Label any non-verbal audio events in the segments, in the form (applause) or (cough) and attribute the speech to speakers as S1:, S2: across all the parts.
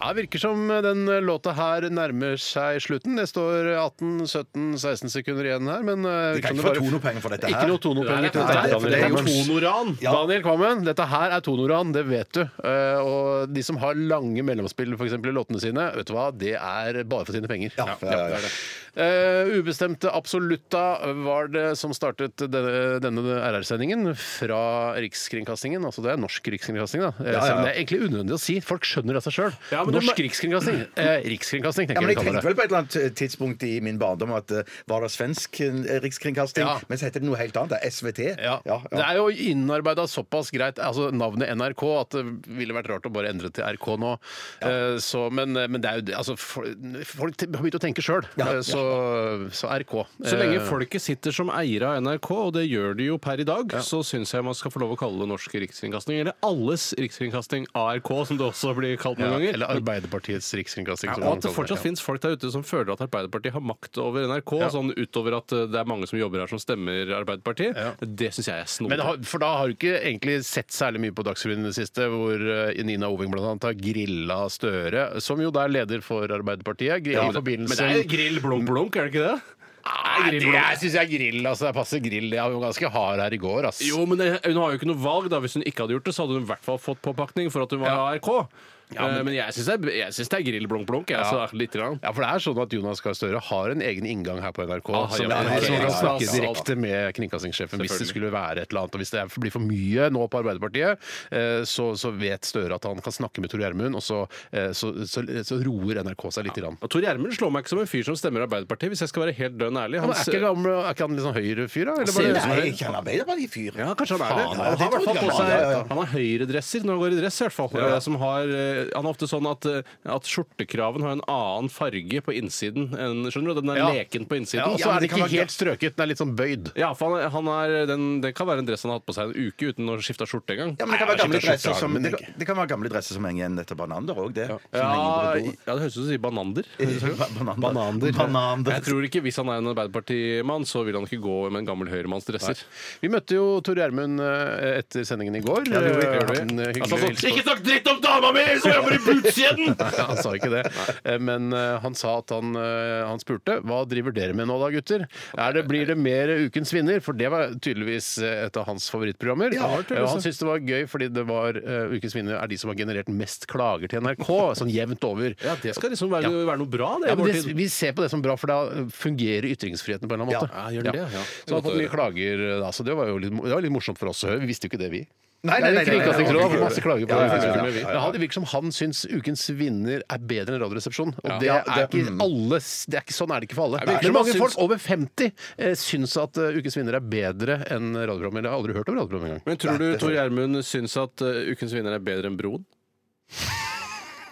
S1: Ja, Det virker som den låta her nærmer seg slutten. Det står 18-17-16 sekunder igjen her, men eh,
S2: Vi kan ikke få
S1: virker som det bare-
S2: tonopenger for dette
S1: Ikke
S2: her.
S1: noe tonopenger til
S2: Nei,
S1: dette. her.
S2: for det er jo
S3: tonoran.
S2: Ja.
S1: Daniel Kvammen, dette her er tonoran, det vet du. Eh, Og de som har lange mellomspill for eksempel, i låtene sine, vet du hva, det er bare for sine penger.
S2: Ja, ja, ja.
S1: det er det. Eh, ubestemte Absolutta var det som startet denne, denne RR-sendingen fra Rikskringkastingen. Altså det er norsk rikskringkasting, da. Eh,
S2: ja, ja.
S1: Selv om det er egentlig unødvendig å si. Folk skjønner det av seg sjøl.
S3: Ja, men det
S1: norsk
S3: må-
S1: rikskringkasting. Eh,
S2: Ja,
S1: rikskringkasting,
S2: men Jeg
S1: tenker jeg vi kaller
S2: tenkte
S1: det.
S2: vel på et eller annet eh, tidspunkt i min barndom at eh, var det svensk eh, rikskringkasting,
S1: Ja.
S2: men så heter det noe helt annet. Det er SVT.
S1: Ja. Det er jo innarbeida såpass greit, altså navnet NRK, at det ville vært rart å bare endre til RK nå. Eh, Så, men, men det er jo det altså, fol- Folk te- har begynt å tenke sjøl,
S2: Ja, ja.
S1: så, så RK.
S3: Så lenge
S1: Eh,
S3: folket sitter som eiere av NRK, og det gjør de jo per i dag, så syns jeg man skal få lov å kalle det Norsk Rikskringkasting, eller Alles Rikskringkasting, ARK, som det også blir kalt noen
S1: ja,
S3: ganger.
S1: Eller Arbeiderpartiets rikskringkasting.
S3: Ja,
S1: som
S3: og at
S1: man kaller
S3: det
S1: det.
S3: fortsatt finnes folk der ute som føler at Arbeiderpartiet har makt over NRK, sånn utover at eh, det er mange som jobber her som stemmer Arbeiderpartiet. Det syns jeg er
S1: Men
S3: snodig.
S1: har, for da har du ikke egentlig sett særlig mye på Dagsrevyen i det siste, hvor eh, Nina Oving blant annet har grilla Støre, som jo da er leder for Arbeiderpartiet. Grill,
S3: Ja,
S1: i forbindelse
S3: Men det er jo grill blunk blunk, er det ikke det?
S1: Nei,
S3: grill,
S1: det
S3: blunk.
S1: er- syns jeg er grill. altså Det er passe grill. Jeg var jo ganske hard her i går, ass.
S3: Jo, men det, hun har jo ikke noe valg. da Hvis hun ikke hadde gjort det, så hadde hun i hvert fall fått påpakning for at hun var ARK. men, Eh, men jeg syns det, er- jeg syns det er grill blunk blunk. Jeg, altså, litt grann.
S1: Ja, for det er sånn at Jonas Gahr Støre har en egen inngang her på NRK.
S3: Ah,
S1: som, som
S3: ja, ja, ja,
S1: kan
S3: ja, ja,
S1: snakke
S3: ja.
S1: direkte med kringkastingssjefen hvis det
S3: Selvfølgelig.
S1: skulle være et eller annet. Og hvis det er- blir for mye nå på Arbeiderpartiet, eh, så, så vet Støre at han kan snakke med Tor Gjermund, og så, eh, så, så, så roer NRK seg lite grann.
S3: Og Tor Gjermund slår meg ikke som en fyr som stemmer Arbeiderpartiet, hvis jeg skal være helt dønn ærlig.
S1: Ja, men er, ikke
S3: ja,
S1: gammel, er ikke han litt sånn høyrefyr, da? Eller
S3: ser
S1: bare-
S3: ut som
S2: Nei, jeg kjenner Arbeiderparti-fyr.
S3: kanskje han er det.
S2: Faen,
S3: Han
S2: det
S3: har i hvert
S2: tror
S3: fall
S2: jeg
S3: på
S2: han
S3: seg
S2: er, ja, ja.
S3: Han har høyredresser når han går i dress, i hvert fall. Eh, Som har, eh, han er ofte sånn at, eh, at skjortekraven har en annen farge på innsiden. enn- skjønner du? Den er
S1: Ja.
S3: leken på innsiden.
S1: Ja, og så
S2: men
S1: er det
S2: det kan
S1: ikke
S2: være-
S1: helt strøket, den er litt sånn bøyd.
S3: Ja, for han, er- han er, den, Det kan være en dress han har hatt på seg en uke uten å skifte skjorte engang.
S2: Ja, men det kan, være
S1: Nei,
S2: gamle
S1: jeg har
S2: dresser
S1: skjønt
S2: som,
S1: armen,
S2: det,
S1: tenker
S2: kan, det kan være gamle dresser som henger igjen etter Banander òg, det. Som
S3: Ja,
S2: henger
S3: ja, det høres ut som du sier banander.
S2: bordet. Banander.
S1: Banander.
S2: Banander.
S3: Jeg tror ikke, Hvis han er en Arbeiderpartimann, så vil han ikke gå med en gammel høyremanns dresser.
S1: Vi møtte jo Tor Gjermund eh, etter sendingen i går.
S2: det gjorde vi.
S1: Eh,
S2: Gjorde vi.
S1: en hyggelig
S3: Altså,
S1: hilsen.
S3: ikke snakk dritt om dama mi som jobber i Bootskjeden!
S1: Nei, (laughs) han sa ikke det. Eh, Men eh, han sa at han, eh, han spurte hva driver dere med nå da, gutter? Er det, blir det mer Ukens vinner? For det var tydeligvis eh, et av hans favorittprogrammer.
S2: Ja, det var tydeligvis
S1: Eh, og han syntes det var gøy fordi det var eh, Ukens vinner er de som har generert mest klager til NRK, (laughs) sånn jevnt over.
S3: Ja, det skal liksom være, være noe bra, det.
S1: Ja,
S3: i
S1: men
S3: vår
S1: det,
S3: tid.
S1: vi ser på det som bra, for da eh, fungerer ytringsfriheten på en eller annen måte.
S3: Ja, gjør den det? Ja.
S1: Så han har fått mye klager eh, da, så det var jo litt, det var litt morsomt for oss å høre. Vi visste jo ikke det, vi.
S2: Nei, nei, nei, nei, nei, nei,
S1: Kringkastingsrådet har fått
S2: nei.
S1: masse klager på
S2: Ja,
S1: det.
S2: ja, ja, ja,
S1: Men han- det virker som han syns Ukens vinner er bedre enn Radioresepsjonen. Og det
S2: Ja, mm.
S1: er
S2: det-
S1: ikke alle det er ikke, Sånn er det ikke for alle.
S3: Det
S1: Men
S3: virker som han
S1: mange
S3: syns-
S1: folk over 50 eh, syns at eh, Ukens vinner er bedre enn Radioprogrammet. Jeg har aldri hørt om Radioprogrammet engang.
S3: Men tror du Tor Gjermund syns at eh, Ukens vinner er bedre enn Broen?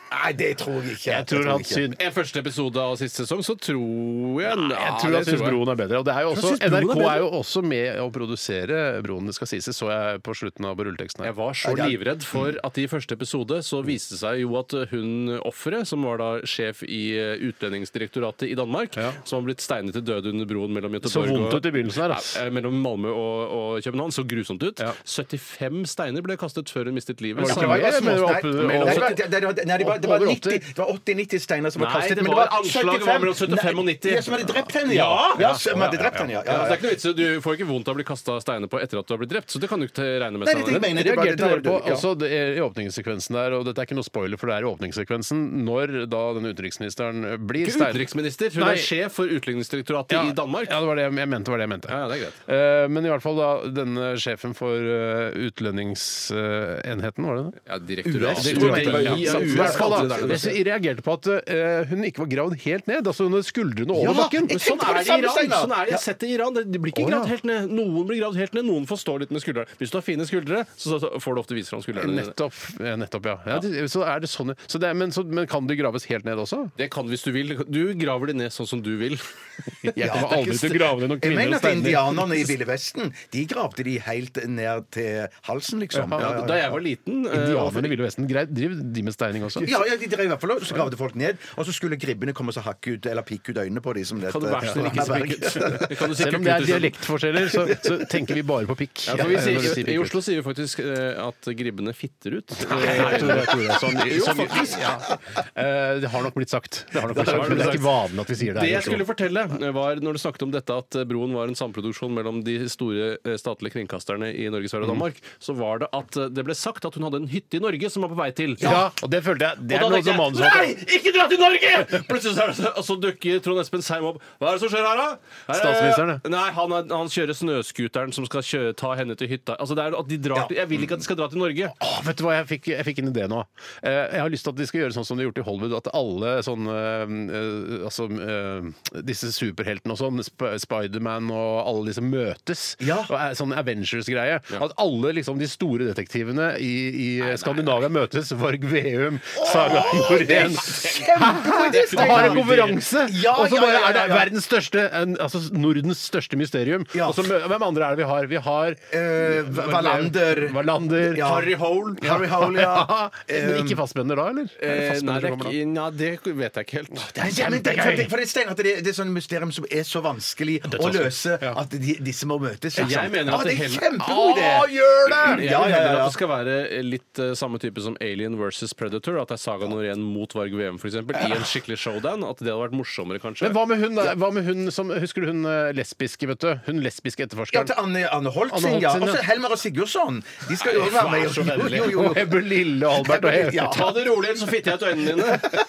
S2: Nei, det tror jeg ikke.
S1: Jeg tror han syns
S3: I første episode av siste sesong så tror jeg Nei,
S1: jeg tror
S3: det
S1: han syns
S3: jeg.
S1: Broen er bedre. Og det er jo også,
S3: synes Broen er
S1: NRK
S3: bedre.
S1: er jo også med å produsere Broen, det skal sies. Det så jeg på slutten av rulleteksten her.
S3: Jeg var så livredd for at i første episode så viste det seg jo at hun offeret, som var da sjef i eh, Utlendingsdirektoratet i Danmark, som har blitt steinet til døde under broen mellom
S1: Så
S3: Göteborg
S1: vondt ut i
S3: og
S1: begynnelsen her,
S3: ja,
S1: ass.
S3: eh, mellom Malmö og, og København. Så grusomt ut.
S1: Ja.
S3: 75 steiner ble kastet før hun mistet livet.
S1: Var det
S2: Ja, det var
S1: ikke
S3: Samme-
S2: bare
S1: mer?
S2: små-
S1: Men det var
S2: nei, nei,
S1: oppe-
S2: det var-
S1: over-
S2: det- det var- nei, det var- det var
S1: over
S2: 90 det var 80-90 steiner som var
S3: Nei,
S2: kastet.
S3: det
S2: men
S3: var- anslaget
S2: 75.
S3: var mellom 75 og 90.
S2: Ja, som hadde drept henne, ja.
S3: Ja?
S2: Ja, som hadde drept henne, ja.
S3: Ja,
S2: ja,
S3: altså,
S2: ja.
S3: det er ikke noe vits i- Du får ikke vondt av å bli kasta steiner på etter at du har blitt drept, så det kan du ikke regne med.
S2: Nei, det er det jeg
S3: Steinar.
S2: mener. Det er bare-
S1: reagerte dere
S2: det
S1: på altså,
S2: er- ja.
S1: også det, i åpningssekvensen der, og dette er ikke noe spoiler, for det er i åpningssekvensen, når da denne utenriksministeren blir
S3: Ikke
S1: stein-
S3: utenriksminister, hun
S1: Nei.
S3: er sjef for Utlendingsdirektoratet
S1: Ja,
S3: i Danmark.
S1: Ja, det var det jeg, jeg mente. Var det jeg mente.
S3: Ja, ja, det er greit.
S1: Eh, men i hvert fall da denne sjefen for eh, utlendingsenheten, var det det?
S3: Ja,
S2: US,
S3: direktoratet.
S2: tror jeg det var.
S3: Ja,
S2: Ja,
S3: sant,
S1: I
S2: US,
S1: hvert fall da,
S3: det er det.
S1: jeg sy- jeg reagerte på at eh, hun ikke var gravd helt ned, altså under skuldrene og over
S2: Ja,
S1: bakken.
S2: jeg
S3: Sånn
S2: tenkte på
S3: er
S2: det
S3: det i
S2: samme,
S3: Iran.
S2: Steinar.
S3: Sånn er det. Jeg har sett det i Iran. Det- De blir ikke
S1: Å, ja.
S3: gravd helt ned. Noen blir gravd helt ned, noen får stå litt med skuldrene. Hvis du har fine skuldre, så så får du ofte vise fram skuldrene. dine.
S1: Nettopp, ja, nettopp, ja. ja. det- Så er det sånn, så det er, men, så, men kan de graves helt ned også?
S3: Det kan hvis du vil. Du graver de ned sånn som du vil. (laughs)
S1: Jeg kommer
S2: det er ikke
S1: aldri til å
S2: st-
S1: grave ned noen
S2: Jeg
S1: kvinner
S2: mener
S1: og
S2: at
S1: steiner.
S2: indianerne i Ville Vesten De gravde de helt ned til halsen, liksom.
S3: Da jeg var liten eh, altså-
S1: Indianerne i Ville Vesten drev drev de med steining også?
S2: Ja, ja, ja, de drev i hvert fall og gravde folk ned. Og så skulle gribbene komme og så hakke ut eller pikke ut øynene på de som det
S3: Kan du
S2: heter.
S3: være snill
S2: Ja,
S3: ikke
S2: Berg.
S3: spikke ut? (laughs) Kan du
S1: Selv om det er dialektforskjeller, så, så tenker vi bare på pikk.
S3: Ja, for Altså, vi
S1: Når vi
S3: sier,
S1: sier pikk
S3: I
S1: ut.
S3: Oslo sier vi faktisk eh, at gribbene fitter ut.
S1: Nei, Tore, Tore, (laughs) sånn,
S3: Jo,
S1: sånn,
S3: faktisk.
S1: ja. Eh, Det har nok blitt sagt. Det, har nok blitt
S3: Det har
S1: sagt. men det er
S3: blitt
S1: ikke vanlig at vi sier det.
S3: Det
S1: her i
S3: jeg
S1: Oslo.
S3: skulle fortelle, eh, var når du snakket om dette at eh, Broen var en samproduksjon mellom de store eh, statlige kringkasterne i Norge,
S1: Mm.
S3: Sverige og Danmark, så var det at eh, det ble sagt at hun hadde en hytte i Norge som var på vei til.
S1: Ja, og det følte jeg Det er
S3: og da
S1: noe
S3: tenkte
S1: som
S3: jeg
S1: manuset
S3: Nei, ikke dra til Norge! (laughs) Plutselig så, er det, så- og så dukker Trond Espen Seim opp. Hva er det som skjer her, da? Her er-
S1: Statsministeren, ja.
S3: Nei, han, er, han kjører snøscooteren som skal kjøre, ta henne til hytta. Altså, det er at de drar til, Jeg vil ikke at de skal dra til Norge.
S1: Åh, vet du hva, jeg fikk, jeg fikk en idé nå. Eh, jeg har lyst til at de skal gjøre sånn som de gjorde i Hollywood. At alle sånne eh, altså, eh, Disse superheltene og sånn, Sp Spiderman og alle disse møtes.
S2: Ja.
S1: Og er, sånn Avengers-greie. At alle liksom, de store detektivene i, i Skandinavia møtes. Varg Veum, Saga Norén. Og har en konferanse!
S2: Ja,
S1: og så
S2: ja,
S1: bare
S2: ja, ja,
S1: er det
S2: ja.
S1: verdens største en, Altså Nordens største mysterium.
S2: Ja.
S1: Og så, mø- hvem andre er det vi har? Vi har
S2: Eh, Wallander.
S1: Wallander.
S2: Ja.
S3: Harry Hole.
S2: Harry Hole,
S1: (laughs)
S2: ja. Eh,
S1: Men ikke fastbønder da, eller? Er det
S3: Eh, nei,
S1: fastbønder
S3: det,
S1: som kommer da?
S3: nei, det vet jeg ikke helt.
S2: Nei, ja, men det, for det, for det, Stein, at det, det er sånn mysterium som er så vanskelig
S3: sånn
S2: å løse at de, disse må møtes. ikke
S3: Jeg
S2: sant?
S3: mener at
S2: Å, det er
S3: det heller-
S2: kjempegod idé!
S1: gjør det!
S3: Jeg
S2: Ja, ja, ja,
S3: mener
S2: ja.
S3: at det skal være litt eh, samme type som Alien versus Predator. At det er Saga Norén mot Varg Veum, f.eks. I en skikkelig showdown. At det hadde vært morsommere, kanskje.
S1: Men hva med hun, da? Hva med hun som, Husker du hun eh, lesbiske, vet du? Hun lesbiske
S2: Ja,
S1: etterforskeren.
S2: til Anne, Anne Holt
S1: Anne
S2: sin,
S1: Holt
S2: ja.
S1: sin,
S2: Og så
S1: ja.
S2: Helmer og Sigurdsson. De skal jo også være med.
S3: så vennlig.
S2: Jo, jo, jo,
S1: Og
S2: jo.
S1: Ebbe Lille og Albert og Heve.
S2: Ja.
S3: Ta det rolig, ellers så fitter jeg ut øynene (laughs) dine.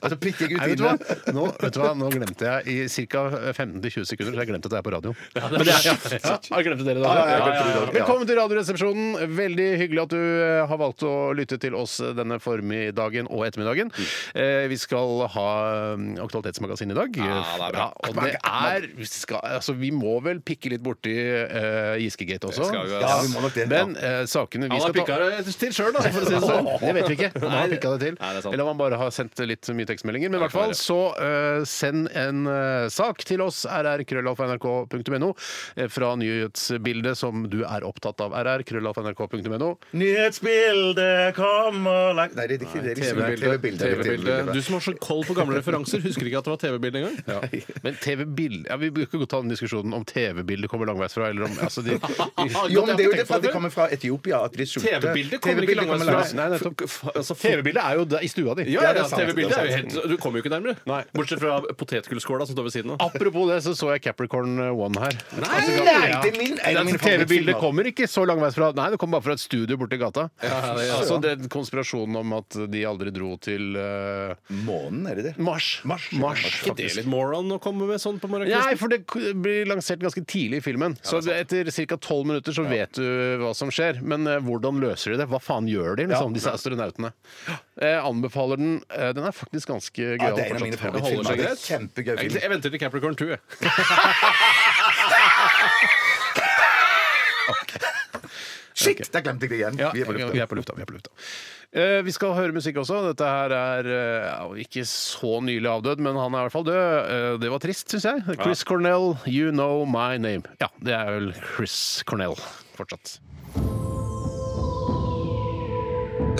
S2: Og så pikker jeg ut
S1: Nei, vet, du
S2: dine. (laughs)
S1: hva? Nå, vet du hva? Nå glemte jeg i ca. 15-20 sekunder så har jeg glemt at jeg er på radio. Men det er, ja, ja, har glemt dere da?
S2: jeg glemte det i dag.
S1: Velkommen til Radioresepsjonen. Veldig hyggelig at du eh, har valgt å lytte til oss eh, denne formiddagen og ettermiddagen. Eh, Vi skal ha mm, Aktualitetsmagasin i dag.
S3: Ja, det er bra.
S1: og det er vi, skal, altså, vi må vel pikke litt borti eh, Giskegate også.
S3: skal vi,
S2: Ja, vi må nok det.
S1: Men eh, sakene vi
S3: Han har
S1: skal ta
S3: pikka det til sjøl, da, for å si det sånn.
S1: det vet vi ikke. Om han har pikka det til.
S3: Nei, det er sant.
S1: Eller om han bare har sendt litt mye tekstmeldinger. Men i hvert
S3: kan
S1: fall så eh, send en eh, sak til oss, rrkrøllalfa.nrk.no, eh, fra nyhetsbildet som du er opptatt av. rrkrøllalfa.nrk.no.
S2: Nyhetsbildet kommer langt Nei, det er ikke det. det er liksom-
S3: TV-bildet.
S2: TV-bildet.
S3: Du som har så koll på gamle referanser, husker ikke at det var TV-bilde engang?
S1: Men TV-bilde ja, Vi bør ikke ta den diskusjonen om TV-bildet kommer langveisfra, eller om altså, de,
S2: Jo, men det er jo det for at de kommer fra Etiopia. At de er sulte.
S3: TV-bildet kommer ikke
S2: kommer
S3: langveis
S1: Nei,
S3: fra.
S1: nettopp.
S3: F- f- altså, f-
S1: TV-bildet er jo der, i stua di.
S3: Ja, ja,
S2: det
S3: ja,
S2: er sant,
S3: TV-bildet
S2: det er
S3: er jo helt Du kommer jo ikke nærmere.
S1: Nei. Ah,
S3: Bortsett fra potetgullskåla som står ved siden av.
S1: Apropos det, så så jeg Capricorn One her. Nei,
S2: Nei, det er min, en av mine
S1: TV-bildet
S2: favorittfilmer.
S1: kommer ikke så langveisfra. Nei, det kommer bare fra et studio borti gata.
S3: ja, ja.
S1: Altså, den konspirasjonen om at de aldri dro til eh,
S2: Månen, er det det?
S1: Mars.
S2: Mars, ja.
S1: Mars,
S3: Er det
S1: faktisk.
S3: litt moron å komme med sånn på
S1: Nei,
S3: morgenkvisten?
S1: for det k- blir lansert ganske tidlig i filmen. Så etter ca. tolv minutter så vet du hva som skjer. Men eh, hvordan løser de det? Hva faen gjør de, liksom, disse astronautene? Jeg anbefaler den. Eh, Den er faktisk ganske
S2: Ja,
S1: gøyal.
S2: det er en av mine
S1: fortsatt.
S3: Det
S2: favorittfilmer.
S3: holder seg
S2: Det er
S3: greit.
S2: Kjempegøy film.
S3: Jeg, jeg venter til Capricorn 2, jeg.
S2: Shit, der glemte jeg det igjen.
S1: Ja,
S2: Vi er på lufta.
S1: vi er på lufta. Vi, er på lufta. Eh, vi skal høre musikk også. Dette her er eh, ja, ikke så nylig avdød, men han er i hvert fall død. Eh, det var trist, syns jeg. Chris Cornell, You Know My Name. Ja, det er vel Chris Cornell fortsatt.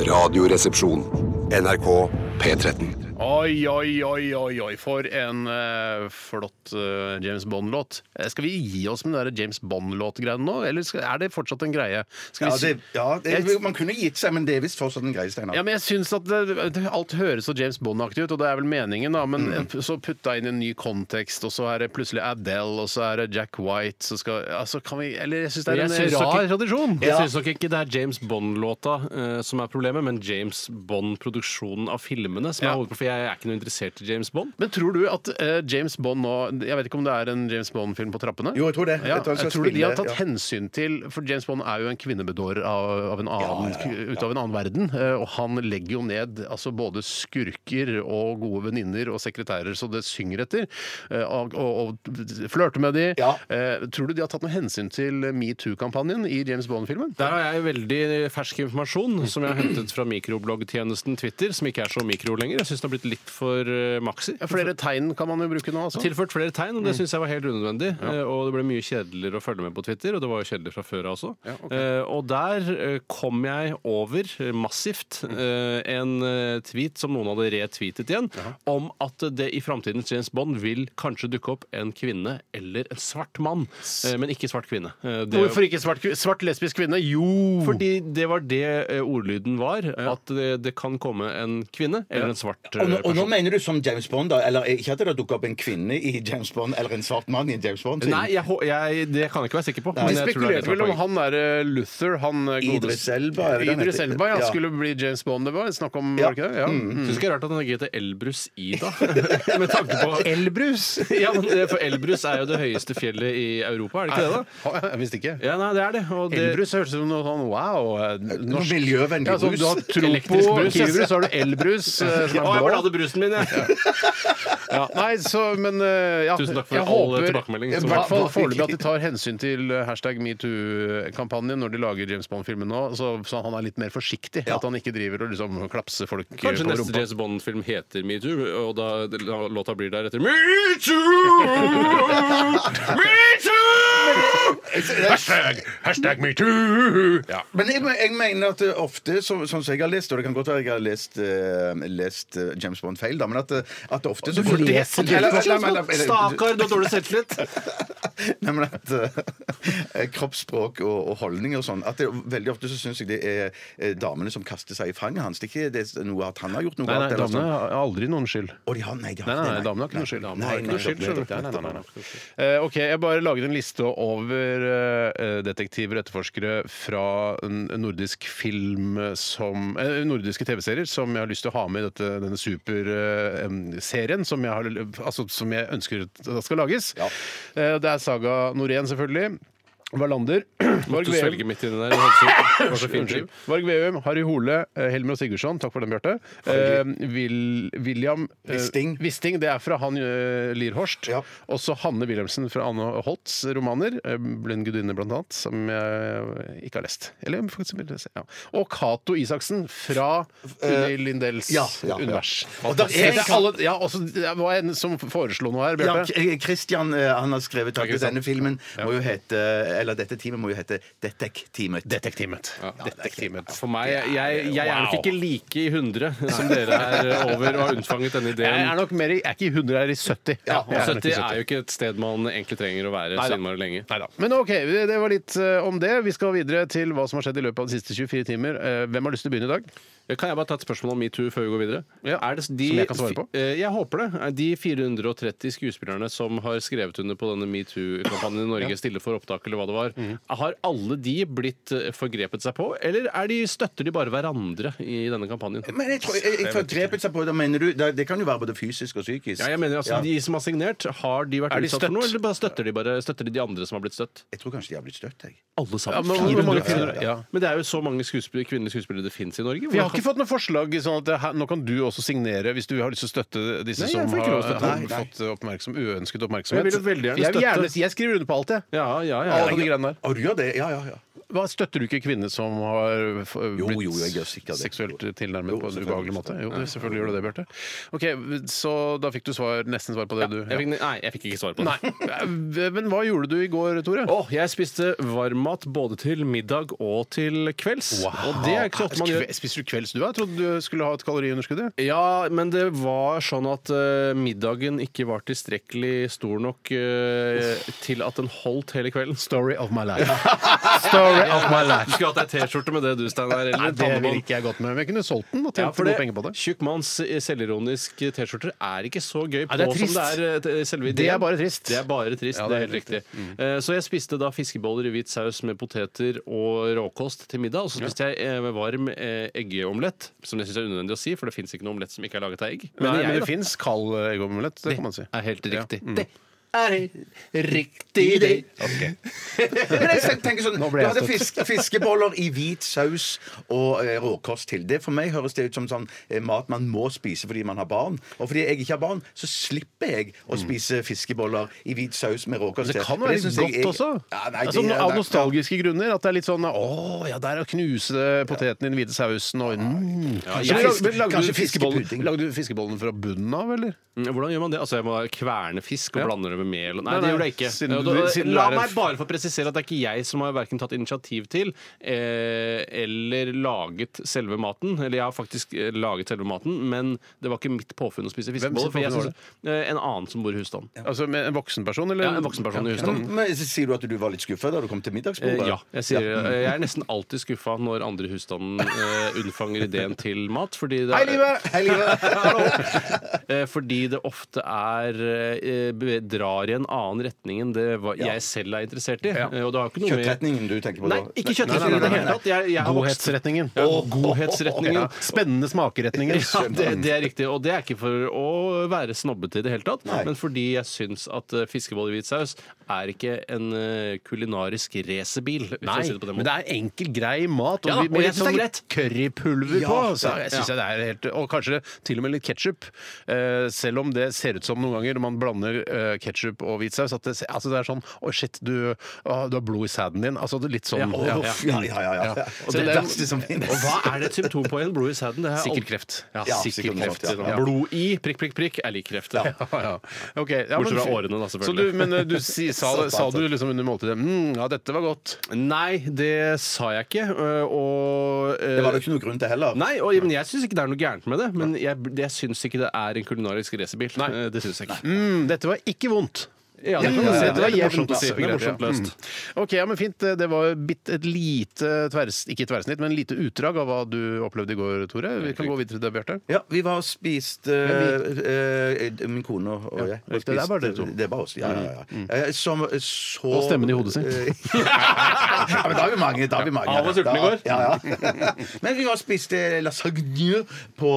S4: Radioresepsjon. NRK P13.
S1: Oi, oi, oi, oi, oi. For en eh, flott eh, James Bond-låt. Eh, skal vi gi oss med den der James Bond-låt-greiene nå, eller skal, er det fortsatt en greie? Skal
S2: Ja,
S1: vi si-
S2: det, ja det, man kunne gitt seg, men det er visst fortsatt en greie, Steinar.
S1: Ja, men jeg synes at det, det, Alt høres så James Bond-aktig ut, og det er vel meningen, da, men så putta inn i en ny kontekst, og så er det plutselig Adele, og så er det Jack White så skal, altså, kan vi, Eller jeg syns det er
S3: Men jeg
S1: en
S3: synes
S1: rar
S3: ikke-
S1: tradisjon.
S3: Jeg synes nok ikke det er James Bond-låta eh, som er problemet, men James Bond-produksjonen av filmene som
S1: Ja.
S3: er hovedproblemet. For jeg er ikke noe interessert i James Bond.
S1: Men tror du at eh, James Bond nå Jeg vet ikke om det er en James Bond-film på trappene?
S2: Jo, jeg tror det.
S1: Ja,
S2: Jeg tror han skal
S1: jeg tror de har
S2: spille,
S1: tatt
S2: ja.
S1: hensyn til For James Bond er jo en kvinnebedårer av, av en annen, ut av en annen verden. eh, Og han legger jo ned altså, både skurker og gode venninner og sekretærer så det synger etter. eh, Og, og, og flørter med de.
S2: Ja.
S1: Eh, Tror du de har tatt noe hensyn til metoo-kampanjen i James Bond-filmen?
S3: Der har jeg veldig fersk informasjon som jeg har hentet fra mikrobloggtjenesten Twitter, som ikke er så mikro lenger. Jeg syns den har blitt blitt litt for eh, maxi.
S1: Ja, Flere tegn kan man jo bruke nå, altså.
S3: Tilført flere tegn,
S2: Mm.
S3: og det syns jeg var helt unødvendig. Eh, Og det ble mye kjedeligere å følge med på Twitter, og det var jo kjedelig fra før av også. Eh, Og der eh, kom jeg over, eh, massivt,
S2: Mm.
S3: eh, en eh, tweet som noen hadde retweetet igjen, om at det i framtidens James Bond vil kanskje dukke opp en kvinne eller en svart mann, eh, men ikke svart kvinne. Eh, det-
S1: Hvorfor ikke svart, kvi- svart lesbisk kvinne? Jo!
S3: Fordi det var det eh, ordlyden var, at det, det kan komme en kvinne eller en svart eh,
S2: Og nå, og nå
S3: person.
S2: mener du som James Bond, da? Eller ikke at det dukker opp en kvinne i James Bond, eller en svart mann i en James Bond?
S3: Nei, jeg, hå- jeg, det kan jeg ikke være sikker på.
S1: De
S3: men jeg tror det er
S1: spekulerte
S3: det som er
S1: vel om
S3: poenget.
S1: han der eh, Luther, han eh, godeste-
S2: Idris Elba, er det den
S1: Idris
S2: heter?
S1: Elba, ja,
S2: Ja.
S1: skulle bli James Bond. Det var snakk om,
S2: Ja.
S1: var det ikke det? Ja. Mm.
S3: Syns ikke det er rart at han ikke heter Elbrus Ida. (laughs) Med tanke på
S1: Elbrus! (laughs)
S3: Ja, men eh, For Elbrus er jo det høyeste fjellet i Europa, er det ikke det? da?
S1: Ha, Jeg visste ikke.
S3: Ja, nei, det er det. Og det
S1: Elbrus høres ut som noe sånn wow. eh, Norsk
S2: miljøvennlig
S1: ja, så om du har
S2: brus.
S1: tro på
S3: Elektrisk brus, ja.
S1: Kiwi-brus, så har du Elbrus.
S2: (laughs)
S1: eh, som er
S3: Å, jeg
S1: blå.
S3: bare hadde brusen min, jeg!
S1: Ja, nei, så, men eh, ja,
S3: Tusen takk for
S1: jeg
S3: all
S1: håper-
S3: tilbakemelding
S1: I
S3: som
S1: hvert
S3: var-
S1: fall foreløpig at de tar hensyn til eh, hashtag metoo-kampanjen når de lager James Bond-filmen nå, så, så han er litt mer forsiktig. At han ikke driver og liksom klapser folk eh,
S3: Kanskje
S1: på
S3: neste
S1: rumpa.
S3: James Bond-film heter Metoo, og da la- låta blir deretter Metoo! Metoo!
S1: Hashtag, hashtag metoo! Ja.
S2: Men jeg, me- jeg mener at eh, ofte, så, sånn som jeg har lest, og det kan godt være jeg har lest, eh, lest eh, James Bond feil, da, men at, eh, at ofte så
S1: leser
S2: Eller-
S1: James Bond?
S2: eller- eller- eller- eller-
S3: Stakkar, du har dårlig selvtillit!
S2: (laughs) Nei, men at eh, kroppsspråk og, og holdning og sånn at det, Veldig ofte så syns jeg det er eh, damene som kaster seg i fanget hans. Det er ikke det er noe at han har gjort noe
S1: Nei, nei,
S2: galt. eller
S1: damene
S2: sånn.
S1: har aldri noen skyld.
S2: Å, de har, nei, de har
S1: liksom. Nei, nei,
S2: ikke det,
S1: nei, damene har ikke noe
S2: Nei, nei,
S1: skyld.
S2: nettopp, nettopp,
S1: Nei, nei, nei,
S2: nettopp.
S1: nei. Eh, OK, jeg bare laget en liste over eh, detektiver og etterforskere fra en nordisk film som eh, Nordiske TV-serier som jeg har lyst til å ha med i dette, denne superserien som, jeg har- altså, som jeg ønsker at det skal lages. Eh, det er Saga Norén, selvfølgelig. Wallander. (clears throat) Varg
S3: Du
S1: Veum.
S3: svelger midt inni der. det var så- det var så fint liv.
S1: Unnskyld. Varg Veum, Harry Hole, eh, Helmer og Sigurdsson. Takk for den, Bjarte. Eh, Vil, William eh,
S2: Wisting.
S1: Wisting. Det er fra han eh, Lierhorst.
S2: Ja.
S1: Også Hanne Wilhelmsen fra Anne Holts romaner. eh, 'Blind gudinne', blant annet, som jeg ikke har lest. Eller faktisk vil jeg se. Ja. Og Cato Isaksen fra Unni Lindells
S2: Eh, ja, ja, ja.
S1: univers.
S2: Og der er en
S1: Dette er alle, ja, også, det var en som foreslo noe her,
S2: Ja,
S1: Bjarte.
S2: Kristian eh, han har skrevet at
S1: sant?
S2: denne filmen må jo hete Eller dette teamet må jo hete Detektimet.
S1: Detektimet. Detektimet.
S3: For meg, jeg, jeg, jeg er nok
S1: Wow.
S3: ikke like i 100 som dere er over å ha unnfanget denne
S1: Jeg er
S3: ideen.
S1: nok mer i, jeg er ikke i 100, jeg er i 70.
S2: Ja,
S3: Og
S1: Jeg nok i
S3: 70 Altså, er jo ikke et sted man egentlig trenger å være
S1: Neida.
S3: så innmari lenge.
S1: Neida. Men OK, det det var litt eh, om det. Vi skal videre til hva som har skjedd i løpet av de siste 24 timer. Eh, hvem har lyst til å begynne i dag?
S3: Kan jeg bare ta et spørsmål om metoo før vi går videre?
S1: Ja,
S3: Er det de,
S1: som jeg kan svare på?
S3: fi- eh, Jeg håper det. Er De 430 skuespillerne som har skrevet under på denne metoo-kampanjen i Norge, stille for opptak eller hva det var,
S1: Mhm.
S3: har alle de blitt eh, forgrepet seg på, eller er de, støtter de bare hverandre i denne kampanjen?
S2: Men jeg tror, jeg, jeg forgrepet seg på det, mener du? Det, det kan jo være både fysisk og psykisk.
S3: Ja, jeg mener altså
S2: Ja.
S3: De som har signert, har de vært
S1: Er de
S3: utsatt for noe,
S1: støtt?
S3: eller bare støtter de bare støtter de, de andre som har blitt støtt?
S2: Jeg tror kanskje de har blitt støtt, jeg.
S3: Alle sammen.
S1: Ja, men hvor mange
S3: 400?
S1: kvinner- ja.
S3: Men det er jo så mange skuespillere, kvinnelige skuespillere det fins i Norge.
S1: Vi har ikke fått noe forslag sånn at det her, nå kan du også signere hvis du har lyst til å støtte disse
S3: Nei, jeg
S1: som
S3: får ikke
S1: har,
S3: lov til å støtte.
S1: har
S2: Nei, nei.
S1: fått oppmerksom, uønsket oppmerksomhet.
S3: Jeg vil jo veldig gjerne
S1: Jeg vil
S3: støtte.
S1: gjerne- jeg skriver under på alt, jeg.
S3: Ja, ja, ja.
S1: Alle de greiene der.
S2: Å, du gjør det? Ja, ja, ja.
S1: Hva, støtter du ikke kvinner som har eh, f-
S2: Jo,
S1: blitt
S2: jo, jeg gjør sikkert det.
S1: seksuelt tilnærmet
S2: Jo,
S1: på en
S2: selvfølgelig.
S1: ubehagelig måte? Jo, det- selvfølgelig gjør du det, Bjarte. OK, så da fikk du svar, nesten svar på det, du.
S3: Jeg fikk, nei, jeg fikk ikke svar på det.
S1: Nei. Eh, Men hva gjorde du i går, Tore?
S3: Åh, jeg spiste varmmat både til middag og til kvelds. Og det er ikke så ofte man gjør.
S1: Kve- Spiser du kvelds du? Jeg trodde du skulle ha et kaloriunderskudd. jeg.
S3: Ja, men det var sånn at eh, middagen ikke var tilstrekkelig stor nok eh, til at den holdt hele kvelden.
S1: Story of my life. Story of my
S3: Du
S1: life.
S3: skulle hatt ei T-skjorte med det du, Steinar. eller
S1: Nei,
S3: en
S1: det ville
S3: pannebånd.
S1: ikke jeg gått med. Men jeg kunne solgt den og
S3: Ja,
S1: tjent
S3: for
S1: noe
S3: det,
S1: penger på det.
S3: Tjukkmanns selvironisk eh, T-skjorter er ikke så gøy på
S1: det er
S3: som
S1: trist.
S3: det er eh, t- selve ideen.
S1: Det er bare trist.
S3: Det er bare trist,
S1: Ja,
S3: det
S1: det
S3: er
S1: er
S3: helt riktig. Eh, Så jeg spiste da fiskeboller i hvit saus med poteter og råkost til middag. Og så spiste jeg eh, varm eh, eggeomelett, som jeg syns er unødvendig å si, for det fins ikke noe omelett som ikke er laget av egg.
S1: Men,
S3: jeg,
S1: men det
S3: da,
S1: fins kald eh, eggeomelett, det kan man si.
S3: er helt riktig.
S1: Ja. Mm.
S3: Det er riktig det.
S2: (laughs) Men jeg tenker sånn,
S1: Nå
S2: Du
S1: ble jeg
S2: hadde fisk, fiskeboller i hvit saus og eh, råkost til. Det For meg høres det ut som sånn eh, mat man må spise fordi man har barn. Og fordi jeg ikke har barn, så slipper jeg å spise fiskeboller i hvit saus med råkost
S1: Men
S2: til.
S1: det kan
S2: Mm. Men
S1: være
S2: synes
S1: godt
S2: jeg- jeg-
S1: også.
S2: Ja, nei,
S1: altså,
S2: det-
S1: av
S2: det-
S1: nostalgiske grunner. At det er litt sånn Å, ja, der å knuse poteten i den hvite sausen og mm.
S2: kanskje
S1: Men
S2: fisk-
S1: lagde, lagde,
S2: kanskje
S1: du fiskebollen,
S2: fiskepudding.
S1: lagde du fiskebollen fra bunnen av, eller?
S3: Hvordan gjør man det? Altså, Jeg må kverne fisk og
S1: Ja.
S3: blande det med mel og- Nei,
S1: Nei,
S3: det
S1: nei,
S3: gjorde jeg ikke.
S1: siden
S3: Og
S1: du-
S3: da-
S1: siden du
S3: La
S1: er en-
S3: meg bare få presisere at det er ikke jeg som har verken tatt initiativ til eh, eller laget selve maten. Eller jeg har faktisk eh, laget selve maten, men det var ikke mitt påfunn å spise
S1: Hvem
S3: fiskeboller.
S1: sitt
S3: for jeg
S1: påfunn var
S3: synes- eh, En annen som bor i husstand.
S1: Altså med en voksen person, eller?
S3: Ja, en voksen person i husstanden.
S2: Men, men Sier du at du var litt skuffa da du kom til middagsbordet?
S3: Eh, ja. Jeg, sier, eh, jeg er nesten alltid skuffa når andre i husstanden eh, unnfanger ideen til mat. Fordi det,
S2: Hei, livet! Hei, (laughs) livet!
S3: (laughs) Eh, fordi det ofte er eh, be- drar i en annen retning enn det hva jeg selv er interessert i. Eh, Og det har jo ikke noe med
S2: Kjøttretningen du tenker på
S3: Nei,
S2: da?
S1: Nei,
S3: ikke
S1: nei,
S3: kjøttretningen i
S1: nei,
S3: det
S1: nei,
S3: hele
S1: nei.
S3: tatt. Jeg, jeg har vokst
S1: Godhetsretningen.
S3: Ja, godhetsretningen.
S1: Ja, Spennende smakeretningen.
S3: (laughs) Ja, det, det er riktig. Og det er ikke for å være snobbete i det hele tatt,
S2: Nei.
S3: men fordi jeg syns at eh, fiskeboller i hvit saus er ikke en eh, kulinarisk racerbil. hvis
S1: Nei,
S3: jeg sier det på den
S1: men det
S3: måten.
S1: er enkel, grei mat.
S3: Ja,
S1: vi-
S3: og
S1: med
S3: jeg
S1: litt
S3: synes det er
S1: sånn Currypulver
S2: Ja,
S1: på. Så jeg
S3: ja.
S1: synes jeg det er helt, og kanskje til og med litt ketsjup. Eh, selv om det ser ut som noen ganger når man blander eh, ketsjup og hvitsaus at det, se- altså det er sånn Å, shit, du, å, du har blod i sæden din. Altså det er litt sånn.
S3: Ja,
S1: Ja,
S2: Åh, Ja, ja, ja. ja.
S1: Så
S2: Og det
S1: det er-
S2: verste som finnes.
S3: Og hva er det et symptom på igjen? Blod i sæden? Det har jeg
S1: Sikkert
S3: aldri-
S1: kreft. Ja,
S2: Ja,
S1: sikkert
S2: sikkert
S1: kreft.
S2: kreft,
S1: ja.
S2: ja.
S3: Blod i prikk, prikk, prikk er lik kreft. Ja.
S1: (laughs) Ja, ja. Ok, ja,
S3: Bortsett
S1: men-
S3: fra årene, da,
S1: Så
S3: selvfølgelig.
S1: du, men eh, du
S3: (laughs)
S1: si, sa, sa du liksom under måltidet mm, Ja, dette var godt.
S3: Nei, det sa jeg ikke. øh, Og øh,
S2: Det var det ikke noe grunn til heller.
S3: Nei, og, men jeg syns ikke det er noe gærent med det. Men jeg, jeg syns ikke det er en kulinarisk racerbil. Eh, Det syns jeg ikke.
S1: Mm, dette var ikke vondt.
S3: Ja,
S1: Det,
S3: det kan du si.
S1: det var
S3: Det er litt
S1: jevnt.
S3: morsomt å si.
S1: altså.
S3: Det er morsomt
S1: Ja.
S3: løst.
S1: Mm. Ok, ja, men fint. Det var bitt et lite tvers, ikke tverrsnitt, men lite utdrag av hva du opplevde i går, Tore. Vi kan gå videre til deg, Bjarte.
S2: Ja, vi var og spiste eh, eh, Min kone og og jeg. var
S1: det er
S2: spist-
S1: bare dere to.
S2: Det er bare oss, ja, ja, ja. Eh, Som så
S1: Og stemmen i hodet sitt.
S2: Eh, (laughs) ja, men da er vi mange. Da er vi mange.
S3: Ja, han var sulten i
S2: Da-
S3: går.
S2: Ja, ja. (laughs) Men vi var og spiste lasagne på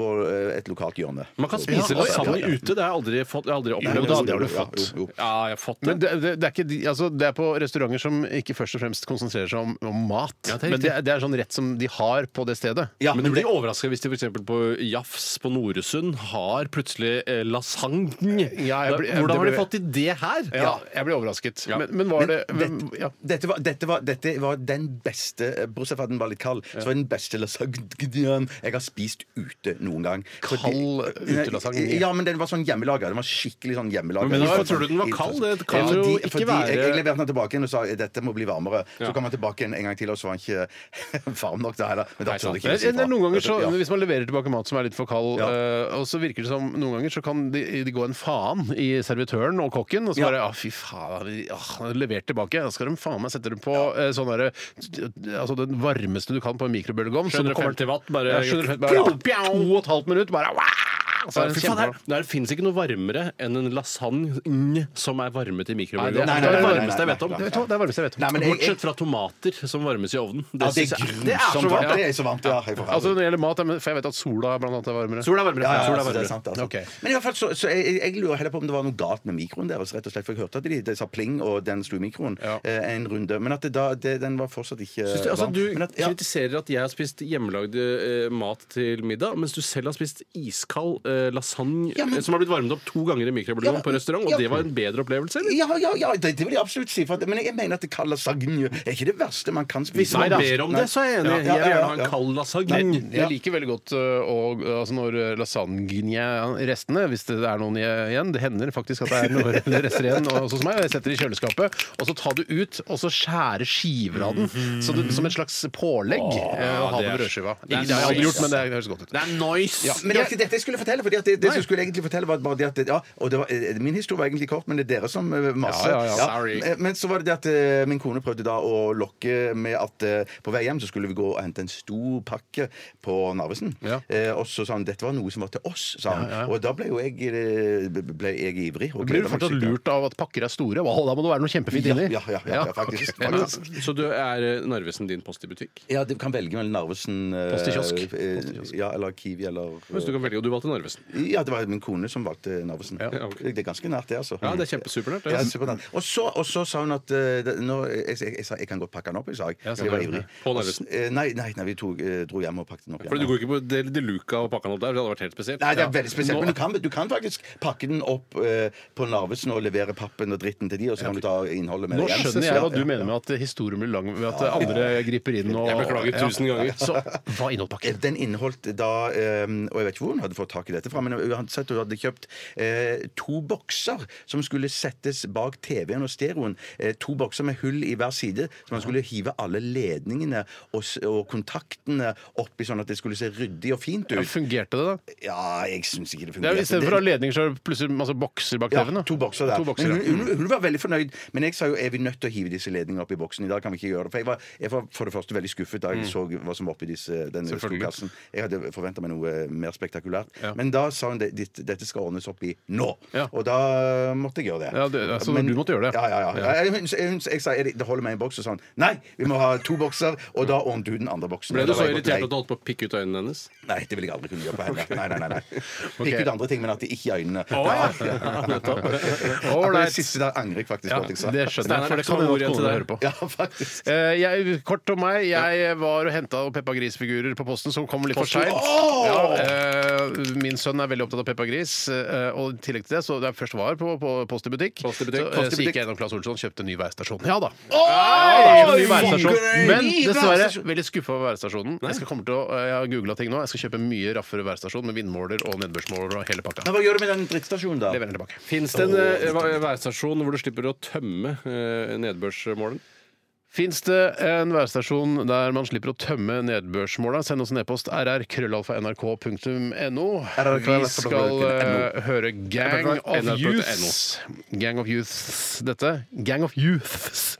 S2: vår, eh, et lokalt hjørne.
S3: Man kan spise
S2: Ja,
S3: lasagne
S2: ja, ja.
S3: ute. Det har jeg aldri, fått, jeg har aldri
S2: Jo,
S3: opplevd.
S2: da,
S3: det.
S2: det har du
S3: Ja,
S2: fått.
S3: jo, jo. Ja, jeg har fått det.
S1: Men det, det, det, er ikke, de- altså, det er på restauranter som ikke først og fremst konsentrerer seg om, om mat.
S3: det er
S1: men
S3: riktig.
S1: det, er- det er sånn rett som de har på det stedet.
S2: Ja,
S3: men du blir overraska hvis de f.eks. på Jafs på Noresund har plutselig eh, lasagne.
S1: Ja, jeg blir- jeg- det
S3: Hvordan har de
S1: blir-
S3: fått til det her?
S1: Ja, jeg ble overrasket. Men, men var
S2: Men
S1: det hvem,
S2: dette,
S1: ja.
S2: dette, var, dette, var, dette var den beste eh, Bortsett fra at den var litt kald, så var den beste lasagnen jeg har spist ute noen gang. Fordi-
S3: eh,
S2: eh,
S1: Kald utelasagne?
S2: Ja, men den var sånn hjemmelaga. Den var skikkelig sånn hjemmelaga.
S3: Men hvorfor tror du den var kald? Det kan
S2: Ja,
S3: jo
S2: fordi-
S3: ikke
S2: fordi
S3: være-
S2: Jeg, jeg leverte den tilbake igjen og sa eh, dette må bli varmere. Så kom den tilbake igjen en gang til, og så var den ikke (laughs) varm nok da heller. Men da
S3: Nei,
S2: tør
S3: sant.
S2: jeg ikke
S1: Det
S2: å si
S1: er- det er
S2: fra.
S1: noen ganger så,
S2: Ja.
S1: Hvis man leverer tilbake mat som er litt for kald,
S2: Ja.
S1: eh, og så virker det som noen ganger så kan de, de gå en faen i servitøren og kokken, og så
S2: Ja.
S1: bare ja, fy faen, vi- ah, levert tilbake. Da skal de faen meg sette dem på eh, sånn derre Altså den varmeste du kan på en mikrobølgeovn. så du kommer-
S3: 750 watt,
S1: ja,
S3: bare-
S1: 750, bare
S3: Pjau,
S1: To og et halvt minutt, bare wow, så er det
S3: Fy
S1: en
S3: faen, her,
S1: kjempe-
S3: der finnes ikke noe varmere enn en lasagne som er varmet i
S1: Nei,
S3: mikrobølgeovn.
S1: det-
S3: Det
S1: nei, nei,
S3: er det
S1: nei,
S2: nei,
S3: varmeste jeg vet om.
S2: nei,
S1: Det vet du hva, det er varmest jeg vet om.
S2: Nei, men jeg- jeg-
S3: Bortsett fra tomater som varmes i ovden. Det,
S2: Ja, det
S3: synes
S2: er
S3: jeg- det er så
S2: grusomt varmt.
S3: varmt!
S2: Det
S3: ja.
S2: er så varmt, ja. Jeg får faen.
S1: Altså Når det gjelder mat, men- for jeg vet at sola blant annet er varmere.
S3: Sola er varmere.
S2: Ja, ja,
S3: Sola er
S2: altså, det
S3: varmere.
S2: er sant, det er sant.
S1: Ok.
S2: Men i hvert fall, så, så jeg, jeg lurer heller på om det var noe galt med mikroen deres. rett og slett, For jeg hørte at de, de sa pling, og den slo i mikroen
S1: Ja.
S2: eh, en runde. Men at det da, det, den var fortsatt ikke
S3: Synes du, altså,
S2: varm.
S3: du
S2: Men at, ja.
S3: kritiserer at jeg har spist hjemmelagd eh, mat til middag, mens du selv har spist iskald eh, lasagne
S2: Ja, men-
S3: eh, som har blitt varmet opp to ganger i
S2: Ja,
S3: mikrobølgeovn
S2: men-
S3: på restaurant, og
S2: ja.
S3: det var en bedre opplevelse? eller?
S2: Ja, ja, ja, det, det vil jeg absolutt si. For at, men jeg mener at det kalde lasagne er ikke det verste man kan spise.
S3: Hvis man
S2: Nei, da.
S3: ber om det, så er jeg enig.
S2: Ja, ja,
S3: jeg vil
S2: ja,
S3: gjerne ha
S2: ja.
S3: en kald lasagne.
S2: Ja.
S1: Jeg liker veldig godt ø, og, ø, altså når ø, lasagne-restene, hvis det er noen i- igjen Det hender faktisk at det er noen rester igjen og- også hos meg. og Jeg setter det i kjøleskapet, og så tar du ut og så skjærer skiver av den. Så det, som et slags pålegg. ø, å ha det med
S3: det er-
S1: brødskiva.
S3: det er
S1: Ikke- Det har jeg aldri
S3: nice.
S1: gjort, men det er- høres godt ut.
S3: Det er nice!
S2: Ja, men det var ikke dette jeg skulle fortelle. Fordi at det, det som skulle egentlig fortelle var bare det at ja, og det var, eh, Min historie var egentlig kort, men det er dere som eh, maser.
S1: Ja, ja, ja,
S3: sorry.
S2: eh, Men så var det det at eh, min kone prøvde da å lokke med at eh, på vei hjem så skulle vi gå og hente en stor pakke på Narvesen.
S1: Ja.
S2: Eh, Og så sa han dette var noe som var til oss, sa han.
S1: Ja, ja.
S2: Og da ble jo jeg, eh, ble jeg ivrig. Og
S1: Blir du
S2: gledet meg
S1: fortsatt
S2: skikkelig.
S1: lurt av at pakker er store? Wow, da må det være noe kjempefint
S2: Ja,
S1: inni.
S2: ja, ja, ja, ja,
S1: (laughs)
S2: faktisk,
S1: ok.
S2: faktisk.
S3: Så du er eh, Narvesen din post i butikk?
S2: Ja, du kan velge mellom Narvesen eh,
S1: Post i kiosk.
S2: eh, Ja, eller Kiwi eller
S3: Hvis du kan velge, og du valgte Narvesen.
S1: Narvesen.
S2: Ja, det var min kone som valgte Narvesen.
S3: Ja, ok.
S2: Det er ganske nært, det, altså.
S3: Ja, det er kjempesupernært, det.
S2: Ja, supernært. Og så, og så sa hun at eh, det- nå, jeg, jeg, jeg sa jeg kan godt pakke den opp, jeg sa jeg.
S1: Ja, sa
S2: jeg var
S1: du det?
S2: ivrig.
S3: På Narvesen?
S2: Eh, Nei, nei, nei vi tok, eh, dro hjem og pakket den opp.
S3: Fordi
S2: hjemme.
S3: du går ikke på Del de Luca og pakka den opp der? for Det hadde vært helt spesielt.
S2: Nei, det er
S3: Ja.
S2: veldig spesielt.
S3: Nå-
S2: Men du kan, du kan faktisk pakke den opp eh, på Narvesen og levere pappen og dritten til de, og så kan du ta innholdet med
S1: Nå
S2: deg hjem.
S1: skjønner jeg
S2: Ja,
S1: hva du
S2: ja.
S1: mener med at historien blir lang ved at andre griper inn og
S3: Jeg beklager tusen ganger.
S1: Så hva inneholdt pakken?
S2: Eh, Den inneholdt da eh, Og jeg vet ikke hvor hun hadde fått tak i dette fra, men uansett, hun hadde kjøpt eh, to bokser som skulle settes bak TV-en og stereoen. Eh, to bokser med hull i hver side, så man skulle hive alle ledningene og, s- og kontaktene oppi sånn at det skulle se ryddig og fint
S1: Ja,
S2: ut.
S1: fungerte det, da?
S2: Ja, jeg syns ikke det
S1: Det
S2: fungerte.
S1: er jo I stedet
S2: Det-
S1: for å ha ledninger, så er det plutselig masse bokser bak
S2: ja,
S1: TV-en. da.
S2: to bokser der. Mhm.
S1: To bokser,
S2: men
S1: ja.
S2: hun, hun, hun var veldig fornøyd. Men jeg sa jo er vi nødt til å hive disse ledningene opp i boksen. I dag kan vi ikke gjøre det. For jeg var, jeg var for det første veldig skuffet
S1: Mm.
S2: da jeg så hva som var oppi disse, denne
S3: Selvfølgelig.
S2: skokassen. Jeg hadde forventa meg noe eh, mer spektakulært.
S1: Ja.
S2: Men da sa hun det, ditt, dette skal ordnes opp i nå.
S1: Ja.
S2: Og da måtte jeg gjøre det.
S1: Ja, det- altså, du måtte gjøre det.
S2: Ja, ja, ja. Jeg, hun, hun, jeg sa er det det holder med en boks, og sa hun nei, vi må ha to bokser. Og da ordnet du den andre boksen.
S3: Ble
S2: Og
S3: du
S2: da
S3: så
S2: var jeg på-
S3: irritert
S2: nei.
S3: at du holdt på å pikke ut øynene hennes?
S2: Nei, det vil jeg aldri kunne gjøre på henne. Nei, nei, nei,
S1: (laughs)
S2: nei. Ikke ut andre ting, men at det ikke er øynene.
S3: ja.
S2: Nettopp.
S1: All
S2: Det
S1: right.
S2: siste der angrer jeg faktisk på at jeg sa.
S1: Det skjønner jeg,
S3: Steinar,
S1: for det
S3: så
S1: kan
S3: mange
S1: hende
S3: ord igjen
S1: at
S3: til
S1: kona
S3: deg.
S1: hører på.
S2: (laughs) Ja, faktisk.
S1: Eh, jeg, kort om meg. Jeg var og henta Peppa Gris-figurer på posten som kom litt for
S3: Posten.
S1: seint.
S2: Åh!
S1: eh, min sønn er veldig opptatt av Peppa Gris, eh, og i tillegg til det, så da jeg først var på, på Post i butikk,
S3: Post i butikk,
S1: så, eh,
S3: Post
S1: så
S3: i
S1: gikk
S3: butikk.
S1: jeg gjennom Claes Olsson, kjøpte en ny værstasjon. Ja da!
S2: Oi,
S1: Ny værstasjon.
S2: funker det?
S1: Men
S2: Ny
S1: dessverre
S2: værstasjon.
S1: veldig skuffa over værstasjonen. Jeg, skal komme til å, eh, jeg har googla ting nå. Jeg skal kjøpe en mye raffere værstasjon med vindmåler og nedbørsmåler og hele
S2: Men
S1: pakka.
S2: hva gjør du med den drittstasjonen, da?
S1: Leverer den tilbake.
S3: Fins det en eh, væ- værstasjon hvor du slipper å tømme eh, nedbørsmålen?
S1: Fins det en værstasjon der man slipper å tømme nedbørsmåla? Send oss en e-post rr.krøllalfa.nrk.no. Vi skal eh, høre Gang of Youths. Gang of Youths. Dette. Gang of Youths.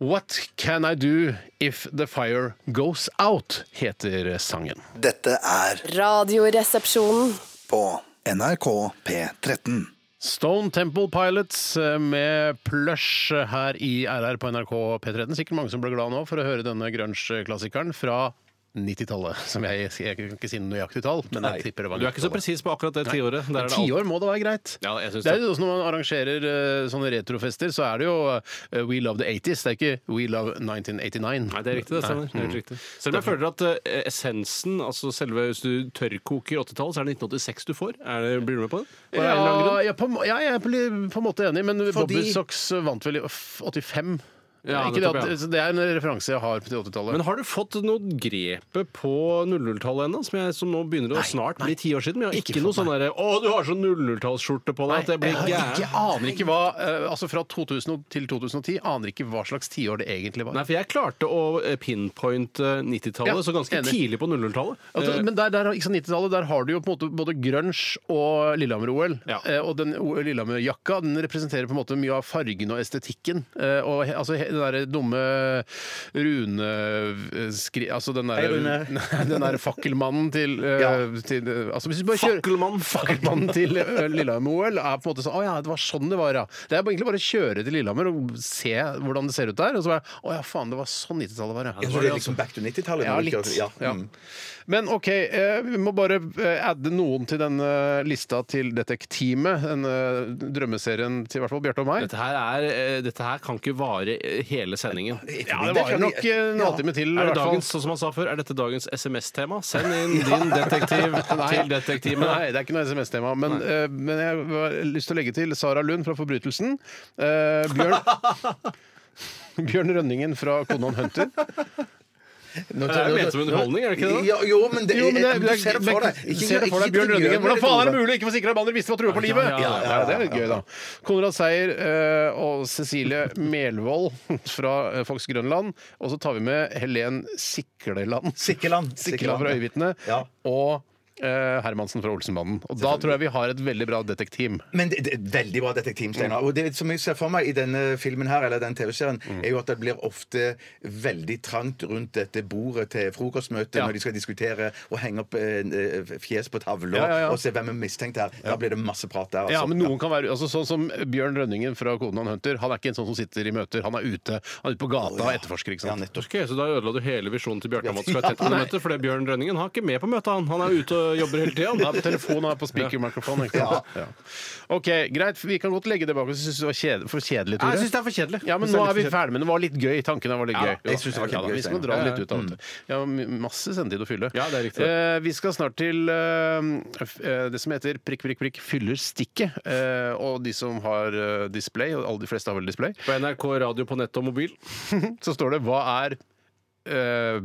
S1: What Can I Do If The Fire Goes Out? heter sangen.
S5: Dette er
S6: Radioresepsjonen.
S5: på NRK P13.
S1: Stone Temple Pilots eh, med Plush her i RR på NRK P13. Sikkert mange som ble glad nå for å høre denne grunge-klassikeren fra 90-tallet. (laughs) Som jeg, jeg kan ikke si noe nøyaktig tall, men jeg tipper det var
S3: Du er ikke så
S1: 90-tallet.
S3: presis på akkurat det tiåret. Der er det alt.
S1: Tiår må det være greit.
S3: Ja, jeg syns
S1: det er
S3: det.
S1: jo også Når man arrangerer eh, sånne retrofester, så er det jo eh, We Love the 80s. Det er ikke We Love 1989.
S3: Nei, det er riktig. det stemmer. Det er helt riktig. Selv om jeg føler at eh, essensen, altså selve hvis du tørrkoker 80-tallet, så er det 1986 du får. Er det, blir du med på det? Bare av en eller annen
S1: Ja,
S3: grunn?
S1: ja, på, en må- ja, jeg er på li- på en måte enig, men
S2: Fordi-
S1: Bobby Socks vant vel i f- 85?
S3: Ja,
S1: ikke det,
S3: nettopp, ja.
S1: at, så det er en referanse jeg har til 80-tallet.
S3: Men har du fått noe grepet på 00-tallet ennå, som, jeg- som nå begynner å snart bli ti år siden? Men jeg har
S1: Ikke
S3: ikke, noe
S1: fått,
S3: sånn derre 'Å, du har sånn 00-tallsskjorte på deg at jeg blir
S1: Nei, jeg
S3: gæren'.
S1: ikke, aner ikke hva eh, Altså fra 2000 og- til 2010 aner ikke hva slags tiår det egentlig var.
S3: Nei, for jeg klarte å eh, pinpointe 90-tallet,
S1: Ja,
S3: så ganske
S1: enig.
S3: tidlig på 00-tallet.
S1: Altså,
S3: Eh,
S1: men der, der, ikke sant, 90-tallet, der har du jo på en måte både grunge og Lillehammer-OL.
S3: Ja.
S1: Eh, og den O- Lillehammer-jakka den representerer på en måte mye av fargen og estetikken. Eh, og he, altså, he, den derre dumme Rune eh, skri, Altså den
S2: Hei,
S1: derre
S2: Rune.
S1: Nei, (laughs) den derre fakkelmannen til, eh,
S2: Ja.
S1: til eh, altså, hvis du bare kjører,
S3: Fakkelmann.
S1: (laughs) Fakkelmannen til eh, Lillehammer-OL er på en måte sånn Å ja, det var sånn det var, ja. Det er egentlig bare å kjøre til Lillehammer og se hvordan det ser ut der. Og så bare Å ja, faen, det var sånn 90-tallet var,
S2: Jeg tror det er liksom back to 90-tallet.
S1: Ja,
S2: når du
S1: litt.
S2: ikke-
S1: Ja.
S2: mm.
S1: Men OK, eh, vi må bare eh, adde noen til denne lista til Detektimet. Denne drømmeserien til i hvert fall Bjarte og meg.
S3: dette, her er, eh, dette her kan ikke vare eh, hele sendingen.
S1: Ja, det varer nok eh, en halvtime til. i
S3: Er det
S1: hvert fall.
S3: dagens, sånn som han sa før, er dette dagens SMS-tema? Send inn
S1: (laughs)
S3: din detektiv til detektimen.
S1: Nei, det er ikke noe SMS-tema. Men, eh, men jeg har lyst til å legge til Sara Lund fra Forbrytelsen. eh, Bjørn (laughs) Bjørn Rønningen fra Konan Hunter.
S2: Nå-
S3: Det er jo ment som underholdning, er det ikke det?
S2: Ja, jo, men det,
S1: Jo, men det,
S2: du
S1: det,
S2: ser det for deg.
S1: Du ser det for deg, Bjørn Rønningen. Hvordan faen er det mulig? Ikke for sikre albanere visste hva trua på livet!
S3: Ja, ja,
S1: Ja, det er litt gøy, da. Konrad Seier eh, og Cecilie Melvold (laughs) fra eh, Fox Grønland. Og så tar vi med Helen Sikleland.
S2: Sikkeland.
S1: Sikleland fra Øyevitne.
S2: Ja.
S1: Og eh, Hermansen fra Olsenbanden. Og da tror jeg vi har et veldig bra detektiv.
S2: Men det, det, er Veldig bra detektiv,
S1: Mm.
S2: Steinar. Og det som jeg ser for meg i denne filmen her, eller den TV-serien, er jo at det blir ofte veldig trangt rundt dette bordet til frokostmøtet
S1: Ja.
S2: når de skal diskutere og henge opp eh, eh, fjes på tavler
S1: Ja, ja, ja.
S2: og se hvem er mistenkt her. Da blir det masse prat der.
S1: Ja, men noen kan være, altså Sånn som Bjørn Rønningen fra Konan Hunter. Han er ikke en sånn som sitter i møter. Han er ute Han er ute på gata og etterforsker. ikke
S2: Ja,
S1: sant?
S2: nettopp.
S1: (laughs)
S3: Ok, Så da ødela du hele visjonen til Bjarte om at du skulle være tett på det møtet? For det Bjørn Rønningen har ikke med på møtet, han. Han er ute og og jobber hele tida.
S1: Ja, telefonen er på speakermikrofon. ikke sant? Ja. OK, greit. Vi kan godt legge det bak oss. Jeg syns det var kjede, for kjedelig, Tore.
S3: Jeg syns det er for kjedelig.
S1: Ja, men
S3: Jeg synes
S1: nå
S3: det
S1: er vi
S3: for kjedelig.
S1: ferdig, men det var litt gøy. Tanken her var litt
S2: Ja,
S1: gøy.
S2: jeg synes det var
S1: Ja da,
S2: kjempegøy,
S1: Vi
S2: Steinar.
S1: skal
S2: mm.
S1: dra det
S3: Ja,
S1: litt ut av det. Ja, m- masse sendetid å fylle.
S3: Ja, det er riktig.
S1: Eh, vi skal snart til eh, f- eh, det som heter prikk, prikk, prikk fyller stikket. Eh, og de som har eh, display, og alle de fleste har vel display,
S3: På NRK radio på nett og mobil.
S1: så står det 'hva er eh,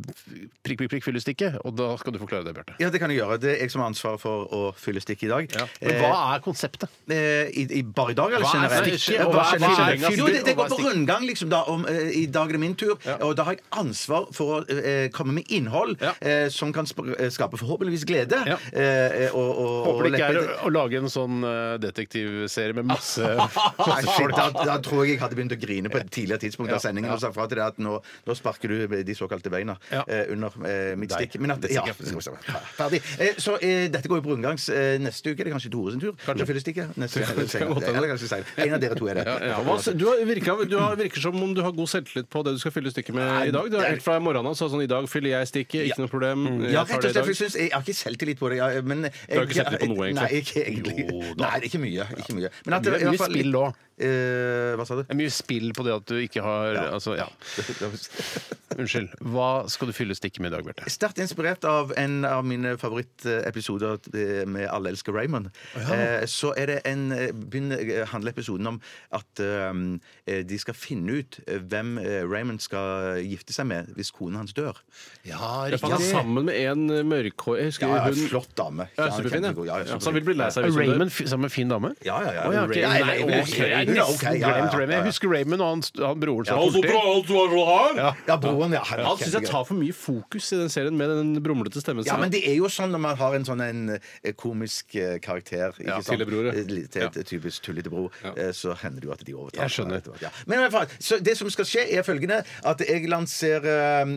S1: prikk, prikk, prikk fyller stikket'? Og da skal du forklare det, Bjarte.
S2: Ja, det kan jeg gjøre. Det er jeg som har ansvaret for å fylle stikket i dag.
S1: Men hva er konseptet?
S2: Eh, i, i, bare i dag, eller
S1: Hva er
S2: generelt?
S1: stikket,
S2: Ja,
S1: og hva er-
S2: generelt?
S1: hva er fyll-
S2: Jo, det, det
S1: og hva
S2: går
S1: er
S2: på
S1: stikket?
S2: rundgang, liksom, da. Om, eh, I dag er det min tur, og da har jeg ansvar for å eh, komme med innhold
S1: Ja.
S2: eh, som kan sp- eh, skape forhåpentligvis glede.
S1: Ja.
S2: Eh, og, og,
S1: Håper det (laughs)
S2: og
S1: ikke er
S2: leppe-
S1: å- å lage en sånn eh, detektivserie med
S2: (laughs)
S1: masse (laughs)
S2: Nei, shit, da, da tror jeg jeg hadde begynt å grine på et tidligere tidspunkt av sendingen og sagt fra til deg at nå, nå sparker du de såkalte beina
S1: Ja.
S2: eh, under eh, mitt
S1: Deg.
S2: stikk. Men at,
S1: Det er
S2: ja,
S1: sikkert.
S2: skal vi se. ferdig. Eh, så eh, dette går jo på rundgangs eh, neste uke. Det er kanskje Tore sin tur. Kanskje fyller stikket
S1: (laughs)
S2: neste uke. Eller senere. Eller kanskje senere. En av dere to er det.
S3: Ja, hva, du, har virker, du har, virker som om du har god selvtillit på det du skal fylle stykket med i dag. Du har helt fra morgenen av så er det sånn I dag fyller jeg stikket, ikke noe problem.
S2: Ja, rett
S3: Jeg tar
S2: og
S3: det i
S2: slett, for
S3: dag.
S2: jeg, synes, jeg har ikke selvtillit på det. Jeg, men jeg, du
S3: har ikke selvtillit på noe, egentlig?
S2: Nei, ikke egentlig. Nei, ikke mye. Ikke mye. Men at,
S1: Det er mye spill òg.
S2: Eh, hva sa du?
S1: Det er mye spill på det at du ikke har Altså, ja. Unnskyld. Hva skal du fylle stikket med i dag, Bjarte? sånn
S2: Sterkt inspirert av en av mine favorittepisoder eh, med Alle elsker Raymond. Eh, Så er det en, eh, begynner, eh, handler episoden om at um, eh, de skal finne ut eh, hvem eh, Raymond skal gifte seg med hvis konen hans dør.
S1: Ja,
S3: Jeg fant han sammen med en mørkhår Jeg husker
S2: Ja, ja,
S3: hun
S2: flott dame.
S3: ja, Superfin,
S2: kjempegod.
S3: ja.
S2: Ja, ja,
S3: ja. Så han
S2: superfin.
S3: vil bli lei seg hvis hun dør.
S1: Raymond f- sammen med Fin dame?
S2: Ja, ja, ja.
S1: Å, ok.
S2: Ray-
S1: Nei,
S2: Nei, Ray-
S1: ok. Jeg
S2: Raymond, ok,
S1: nesten
S2: ja, ja,
S1: glemt
S2: ja,
S1: Raymond.
S2: ja,
S1: Jeg
S2: ja.
S1: husker Raymond og han, han broren som
S3: Ja, så
S1: var politi.
S3: bra, alt var bra.
S2: Ja, broren, ja. han er
S3: Han syns jeg
S2: kjempegøy.
S3: tar for mye fokus i den serien med den brumlete stemmen.
S2: Ja,
S3: sin.
S2: men det er jo sånn når man har en sånn en eh, komisk eh, karakter ikke
S3: Ja,
S2: sant?
S3: tullebror, ja.
S2: Eh, li- Til et typisk tullete bror, eh, så hender det jo at de overtar.
S1: Jeg skjønner.
S2: hverandre etter hvert, Ja. Men i hvert fall, så det som skal skje, er følgende at jeg lanserer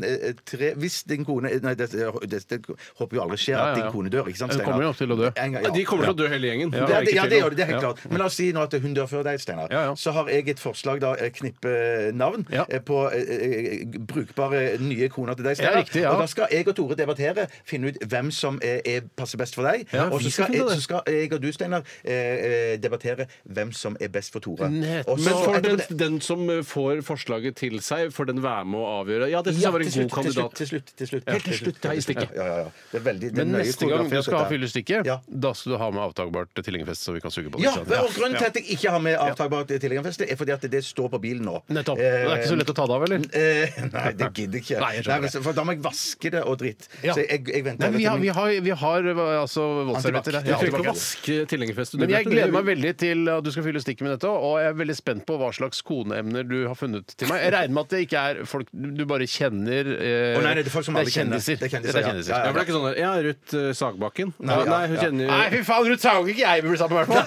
S2: eh, tre Hvis din kone eh, Nei, det, det, det håper jo aldri skjer
S1: Ja, ja,
S2: at
S1: ja.
S2: din kone dør, ikke sant?
S1: Hun kommer jo til å dø.
S2: En gang, ja.
S3: De kommer til å dø hele gjengen.
S2: Ja, det, ja, det gjør det, det er helt klart. Men la oss si nå at hun dør før deg, Steinar.
S1: Ja, ja.
S2: Så har jeg et forslag, da, eh, knippe navn,
S1: Ja.
S2: eh, på eh, eh, brukbare nye koner til deg,
S1: Ja,
S2: Steinar.
S1: riktig, ja.
S2: Og da skal jeg og Tore debattere, finne ut hvem som eh, er, er, passer best for deg.
S1: Ja,
S2: og
S1: vi
S2: så
S1: skal
S2: skal,
S1: finne
S2: jeg-
S1: det.
S2: så skal jeg og du, Steinar, eh, eh, debattere hvem som er best for Tore.
S1: Nett-
S2: Og så-
S3: Men for
S2: etterpå
S3: den,
S2: det-
S3: den som får forslaget til seg, får den være med å avgjøre. Ja, det syns
S2: Ja,
S3: jeg var en
S2: til
S3: god
S2: slutt, til slutt,
S3: kandidat.
S2: til slutt. Til slutt.
S3: Helt til slutt, ja, i stikket.
S2: Ja, ja, ja. Det er veldig, det er
S1: Men
S2: nøye
S1: neste gang
S2: koreografert,
S1: jeg skal
S2: dette.
S1: ha fyllestikket,
S2: Ja.
S1: da skal du ha med avtakbart tilhengerfest, så vi kan suge på det.
S2: Ja,
S1: ikke sant?
S2: og grunnen til at jeg ikke har med avtakbart tilhengerfest, er fordi at det står på bilen nå.
S1: Nettopp. Det er ikke så lett å ta det av, eller?
S2: (laughs) Eh, nei, det gidder jeg ikke.
S1: Nei, jeg skjønner
S2: men så- for da må jeg vaske det og dritt.
S1: Ja.
S2: Så jeg, jeg venter
S1: Nei, men vi har,
S2: heller
S1: vi
S2: til
S1: har, vi har eh, altså voldsservietter
S3: Du
S1: der.
S3: trenger
S1: Ja,
S3: ikke å vaske tilhengerfestet.
S1: Men jeg gleder meg veldig til at du skal fylle stikket med dette, og jeg er veldig spent på hva slags koneemner du har funnet til meg. Jeg regner med at det ikke er folk du bare kjenner eh,
S2: Å, nei, det er folk som alle kjenner.
S1: kjendiser.
S2: Det er kjendiser,
S1: Dette
S2: ja.
S1: kjendiser.
S2: Ja,
S3: Ja, for det er ikke sånn der, Ja, Ruth eh, Sagbakken. Nei,
S2: ja,
S3: nei hun
S2: ja.
S3: kjenner
S1: Nei, fy faen, Ruth Sagen ikke jeg vil bli sammen med, i hvert fall!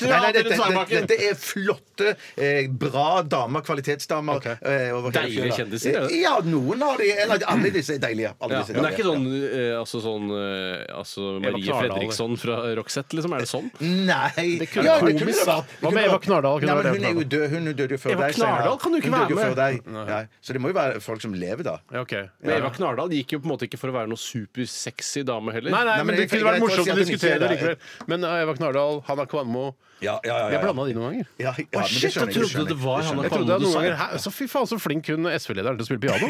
S2: (laughs) Nei, nei, dette, dette, dette er flotte, eh, bra damer, kvalitetsdamer.
S1: Ok.
S2: eh, over hele
S3: Deilige
S2: fjøla.
S3: kjendiser, ja.
S2: Eh, Ja, noen av de Eller alle disse er deilige. Alle
S3: Ja,
S2: disse
S3: men det er ikke
S2: deilige.
S3: sånn, eh, altså sånn eh, altså Marie
S1: Knardal, eller?
S3: Fredriksson fra Roxette, liksom? Er det sånn?
S2: Nei
S1: Det kunne
S2: Ja,
S1: vært
S2: det kunne
S1: komisk.
S2: det vært.
S1: Hva med
S2: Det kunne
S1: Eva
S2: vært.
S1: Knardal? Kunne
S2: Nei, men
S1: vært
S2: hun
S1: Eva
S2: er jo død. Hun døde jo før
S3: Eva
S2: deg. Steinar.
S3: Knardal kan jo ikke
S2: Hun døde
S3: være
S2: jo før
S3: med.
S2: deg. Nei. Så det må jo være folk som lever, da.
S1: Ja, ok.
S3: Men Eva Knardal gikk jo på en måte ikke for å være noe supersexy dame heller.
S1: Nei, nei,
S2: men
S1: men det
S2: jeg-
S1: kunne
S2: jeg-
S1: vært
S2: jeg- jeg-
S1: morsomt å
S2: jeg- jeg-
S1: diskutere det
S2: jeg- jeg-
S1: likevel. Men eh, Eva Knardal, Hanna Kvanmo
S2: Ja, ja, ja,
S1: Vi har
S2: ja.
S1: blanda de noen ganger.
S2: Ja, ja, men det
S3: shit,
S2: skjønner
S3: jeg
S2: det
S3: trodde
S2: skjønner
S3: det var
S2: det
S3: han
S2: skjønner
S1: Jeg
S2: jeg.
S1: trodde at
S3: du
S1: noen
S3: sa
S1: ganger
S3: det.
S1: Hæ, Så fy faen, så flink hun SV-lederen til å spille piano!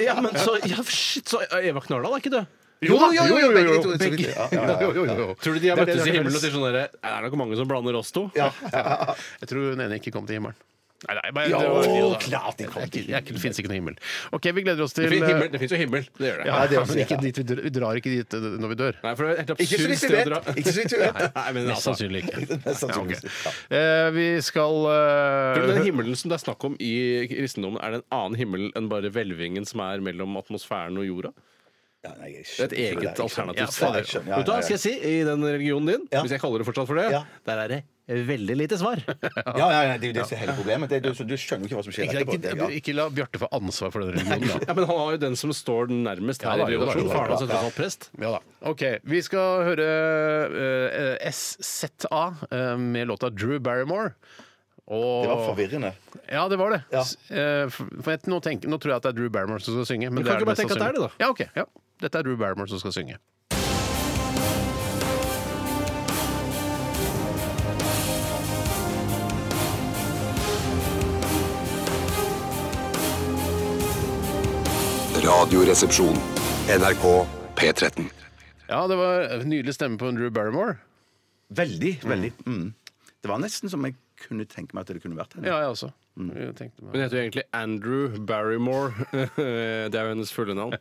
S3: Ja, men så, ja, shit, så Eva Knardal er ikke død.
S2: Jo, jo, jo, jo,
S1: Begge-
S2: jo, jo,
S1: begge-
S2: (laughs) ja, ja, ja, ja.
S1: (laughs) Jo, jo, jo, jo.
S3: Tror du de har
S1: Det er det
S3: møttes i
S1: som er
S3: himmelen og
S1: felles.
S3: sier sånn derre "Nei, Det er nok mange som blander oss to.
S2: Ja, ja, ja.
S1: Jeg tror hun ene ikke kom til himmelen. Nei, nei, bare,
S2: Ja,
S1: det var- jo da.
S2: klart de kom til
S1: Det er ikke- Det fins ikke noe himmel. OK, vi gleder oss til eh,
S3: Det fins himmel, det finnes jo himmel. Det gjør det.
S1: Ja,
S2: Ja, det er også-
S1: men ikke dit vi, dør, vi drar ikke dit eh, når vi dør.
S3: Nei, for det er et helt
S2: Ikke så
S3: absurd
S2: vidt vi
S3: sted å
S2: vet.
S3: dra.
S2: Ikke så vidt vi vet.
S3: (laughs) Nei, men
S1: Mest
S3: altså, tror (laughs)
S1: sannsynlig ikke.
S2: Mest sannsynligvis.
S1: Ja, ok. Eh, vi skal eh,
S3: du den himmelen som det er snakk om i kristendommen, er det en annen himmel enn bare hvelvingen som er mellom atmosfæren og jorda?
S2: Ja, nei, jeg
S3: Det er et
S2: skjønner det.
S3: eget
S2: Jeg skjønner det.
S3: alternativ.
S2: Ja, jeg skjønner. Ja,
S3: Vet du hva,
S2: ja,
S3: skal jeg si, i den religionen din,
S2: Ja.
S3: hvis jeg kaller det fortsatt for det,
S2: Ja.
S3: der er det veldig lite
S2: (laughs)
S3: svar.
S2: ja. Ja, ja, ja, det er jo det som er hele problemet. Det er, du, så du skjønner jo ikke hva som skjer
S1: ikke,
S2: etterpå. Det,
S1: ikke,
S2: ja.
S1: ikke la Bjarte få ansvar for
S3: (laughs)
S1: den religionen, da.
S3: Ja, men han har jo den som står den nærmest
S1: Ja,
S3: her
S1: da,
S3: i
S1: jo da, jo
S3: relasjonen.
S1: da,
S3: Faren
S1: jo
S3: hans er tross alt prest.
S1: Ja da. OK. Vi skal høre eh, eh, SZA eh, med låta Drew Barrymore. Og,
S2: det var forvirrende.
S1: Ja, det var det.
S2: Ja.
S1: S- eh, for- for jeg, nå, tenker, nå tror jeg at det er Drew Barrymore som skal synge. Men
S3: kan ikke bare
S1: mest
S3: tenke at det er det,
S1: sannsynlig. Ja, ok. Ja. Dette er Drew Barrymore som skal synge.
S4: Radioresepsjon. NRK P13.
S1: Ja, det var en nydelig stemme på en Drew Barrymore.
S2: Veldig, veldig. Mm. Det var nesten som jeg kunne tenke meg at det kunne vært henne.
S1: Ja, jeg også.
S3: Mm.
S1: Jeg tenkte meg.
S3: Hun heter jo egentlig Andrew Barrymore. (laughs) Det er jo hennes fulle navn.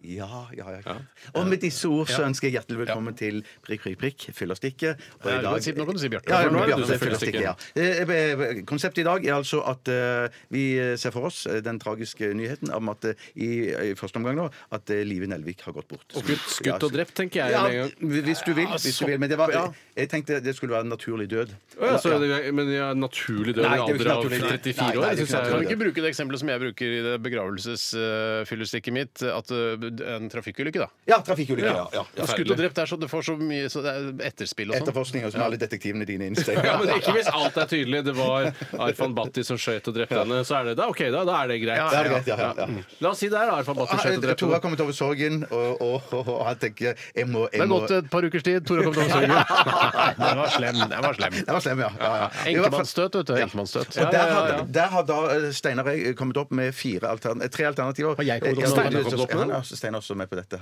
S2: Ja, ja, ja. Og med disse ord så ønsker jeg hjertelig velkommen til prikk, prikk, prikk, fyllerstykket. Og
S1: Ja, du kan si- nå kan du si Bjarte.
S2: Ja,
S1: For
S2: ja,
S1: nå er det
S2: Bjarte
S1: du som
S2: sier fyllerstykket, ja. Eh, eh, Konseptet i dag er altså at eh, vi ser for oss eh, den tragiske nyheten om at eh, i, i første omgang nå, at eh, Live Nelvik har gått bort.
S3: Skutt, skutt og drept, tenker jeg.
S2: Ja,
S3: med en gang.
S2: hvis du vil. Hvis du vil men det var, jeg tenkte det skulle være en naturlig død.
S3: Å, ja, så det- Men de er naturlig døde i
S2: Nei, det er
S3: en
S2: jo
S3: alder
S2: ikke naturlig.
S3: av
S2: Nei,
S3: 34
S2: nei, det
S3: år.
S2: er ikke
S3: Det synes
S1: Kan du
S3: jeg
S1: ikke bruke det eksempelet som jeg bruker i det begravelsesfyllestikket mitt? At eh, En trafikkulykke, da.
S2: Ja, trafikkulykke. Ja, ja, ja.
S1: Ja, Skutt og drept er så det får så mye så det er etterspill og sånn.
S2: Etterforskninger som alle detektivene dine innstiller.
S3: ja, men ikke hvis alt er tydelig. Det var Arfan Bhatti som skjøt og drepte henne. Så er det da, ok, da, da er det greit.
S2: Det er greit, ja, ja, ja.
S3: La oss si det er Arfan Bhatti
S2: Ah,
S3: som skjøt og drepte
S2: Tore har
S3: henne.
S2: kommet over sorgen, og, og, og, og han tenker jeg må,
S1: Det
S2: jeg
S1: er
S2: må
S1: gått
S2: (laughs)
S1: et par ukers tid. Tore kom til å
S3: (laughs)
S1: synge. Nei, Den var slem. Den var slem.
S2: Den var slem, ja. ja, ja. I hvert fall-
S1: Enkemannsstøt, vet du. Enkemannsstøt.
S2: Og der har, der har da eh, Steinar og jeg kommet opp med fire altern- eh, tre alternativer. Eh,
S1: jeg kommet opp
S2: Steinar
S1: med noe?
S2: har kommet opp
S1: Ja,
S2: med det? Steinar er også med på dette.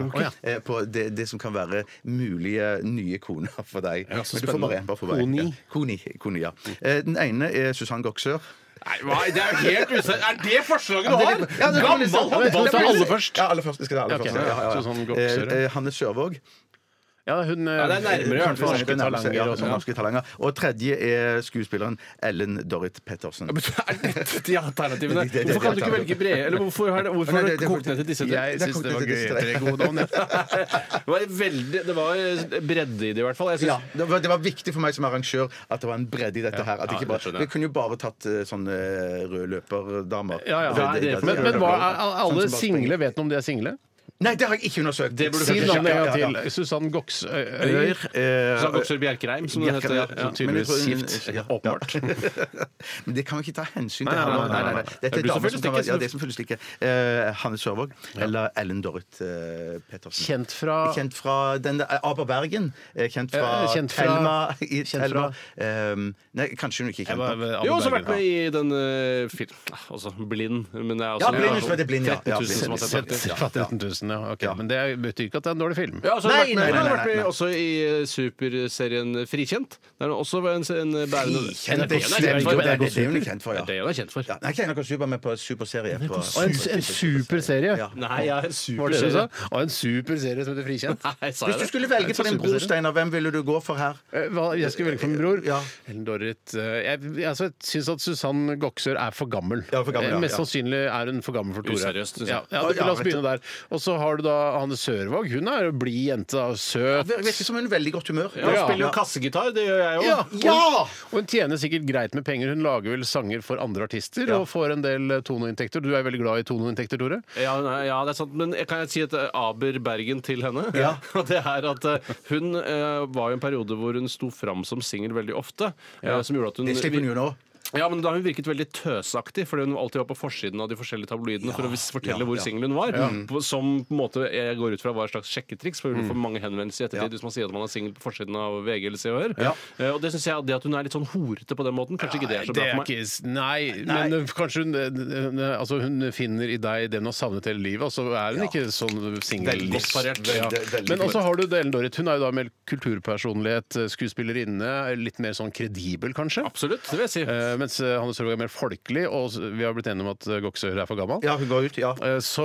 S2: Eh, På det, det som kan være mulige nye koner for deg. Men du får bare én. bare for hver.
S1: Koni.
S2: Ja. Koni. Koni, ja. Eh, Den ene er Susann Goksør.
S3: Nei, hva, det er jo helt usant. Er det forslaget du har?
S2: Ja, det-
S3: Gammel
S1: håndball
S2: Ja,
S1: til alle først.
S2: Ja, aller først. Jeg skal ha aller
S1: Ok,
S2: først. Ja, ja, ja.
S1: Susann Goksør, ja.
S2: Eh, eh, Hanne Sørvåg.
S1: Ja, hun eh,
S3: det er nærmere, i hvert fall.
S1: norske
S2: Det nærmer seg, ja,
S1: talanger og sånn.
S2: norske talanger. Og tredje er skuespilleren Ellen Dorrit Pettersen.
S3: Er dette de alternativene?
S2: Det- det- det-
S3: Hvorfor kan du ikke velge brede? Eller hvorfor har det, hvorfor har
S2: Nei, det-
S3: det
S2: det-
S3: kokt ned til disse tre?
S1: Jeg syns det var gøy. Tre gode navn, ja.
S3: Det var, veldig, det var bredde i det, i hvert fall. Jeg
S2: Ja,
S3: synes,
S2: det var, det var viktig for meg som arrangør at det var en bredde i dette her. At det
S3: det
S2: ikke bare,
S3: skjønner jeg.
S2: vi kunne jo bare tatt eh, sånne røde løperdamer.
S1: Ja, ja.
S3: Hva er det for-
S1: Men, men hva, er
S2: Sånn som
S1: alle
S2: bare
S1: single? Vet du om de er single?
S2: springer. Nei, det har jeg ikke undersøkt.
S3: Det burde du
S1: Si
S3: kanskje
S1: navnet en
S2: Ja, ja,
S1: gang
S2: ja.
S1: til. Susann Goksøyr.
S2: Øyr, eh,
S3: Susanne Goksør Bjerkreim, som det
S2: Bjerke-
S3: heter.
S2: ja,
S3: Ja.
S2: men jeg
S1: tydeligvis
S2: tror hun-
S1: gift,
S2: ja,
S1: Mm, åpenbart.
S2: ja. (laughs) Men det kan vi ikke ta hensyn til.
S3: Nei, nei,
S2: her nå.
S3: nei, nei, nei, nei.
S2: Dette
S3: Det
S2: er
S3: blir
S2: damer som
S3: selvfølgelig
S2: kan
S3: stikket
S2: være, ja,
S3: som-
S2: det er selvfølgelig ikke. Eh, Hanne Sørvåg eller Ellen Dorrit eh, Pettersen.
S1: Kjent fra
S2: Kjent fra den der, Aber Bergen. eh, Kjent fra
S1: Eh, kjent fra-
S2: Thelma. I,
S1: kjent
S2: Thelma. Ehm, nei, kanskje hun ikke er kjent nok.
S3: Jo, også vært med i den uh, film ah, Altså Blind. Men det er også,
S2: Ja, Blind, husk at det er Blind, ja. Ja,
S3: 13 000 som har
S2: Blind.
S3: sett den.
S1: Fra 13 000, ja. ok. Men det betyr ikke at det er en dårlig film.
S3: Ja, og så har
S2: Nei,
S3: hun vært med,
S2: nei,
S3: hun
S2: nei,
S3: har
S2: nei,
S3: vært med
S2: nei.
S3: også i eh, superserien Frikjent. Det er også en, en bærende
S2: Frikjent,
S3: Det
S2: det
S3: er det
S2: stemmer.
S3: hun
S2: Det er
S3: er
S2: det hun er kjent for, ja.
S3: kjent for.
S2: Ja, nei, Keinar Kasuba med på superserie. På,
S1: Og en, en super serie.
S2: Ja.
S3: Nei, jeg er
S1: Var det det du sa?
S3: superserie.
S1: Og en super serie som heter Frikjent.
S3: Nei,
S2: Hvis
S3: sa jeg
S2: du
S3: det?
S2: skulle velge for din bror, Steinar, hvem ville du gå for her?
S1: Eh, Hva, jeg skulle velge for min bror.
S2: Ja.
S1: Ellen Dorrit eh, Jeg, jeg altså, syns at Susann Goksør er for gammel.
S2: Ja, for gammel,
S1: Eh,
S2: ja,
S1: Mest
S2: ja.
S1: sannsynlig er hun for gammel for Tore.
S3: Useriøst, synes jeg.
S1: Ja, ja,
S2: Å, ja,
S1: la oss
S2: vet du.
S1: begynne der. Og så har du da Hanne Sørvåg. Hun er jo blid jente. da, Søt.
S2: Virker som hun er i veldig godt humør.
S3: Ja, hun
S1: Ja.
S3: spiller jo kassegitar, det gjør jeg jo.
S1: Ja! Og hun tjener sikkert greit med penger. Hun lager vel sanger for andre artister og får en del eh, tonoinntekter. Du er veldig glad i tonoinntekter, Tore?
S3: Ja, nei, ja, det er sant, men jeg kan jeg si et eh, aber Bergen til henne?
S2: Ja.
S3: (laughs) Og det er at eh, Hun eh, var jo en periode hvor hun sto fram som singel veldig ofte. eh, som gjorde at hun,
S2: Det slipper hun jo nå.
S3: Ja, men da hun virket veldig tøsaktig, fordi hun alltid var på forsiden av de forskjellige tabloidene for å vis- fortelle
S2: ja,
S3: hvor
S2: ja.
S3: singel hun var. På, som på en måte jeg går ut fra var et slags sjekketriks, for hun får mange henvendelser i ettertid
S2: Mm. Ja.
S3: hvis man sier at man er singel på forsiden av VG eller Se og Hør.
S2: Ja.
S3: Eh, og det synes jeg at det at hun er litt sånn horete på den måten, kanskje ikke det er så bra
S1: Det er
S3: for meg.
S1: ikke, s- nei, men eh, kanskje hun, eh, eh, altså hun finner i deg det hun har savnet hele livet, og så er hun ikke sånn singel.
S2: Veldig
S3: godt parert.
S2: Veldig-
S1: Ja.
S2: veldig
S1: Men også
S2: godt.
S1: har du det Ellen Dorrit. Hun er jo da mer kulturpersonlighet, eh, skuespillerinne, litt mer sånn kredibel, kanskje.
S3: Absolutt, det vil jeg si.
S1: Eh, mens eh, Hanne Sørvåg er mer folkelig, og s- vi har blitt enige om at eh, Goksør er for gammel.
S2: Ja, hun går ut, ja.
S1: Eh, Så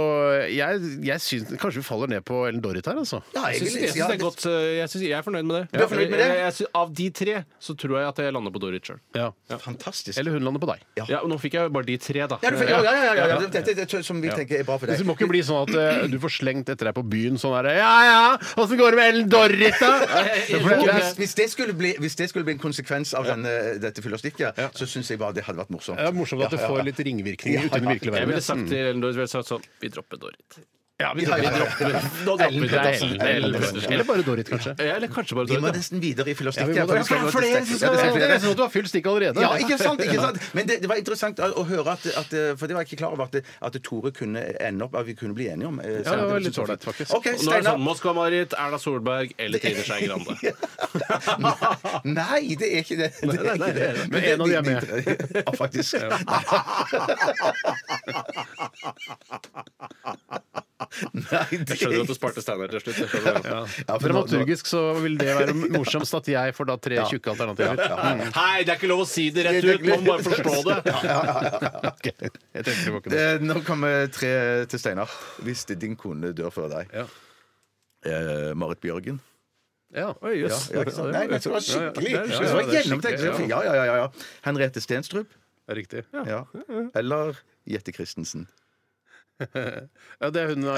S1: jeg, jeg syns Kanskje vi faller ned på Ellen Dorrit her, altså.
S2: Ja, jeg
S3: Jeg syns
S2: vil
S3: jeg
S2: si ja,
S3: syns det er godt. øh, Jeg, syns, jeg er fornøyd med det.
S2: Du er fornøyd med det?
S3: Jeg, jeg, syns- av de tre så tror jeg at jeg lander på Dorrit sjøl.
S1: Ja.
S2: Fantastisk.
S1: Eller hun lander på deg.
S3: Ja, og nå fikk jeg jo bare de tre, da.
S2: Ja, du, ja, ja, ja, ja, ja. Dette er det som vi tenker er bra for
S1: Det
S2: deg.
S1: må ikke bli sånn at eh, du får slengt etter deg på byen sånn herre Ja ja, åssen går det med Ellen Dorrit, da?
S3: Jeg-
S1: For det
S2: Hvis,
S1: er-
S2: hvis, det skulle bli, hvis det skulle bli en konsekvens av denne, dette fyllerstykket, så syns jeg bare det hadde vært morsomt.
S1: Det er morsomt at det
S2: Ja, ja, ja. Mm.
S1: får litt ringvirkninger ute i den virkelige
S3: Jeg
S1: verden.
S3: ville sagt til Ellen Dorrit jeg ville sagt sånn Vi dropper Dorrit.
S1: Ja, vi, vi dropper Nå dropper vi det. Ellen- Ellen
S2: altså.
S1: Pettersen. Eller bare Dorrit, kanskje.
S3: Ja, Eh, Eller kanskje bare
S2: Vi må
S3: Dorrit. da.
S2: nesten videre i filostikken.
S1: Ja,
S2: for vi skal
S1: for
S2: gå til
S1: det er flere
S2: stikk.
S1: som
S2: Ja,
S1: skal
S2: det er
S1: Det er
S2: flere.
S1: sånn at du har fylt stikket allerede.
S2: Ja, ikke sant, ikke sant! Men det, det var interessant å, å høre at, at For det var jeg ikke klar over at, at Tore kunne ende opp At vi kunne bli enige om. eh,
S1: Ja, det var litt
S2: så fint.
S1: ålreit, faktisk.
S2: OK,
S3: Og Nå er det
S2: Steinar.
S3: sånn Moskva-Marit, Erna Solberg eller Trine Skei (laughs) Grande.
S2: (laughs) Nei, det er ikke det. det, er ikke det.
S1: Men en av de er med.
S2: (laughs) Ja, faktisk. Nei,
S3: Jeg skjønner at du sparte Steinar til slutt. Jeg skjønner det.
S2: Ja, for nå-
S1: Dramaturgisk så vil det være morsomst at jeg får da tre tjukke alternativer. Mm.
S3: Hei, det er ikke lov å si det rett ut! Man må bare forstå (laughs)
S2: (laughs)
S3: det.
S1: Ok, Jeg tenkte det var ikke noe.
S2: Eh, Nå kommer tre til Steinar. Hvis det- din kone dør før deg.
S1: Ja.
S2: Eh, Marit Bjørgen.
S1: Ja.
S3: Oi, jøss.
S2: Ja, ikke sant? Nei, men det var skikkelig!
S3: Ja, ja, ja.
S2: Det var gjennomtenkt.
S1: Ja, ja.
S2: Ja, ja, ja, ja. Henriette Stenstrup.
S1: Det er riktig. Ja.
S2: Ja. Eller Jette Christensen.
S1: det er hun og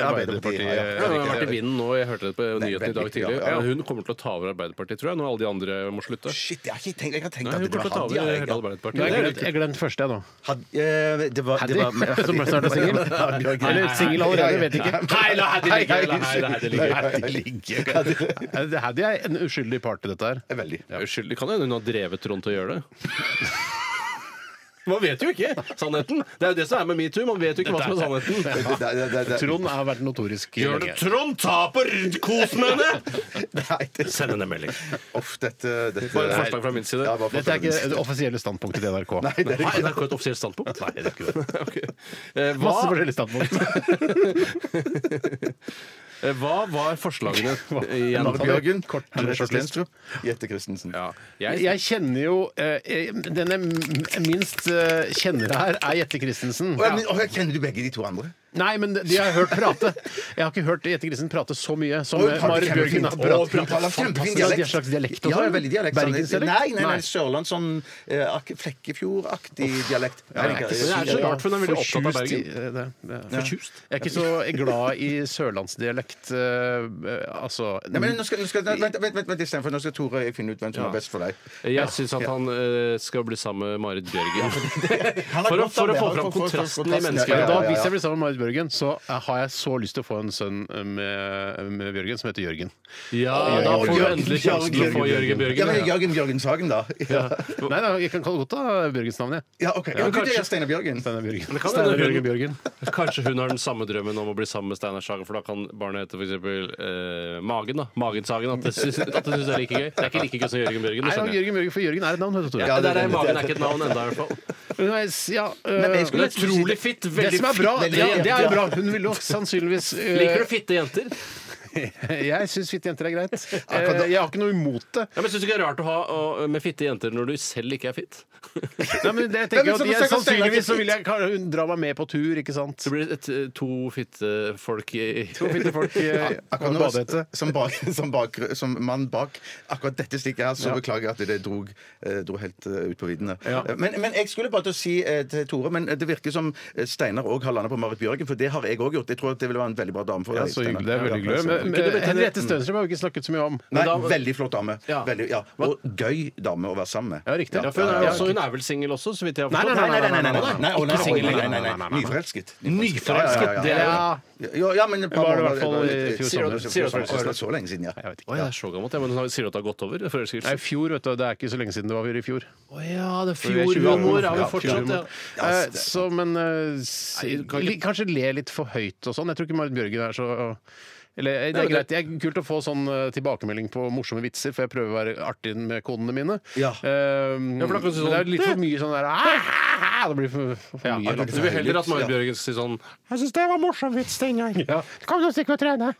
S2: Arbeiderpartiet,
S1: Arbeiderpartiet.
S2: ja, ja.
S3: Ja, hun har
S1: Riktig.
S3: vært i vinden nå, jeg hørte det på nyhetene i dag
S2: veldig,
S3: tidlig.
S2: ja, ja.
S3: Men Hun kommer til å ta over Arbeiderpartiet, tror jeg, når alle de andre må slutte.
S2: Shit, jeg har ikke tenkt, jeg har tenkt
S3: Nei,
S2: at
S3: hun
S2: det
S3: kommer
S2: var
S3: til å ta
S2: han. Ja,
S3: over
S2: jeg-
S3: hele
S1: Nå har jeg
S3: Arbeiderpartiet.
S1: glemt, jeg glemt første, jeg nå.
S2: Had- eh, det var, det var
S1: Haddy, (laughs) som snart er
S2: (laughs)
S1: singel.
S2: Haddy og Gry.
S1: Eller singel allerede, vet ikke.
S3: Hei, la Haddy ligge! la Haddy- la Haddy ligge.
S1: ligge. Det hadde jeg en uskyldig part i dette her.
S2: Veldig.
S3: Ja, Unnskyld, det kan hende hun har drevet Trond til å gjøre det. (laughs) Man vet jo ikke sannheten. Det er jo det som er med metoo. Man vet jo ikke hva som er sannheten.
S2: Det- det- det- det-
S1: Trond har vært notorisk lenge.
S3: Trond taper! Kos med henne!
S2: (laughs) Nei, det-
S3: Send henne en melding.
S2: Uff, dette, dette
S3: Bare et forslag fra min side.
S2: Ja, bare
S1: Dette er
S2: forslag fra min
S1: ikke
S2: side.
S1: det offisielle standpunktet til NRK.
S2: Nei, det er
S3: Har
S2: ikke
S3: NRK et offisielt standpunkt? Nei, det er ikke det.
S1: Masse
S3: Hva,
S1: forskjellige standpunkt.
S3: eh, hva var (laughs) forslagene igjen?
S2: Marit Bjørgen,
S1: Kort
S2: Henriette
S1: shortlist.
S2: Stenstrup, Jette Christensen.
S3: Ja,
S1: Jeg,
S3: jeg,
S1: jeg kjenner jo eh, eh, Den jeg m- minst eh, kjenner her, er Jette Christensen.
S2: Å, ja, men- å, jeg Kjenner du begge de to andre?
S1: Nei, men de har jeg hørt prate. Jeg har ikke hørt Jette Christensen prate så mye som
S2: Å, hun prater
S1: Marit Bjørgen
S2: kjempefint.
S1: har
S2: Å, hun
S1: pratet.
S3: Altså,
S2: taler kjempefin
S1: Ja, de har slags dialekt også.
S2: Ja, veldig dialekt. sånn-
S1: Bergensdialekt?
S2: Nei, nei, nei,
S1: Nei.
S2: Sørland, sånn eh, ak- Flekkefjord-aktig dialekt.
S1: Ja, jeg ikke
S3: Men det er så rart, for hun er veldig opptatt av
S1: fortjust i- eh, det- ja. Jeg er ikke så glad i sørlandsdialekt, eh, eh, altså
S2: Nei, men nå skal, nå skal, vent, vent, vent, vent, Istedenfor, nå skal Tore finne ut hvem som er best for deg.
S3: jeg syns at han eh, skal bli sammen med Marit Bjørgen. (laughs)
S2: Han har
S3: For å-
S2: godt av
S3: for å
S2: det,
S3: få
S2: han
S3: fram
S2: får- får- får-
S3: kontrasten i
S2: kontrasten, ja,
S3: mennesket.
S2: ja,
S1: Men da,
S2: ja, ja.
S1: Hvis jeg blir sammen med Marit Bjørgen, så eh, har jeg så lyst til å få en sønn eh, med, med Bjørgen som heter Jørgen.
S3: Ja, da får du
S2: Jørgen,
S3: endelig sjansen til å få
S2: Jørgen,
S3: Jørgen
S2: Ja,
S3: Bjørgen.
S2: men Jørgen Bjørgen Sagen, da. Ja,
S1: Nei, da, jeg kan kalle godt da Bjørgens navn, jeg.
S2: ja ok. Ja,
S3: kanskje-
S2: det er Steinar Bjørgen.
S1: Steinar Bjørgen.
S3: kan
S1: Steinar
S3: hende hun-
S1: Bjørgen Bjørgen.
S3: Kanskje hun har den samme drømmen om å bli sammen med Steinar Sagen, for da kan barnet hete f.eks. Eh, Magen. da Magen-Sagen. At det syns at det syns jeg er like gøy. Det er ikke like gøy som Jørgen Bjørgen.
S1: Nei,
S3: Det
S1: da,
S3: skjønner jeg.
S1: Jørgen Bjørgen, for Jørgen er et navn, vet du, Tore.
S3: Ja, det der er Magen er ikke et navn enda i hvert fall.
S1: Hun er s- ja, øh,
S2: men jeg
S3: Hun
S2: skulle-
S3: er utrolig fitt.
S1: det
S3: Veldig
S1: som er bra,
S3: fitt, veldig
S1: ja, det er
S3: jente.
S1: bra. Hun ville jo (laughs) sannsynligvis øh,
S3: Liker du fitte jenter?
S1: (laughs) Jeg syns fitte jenter er (laughs) greit. Eh, Jeg har ikke noe imot det.
S3: Ja, men Syns du ikke det er rart å ha å, med fitte jenter når du selv ikke er fitt?
S1: Nei, men (laughs) det, jeg tenker
S2: Men
S1: at
S2: så-
S1: jeg,
S2: så- så-
S1: Sannsynligvis så vil jeg kan- hun dra meg med på tur, ikke sant?
S3: Det blir et, eh, to fittefolk i
S1: To fitte folk (laughs) i
S2: Akkurat nå,
S1: badehette.
S2: som, bak, som, bak, som mann bak akkurat dette stikket her, så beklager jeg at det drog, eh, dro helt eh, ut på viddene. Eh, Men, men jeg skulle bare til å si eh, til Tore, men det virker som eh, Steinar òg har landa på Marit Bjørgen, for det har jeg òg gjort. Jeg tror at det ville være en veldig bra dame for
S1: Ja,
S2: deg.
S1: så
S2: Steinar.
S1: hyggelig. Det er veldig
S2: Ja,
S1: hyggelig.
S2: så-
S1: Men, men Henriette Stønstrøm har vi ikke snakket så mye om.
S2: Nei,
S3: da-
S2: veldig flott dame.
S3: Ja.
S2: Veldig, ja. Og gøy dame å være sammen med.
S1: Ja, riktig.
S3: Ja, for hun, er jo også, hun er vel singel også, så vidt jeg har
S1: Nei, nei,
S3: forstått.
S1: nei, nei, nei, nei, nei,
S2: Nei, å, nei,
S3: Ikke
S2: å,
S3: singel
S2: nei, nei, nei,
S3: lenger.
S2: nei, nei. Nyforelsket.
S3: Nyforelsket,
S2: Ja, ja,
S3: det
S2: ja,
S3: er
S2: ja.
S1: Ja.
S2: Ja, ja, men et par
S1: Var det i hvert
S2: måneder-
S1: fall i
S2: litt-
S1: fjor
S2: Sier du-
S1: sommer?
S2: sier du-
S3: Sier du-
S2: Å, det var Så lenge siden, ja.
S1: Jeg vet
S3: Å,
S1: ikke.
S3: jeg er så gammel, ja, men hun sier at det har gått over.
S1: Nei, i
S3: Forelskelsen.
S1: fjor, vet du. Det er ikke så lenge siden det var i fjor.
S3: Å ja, det er
S1: Vi er 2018.
S3: fjorhumor er
S1: Ja,
S3: vel fortsatt, ja.
S1: fjorhumor. Eh, så, men eh, s-
S3: Nei, du kan ikke-
S1: li- Kanskje le litt for høyt og sånn. Jeg tror ikke Marit Bjørgen er så eller, eh, det er
S3: Nei, men det-
S1: greit. Det er kult å få sånn eh, tilbakemelding på morsomme vitser, for jeg prøver å være artig med konene mine.
S2: Ja.
S1: Eh,
S3: for da
S1: men det
S3: kan du si sånn,
S1: er litt for mye sånn der ah, ah, ah, Det blir for, for mye.
S3: Ja, Du vil heller at Marit Bjørgen skal si sånn
S7: Jeg syns det var morsom vits den gangen.
S1: Ja.
S7: Kom, nå stikker vi og trener.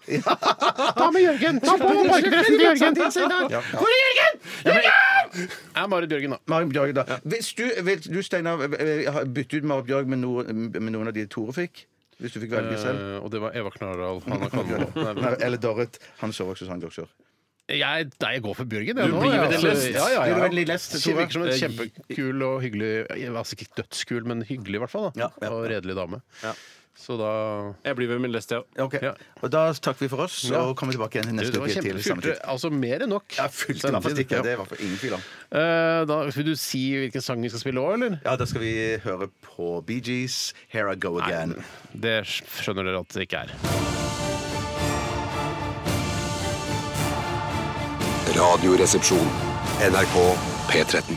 S7: Ta med Jørgen. Ta på parkedressen til Jørgen. Hvor er Jørgen?
S1: Er Marit Bjørgen, da.
S2: Marit Bjørgen, da. Hvis du, vil du Steinar, eh, ha- bytte ut Marit Bjørgen med, noe, med noen av de Tore fikk? Hvis du fikk velge selv?
S1: Eh, og det var Eva Knarrdal. Hanna Kalmo. Nei,
S2: (laughs) Nei, eller Dorrit. Han sover også, han doktor.
S1: Jeg, nei, jeg går for Bjørgen. Jeg,
S3: Du
S1: nå,
S3: blir
S1: jeg, altså.
S3: jo den lest.
S1: Ja, ja,
S2: Blir du
S1: ja.
S2: veldig lest,
S1: Det
S2: Tore?
S1: Virker som en kjempekul og hyggelig altså Ikke dødskul, men hyggelig i hvert fall.
S2: Ja,
S1: Da.
S2: ja.
S1: Og redelig dame. Så da
S3: Jeg blir ved min lest, jeg òg.
S2: Ok, Og da takker vi for oss, og kommer tilbake igjen
S1: du,
S2: neste
S1: det var
S2: uke til samme
S1: kjempefylt.
S2: tid.
S1: Altså mer enn nok.
S2: Ja, fylt i hvert fall
S1: Samtidig,
S2: stikket.
S1: ja.
S2: Det var for ingen tvil om.
S1: Eh, da, vil du si hvilken sang vi skal spille òg, eller?
S2: Ja, da skal vi høre på Bee Gees, 'Here I Go Again'.
S1: Det skjønner dere at det ikke er.
S4: Radioresepsjon. NRK P13.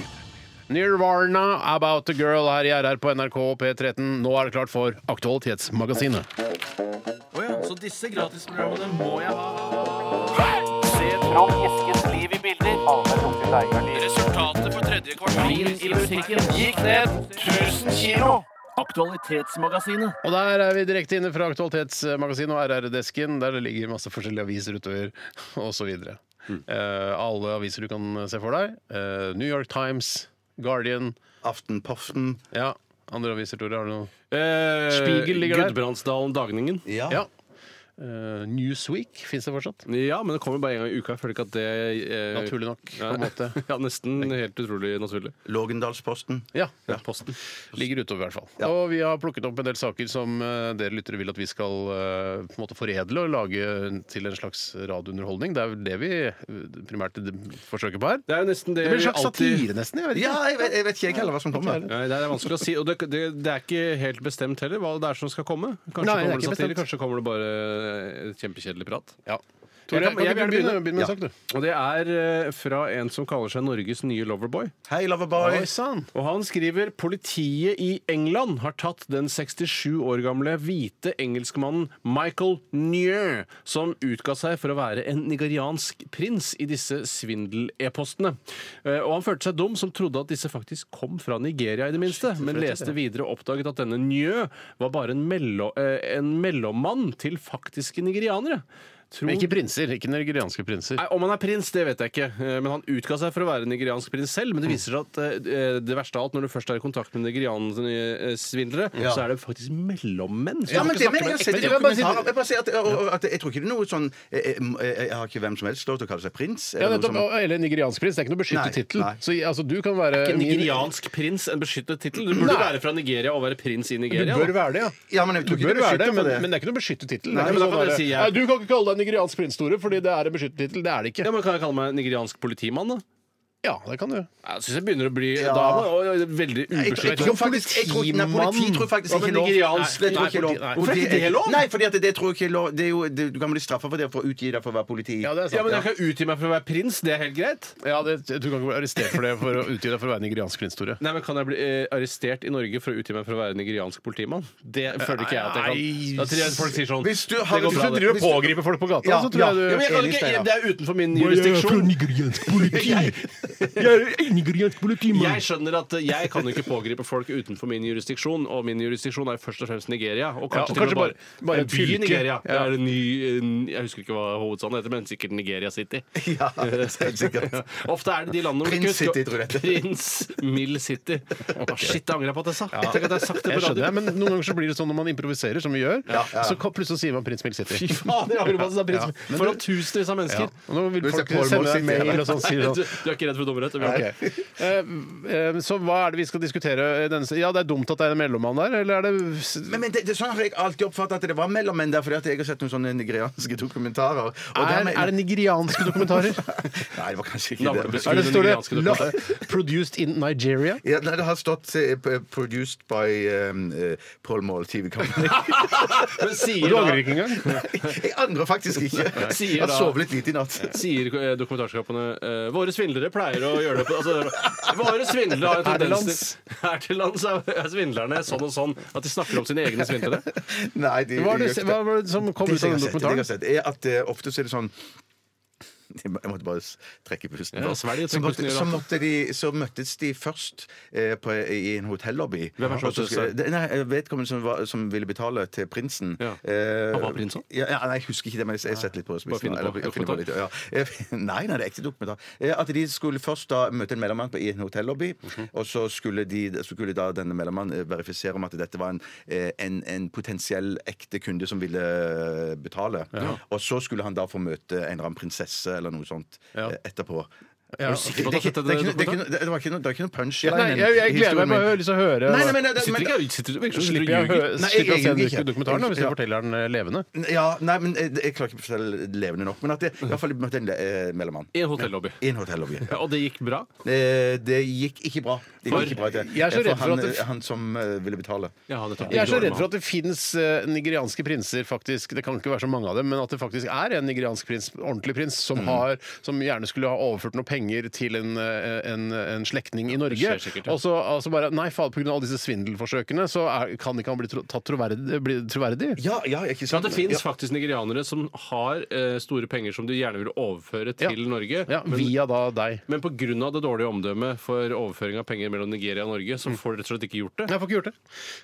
S1: Nirvana, About a Girl her i RR på NRK P13. Nå er det klart for Aktualitetsmagasinet.
S3: Så disse gratisprogrammene må jeg ha. Resultatet for tredje kvartal i musikken gikk ned 1000 kilo. Aktualitetsmagasinet.
S1: Og der er vi direkte inne fra Aktualitetsmagasinet og RR-desken, der det ligger masse forskjellige aviser utover, osv. videre
S3: Mm.
S1: Eh, alle aviser du kan se for deg. Eh, New York Times, Guardian
S2: Aftenpoften.
S1: Ja, andre aviser, Tore. Har du noe? Spiegel
S3: Eh, Spiegel
S1: ligger
S3: ligger
S1: der.
S3: Gudbrandsdalen Dagningen.
S2: Ja.
S1: Ja. Eh, Newsweek fins det fortsatt.
S3: Ja, men det kommer bare en gang i uka. Jeg føler ikke at det eh,
S1: Naturlig nok, på
S3: ja.
S1: en måte.
S3: (laughs) Ja, nesten helt utrolig naturlig.
S2: Lågendalsposten.
S1: Ja.
S3: Ja. Posten.
S1: Ligger utover, i hvert fall. Og vi har plukket opp en del saker som eh, dere lyttere vil at vi skal eh, på en måte foredle og lage til en slags radiounderholdning. Det er vel det vi eh, primært forsøker på her.
S3: Det er jo nesten det,
S1: Det blir en
S3: vi
S1: slags
S3: alltid-
S1: satire, nesten. jeg vet ikke.
S2: Ja, jeg vet, jeg vet ikke jeg heller hva som kommer.
S3: Nei, det er vanskelig å si. Og det, det, det er ikke helt bestemt heller hva det er som skal komme. Kanskje
S1: Nei, det er
S3: kommer det
S1: ikke
S3: satire,
S1: bestemt.
S3: kanskje kommer det bare et kjempekjedelig prat.
S1: Ja. Tore,
S3: Jeg
S1: kan,
S3: kan- jeg
S1: ikke du
S3: vil
S1: begynne,
S3: gjerne
S1: begynne med en sak, du?
S3: Og det er eh, fra en som kaller seg Norges nye loverboy.
S2: Hei, Loverboy.
S1: Oi sann!
S3: Og han skriver politiet i England har tatt den 67 år gamle hvite engelskmannen Michael Nye, som utga seg for å være en nigeriansk prins i disse svindel-e-postene. Eh, Og han følte seg dum som trodde at disse faktisk kom fra Nigeria, i det minste, men leste videre og oppdaget at denne Nye var bare en, mello, eh, en mellommann til faktiske nigerianere. Tror-
S1: Men ikke prinser. Ikke nigerianske prinser.
S3: Nei, Om han er prins, det vet jeg ikke. Eh, Men han utga seg for å være nigeriansk prins selv. Men det viser seg at eh, det verste av alt, når du først er i kontakt med nigeriansvindlere, så er det faktisk mellommenn. som
S2: Ja, men
S3: ikke
S2: det
S3: snakker
S2: mener jeg
S3: med-
S2: har sett i
S1: Men jeg vil bare si-
S2: dokumentarer. Jeg bare sier at, og- og- at jeg tror ikke det er noe sånn Jeg, jeg, jeg har ikke hvem som helst lov til å kalle seg prins.
S1: Ja,
S2: eller noe
S1: nettopp,
S2: sånt.
S1: Eller nigeriansk prins. Det er ikke noe beskyttet
S2: Nei,
S1: tittel.
S2: nei.
S1: Så altså, du kan være
S3: Ikke
S1: min-
S3: Nigeriansk prins, en beskyttet tittel. Du burde være fra Nigeria og være prins i
S1: Du
S3: Nigeria.
S1: bør
S3: da.
S1: være det, ja.
S2: Ja, men jeg
S1: Du
S2: tror
S1: bør
S2: ikke det
S1: være det,
S2: beskytter
S1: men,
S2: for det.
S1: men det er ikke noe beskyttet tittel.
S3: Nei, men da kan dere si jeg-
S1: Du kan ikke kalle deg nigeriansk prins, Tore, fordi det er en beskyttet tittel. Det er det
S3: Ja,
S1: ikke.
S3: men Kan jeg kalle meg nigeriansk politimann, da?
S1: Ja, det kan du.
S3: Jeg syns jeg begynner å bli
S2: Ja.
S3: Da er man jo- jo veldig
S2: Jeg tror- jeg
S3: ubeskyttet.
S2: tror faktisk- jeg tror- nei, Politi tror jeg faktisk
S3: Hva
S2: ikke
S3: med
S2: er lov.
S3: nigeriansk?
S2: Nei, det tror jeg ikke er
S1: Nei,
S2: lov.
S1: politi- nei.
S2: Fordi-
S3: Hvorfor er ikke det lov?
S2: Nei, fordi at det tror jeg ikke er lov. Det er jo, det, du kan bli straffa for det for å utgi deg for å være politi.
S1: Ja, det er sant.
S3: Ja, men Jeg kan utgi meg for å være prins, det er helt greit.
S1: Ja, det, Du kan ikke bli arrestert for det for å utgi deg for å være nigeriansk prins, Tore.
S3: Nei, men Kan jeg bli eh, arrestert i Norge for å utgi meg for å være nigeriansk politimann? Det føler ikke jeg at jeg
S1: Nei.
S3: kan. Da tror jeg folk sier sånn
S2: Eh, Hvis du har-
S3: det går
S2: hvis
S3: bra,
S2: du
S3: det.
S2: driver
S1: Hvis du pågriper folk på gata,
S2: Ja,
S1: så tror
S2: ja.
S1: jeg du
S3: ja, men jeg kan
S2: Enig,
S3: ikke,
S2: Steinar.
S3: Det er utenfor min jurisdiksjon.
S1: nigeriansk politi! Jeg er nigeriansk politimann!
S3: Jeg skjønner at eh, jeg kan jo ikke pågripe folk utenfor min jurisdiksjon, og min jurisdiksjon er først og fremst Nigeria.
S1: Ja,
S3: Og
S1: og
S3: kanskje, til og
S1: kanskje
S3: med bare,
S1: bare- bare
S3: en by i
S1: fylke.
S3: Nigeria. Det
S1: Ja.
S3: er en ny, en- jeg husker ikke hva hovedstaden heter, men sikkert Nigeria City.
S2: (laughs) (laughs) Ja, helt
S3: (laughs)
S2: sikkert.
S3: Ofte er det de landene hvor du
S2: Prins
S3: ikke
S2: City, tror jeg det heter.
S3: (laughs) Prins Mill
S2: (laughs)
S3: City. Å, Shit, jeg angrer på at jeg sa. Tenk at jeg har sagt det
S1: Jeg
S3: på
S1: skjønner,
S3: radio.
S1: men Noen ganger så blir det sånn når man improviserer, som vi gjør, så kom- plutselig sier man Prins Mild City.
S3: Fy fader, jeg angrer på at jeg sa prins Mill. Foran tusenvis av
S1: Ja.
S3: mennesker.
S1: Og nå vil
S2: Hvis
S1: folk
S2: jeg får
S1: sende
S2: må
S1: deg
S2: si det,
S1: mail og sånn, sier
S3: Du,
S1: sånn.
S3: du er ikke redd for dommerhet? Bjørn?
S1: Ok. Eh, eh, Så hva er det vi skal diskutere? i denne se- Ja, det er dumt at det er en mellommann der, eller er det
S2: Men, men det, det, er sånn har jeg alltid oppfatta at det var mellommenn der, fordi at jeg har sett noen sånne nigerianske dokumentarer. Og
S1: er,
S2: dermed-
S1: er det nigerianske (laughs) dokumentarer?
S2: (laughs) Nei, det var kanskje ikke det.
S1: er det,
S3: Navlebeskuende
S1: står det
S3: nigerianske dokumentarer.
S1: "La- 'Produced in Nigeria'?
S2: Ja, nei, det har stått eh, p- 'produced by um, eh, Paul Mall TV
S3: (laughs)
S2: Company'.
S3: Men
S1: Og
S3: sier
S1: du
S3: da-
S1: angrer ikke engang?
S2: Jeg angrer faktisk ikke.
S3: Sier
S2: Jeg har
S3: da-
S2: sovet litt lite i natt.
S3: Sier eh, dokumentarskapene eh, Våre svindlere pleier å gjøre det på altså, Våre svindlere har jo
S1: Her til
S3: tendenser Her til lands (laughs) er er svindlerne sånn og sånn at de snakker om sine egne svindlere.
S1: (laughs)
S2: Nei, de,
S1: Hva var
S2: de
S1: det,
S2: gjør ikke
S1: hva var det som kom
S2: Det
S1: ut
S2: som
S1: av
S2: jeg
S1: den
S2: har sett, det jeg har
S1: dokumentaren?
S2: sett, er at eh, ofte så er det sånn (laughs) jeg måtte bare s- trekke pusten.
S3: Ja,
S2: nå.
S3: svelg,
S2: så,
S3: trekk pusten,
S2: måtte,
S3: gjør
S2: så,
S3: det.
S2: måtte de, så møttes de først eh, på, i en hotellobby.
S3: Hvem er det som
S2: Og så
S3: møttes
S2: skulle-
S3: der?
S2: det- Nei, jeg vet ikke om det som, var, som ville betale til prinsen.
S3: Ja.
S2: Eh,
S3: Han var prins også?
S2: Ja, ja, nei, jeg husker ikke det, men jeg jeg har sett litt på det. som
S3: Bare
S2: jeg-
S3: finne på
S2: eller, jeg finner på litt, ja. Eh, (laughs) Nei, nei, det er ekte dokumentar. Eh, At de skulle først da møte en mellommann på, i en hotellobby,
S1: Mhm.
S2: og så skulle, de, så skulle da denne mellommannen eh, verifisere om at dette var en, eh, en, en potensiell ekte kunde som ville eh, betale. Og så skulle han da få møte en eller annen prinsesse eller noe sånt
S1: Ja.
S2: eh, etterpå.
S3: Er du sikker på at
S2: Det er ikke-
S3: dette
S2: det er ikke- det er ikke noe- det var ikke noe- det er ikke noe punchline.
S1: Nei, jeg, jeg
S2: i
S1: gleder
S2: historien
S1: meg. Jeg
S2: min.
S1: har lyst til å høre.
S2: Nei, nei, men det-
S3: Sitter
S2: men-
S3: ikke, sitter, virker som du
S1: Slipper jeg å
S3: ljuger.
S2: Nei,
S1: hø- slipper jeg å
S2: egentlig
S1: se
S2: ikke.
S1: dokumentaren da, hvis jeg
S2: Ja.
S1: forteller den eh, levende?
S2: Ja, nei, men jeg, jeg klarer ikke å fortelle det levende nok. Men at jeg i hvert fall møtte en le- eh, mellommann.
S3: I en hotellobby.
S2: I en hotellobby.
S3: Ja, og det gikk bra.
S2: Eh, Det gikk ikke bra. Det
S3: For-
S2: gikk ikke bra det. Eh,
S1: Jeg er så redd for
S2: han,
S1: at det-
S2: han som eh, ville betale.
S3: Ja, det tar-
S1: Jeg er så redd for at det fins nigerianske prinser, faktisk. Det kan ikke være så mange av dem, men at det faktisk er en nigeriansk prins, ordentlig prins, som,
S3: Mm.
S1: har, som gjerne skulle ha overført noe penger til en, eh, en, en slektning i Norge.
S3: skjer sikkert, ja.
S1: Og så altså bare Nei, fader, pga. alle disse svindelforsøkene, så er, kan ikke han bli tro, tatt troverdig, bli troverdig.
S2: Ja, ja, ikke
S3: Ja,
S2: sant?
S3: det fins
S2: ja.
S3: faktisk nigerianere som har eh, store penger som de gjerne vil overføre til
S1: Ja.
S3: Norge.
S1: Ja,
S3: men-
S1: via da deg.
S3: Men pga. det dårlige omdømmet for overføring av penger mellom Nigeria og Norge, så får de rett og slett ikke gjort det.
S1: Jeg får ikke gjort det.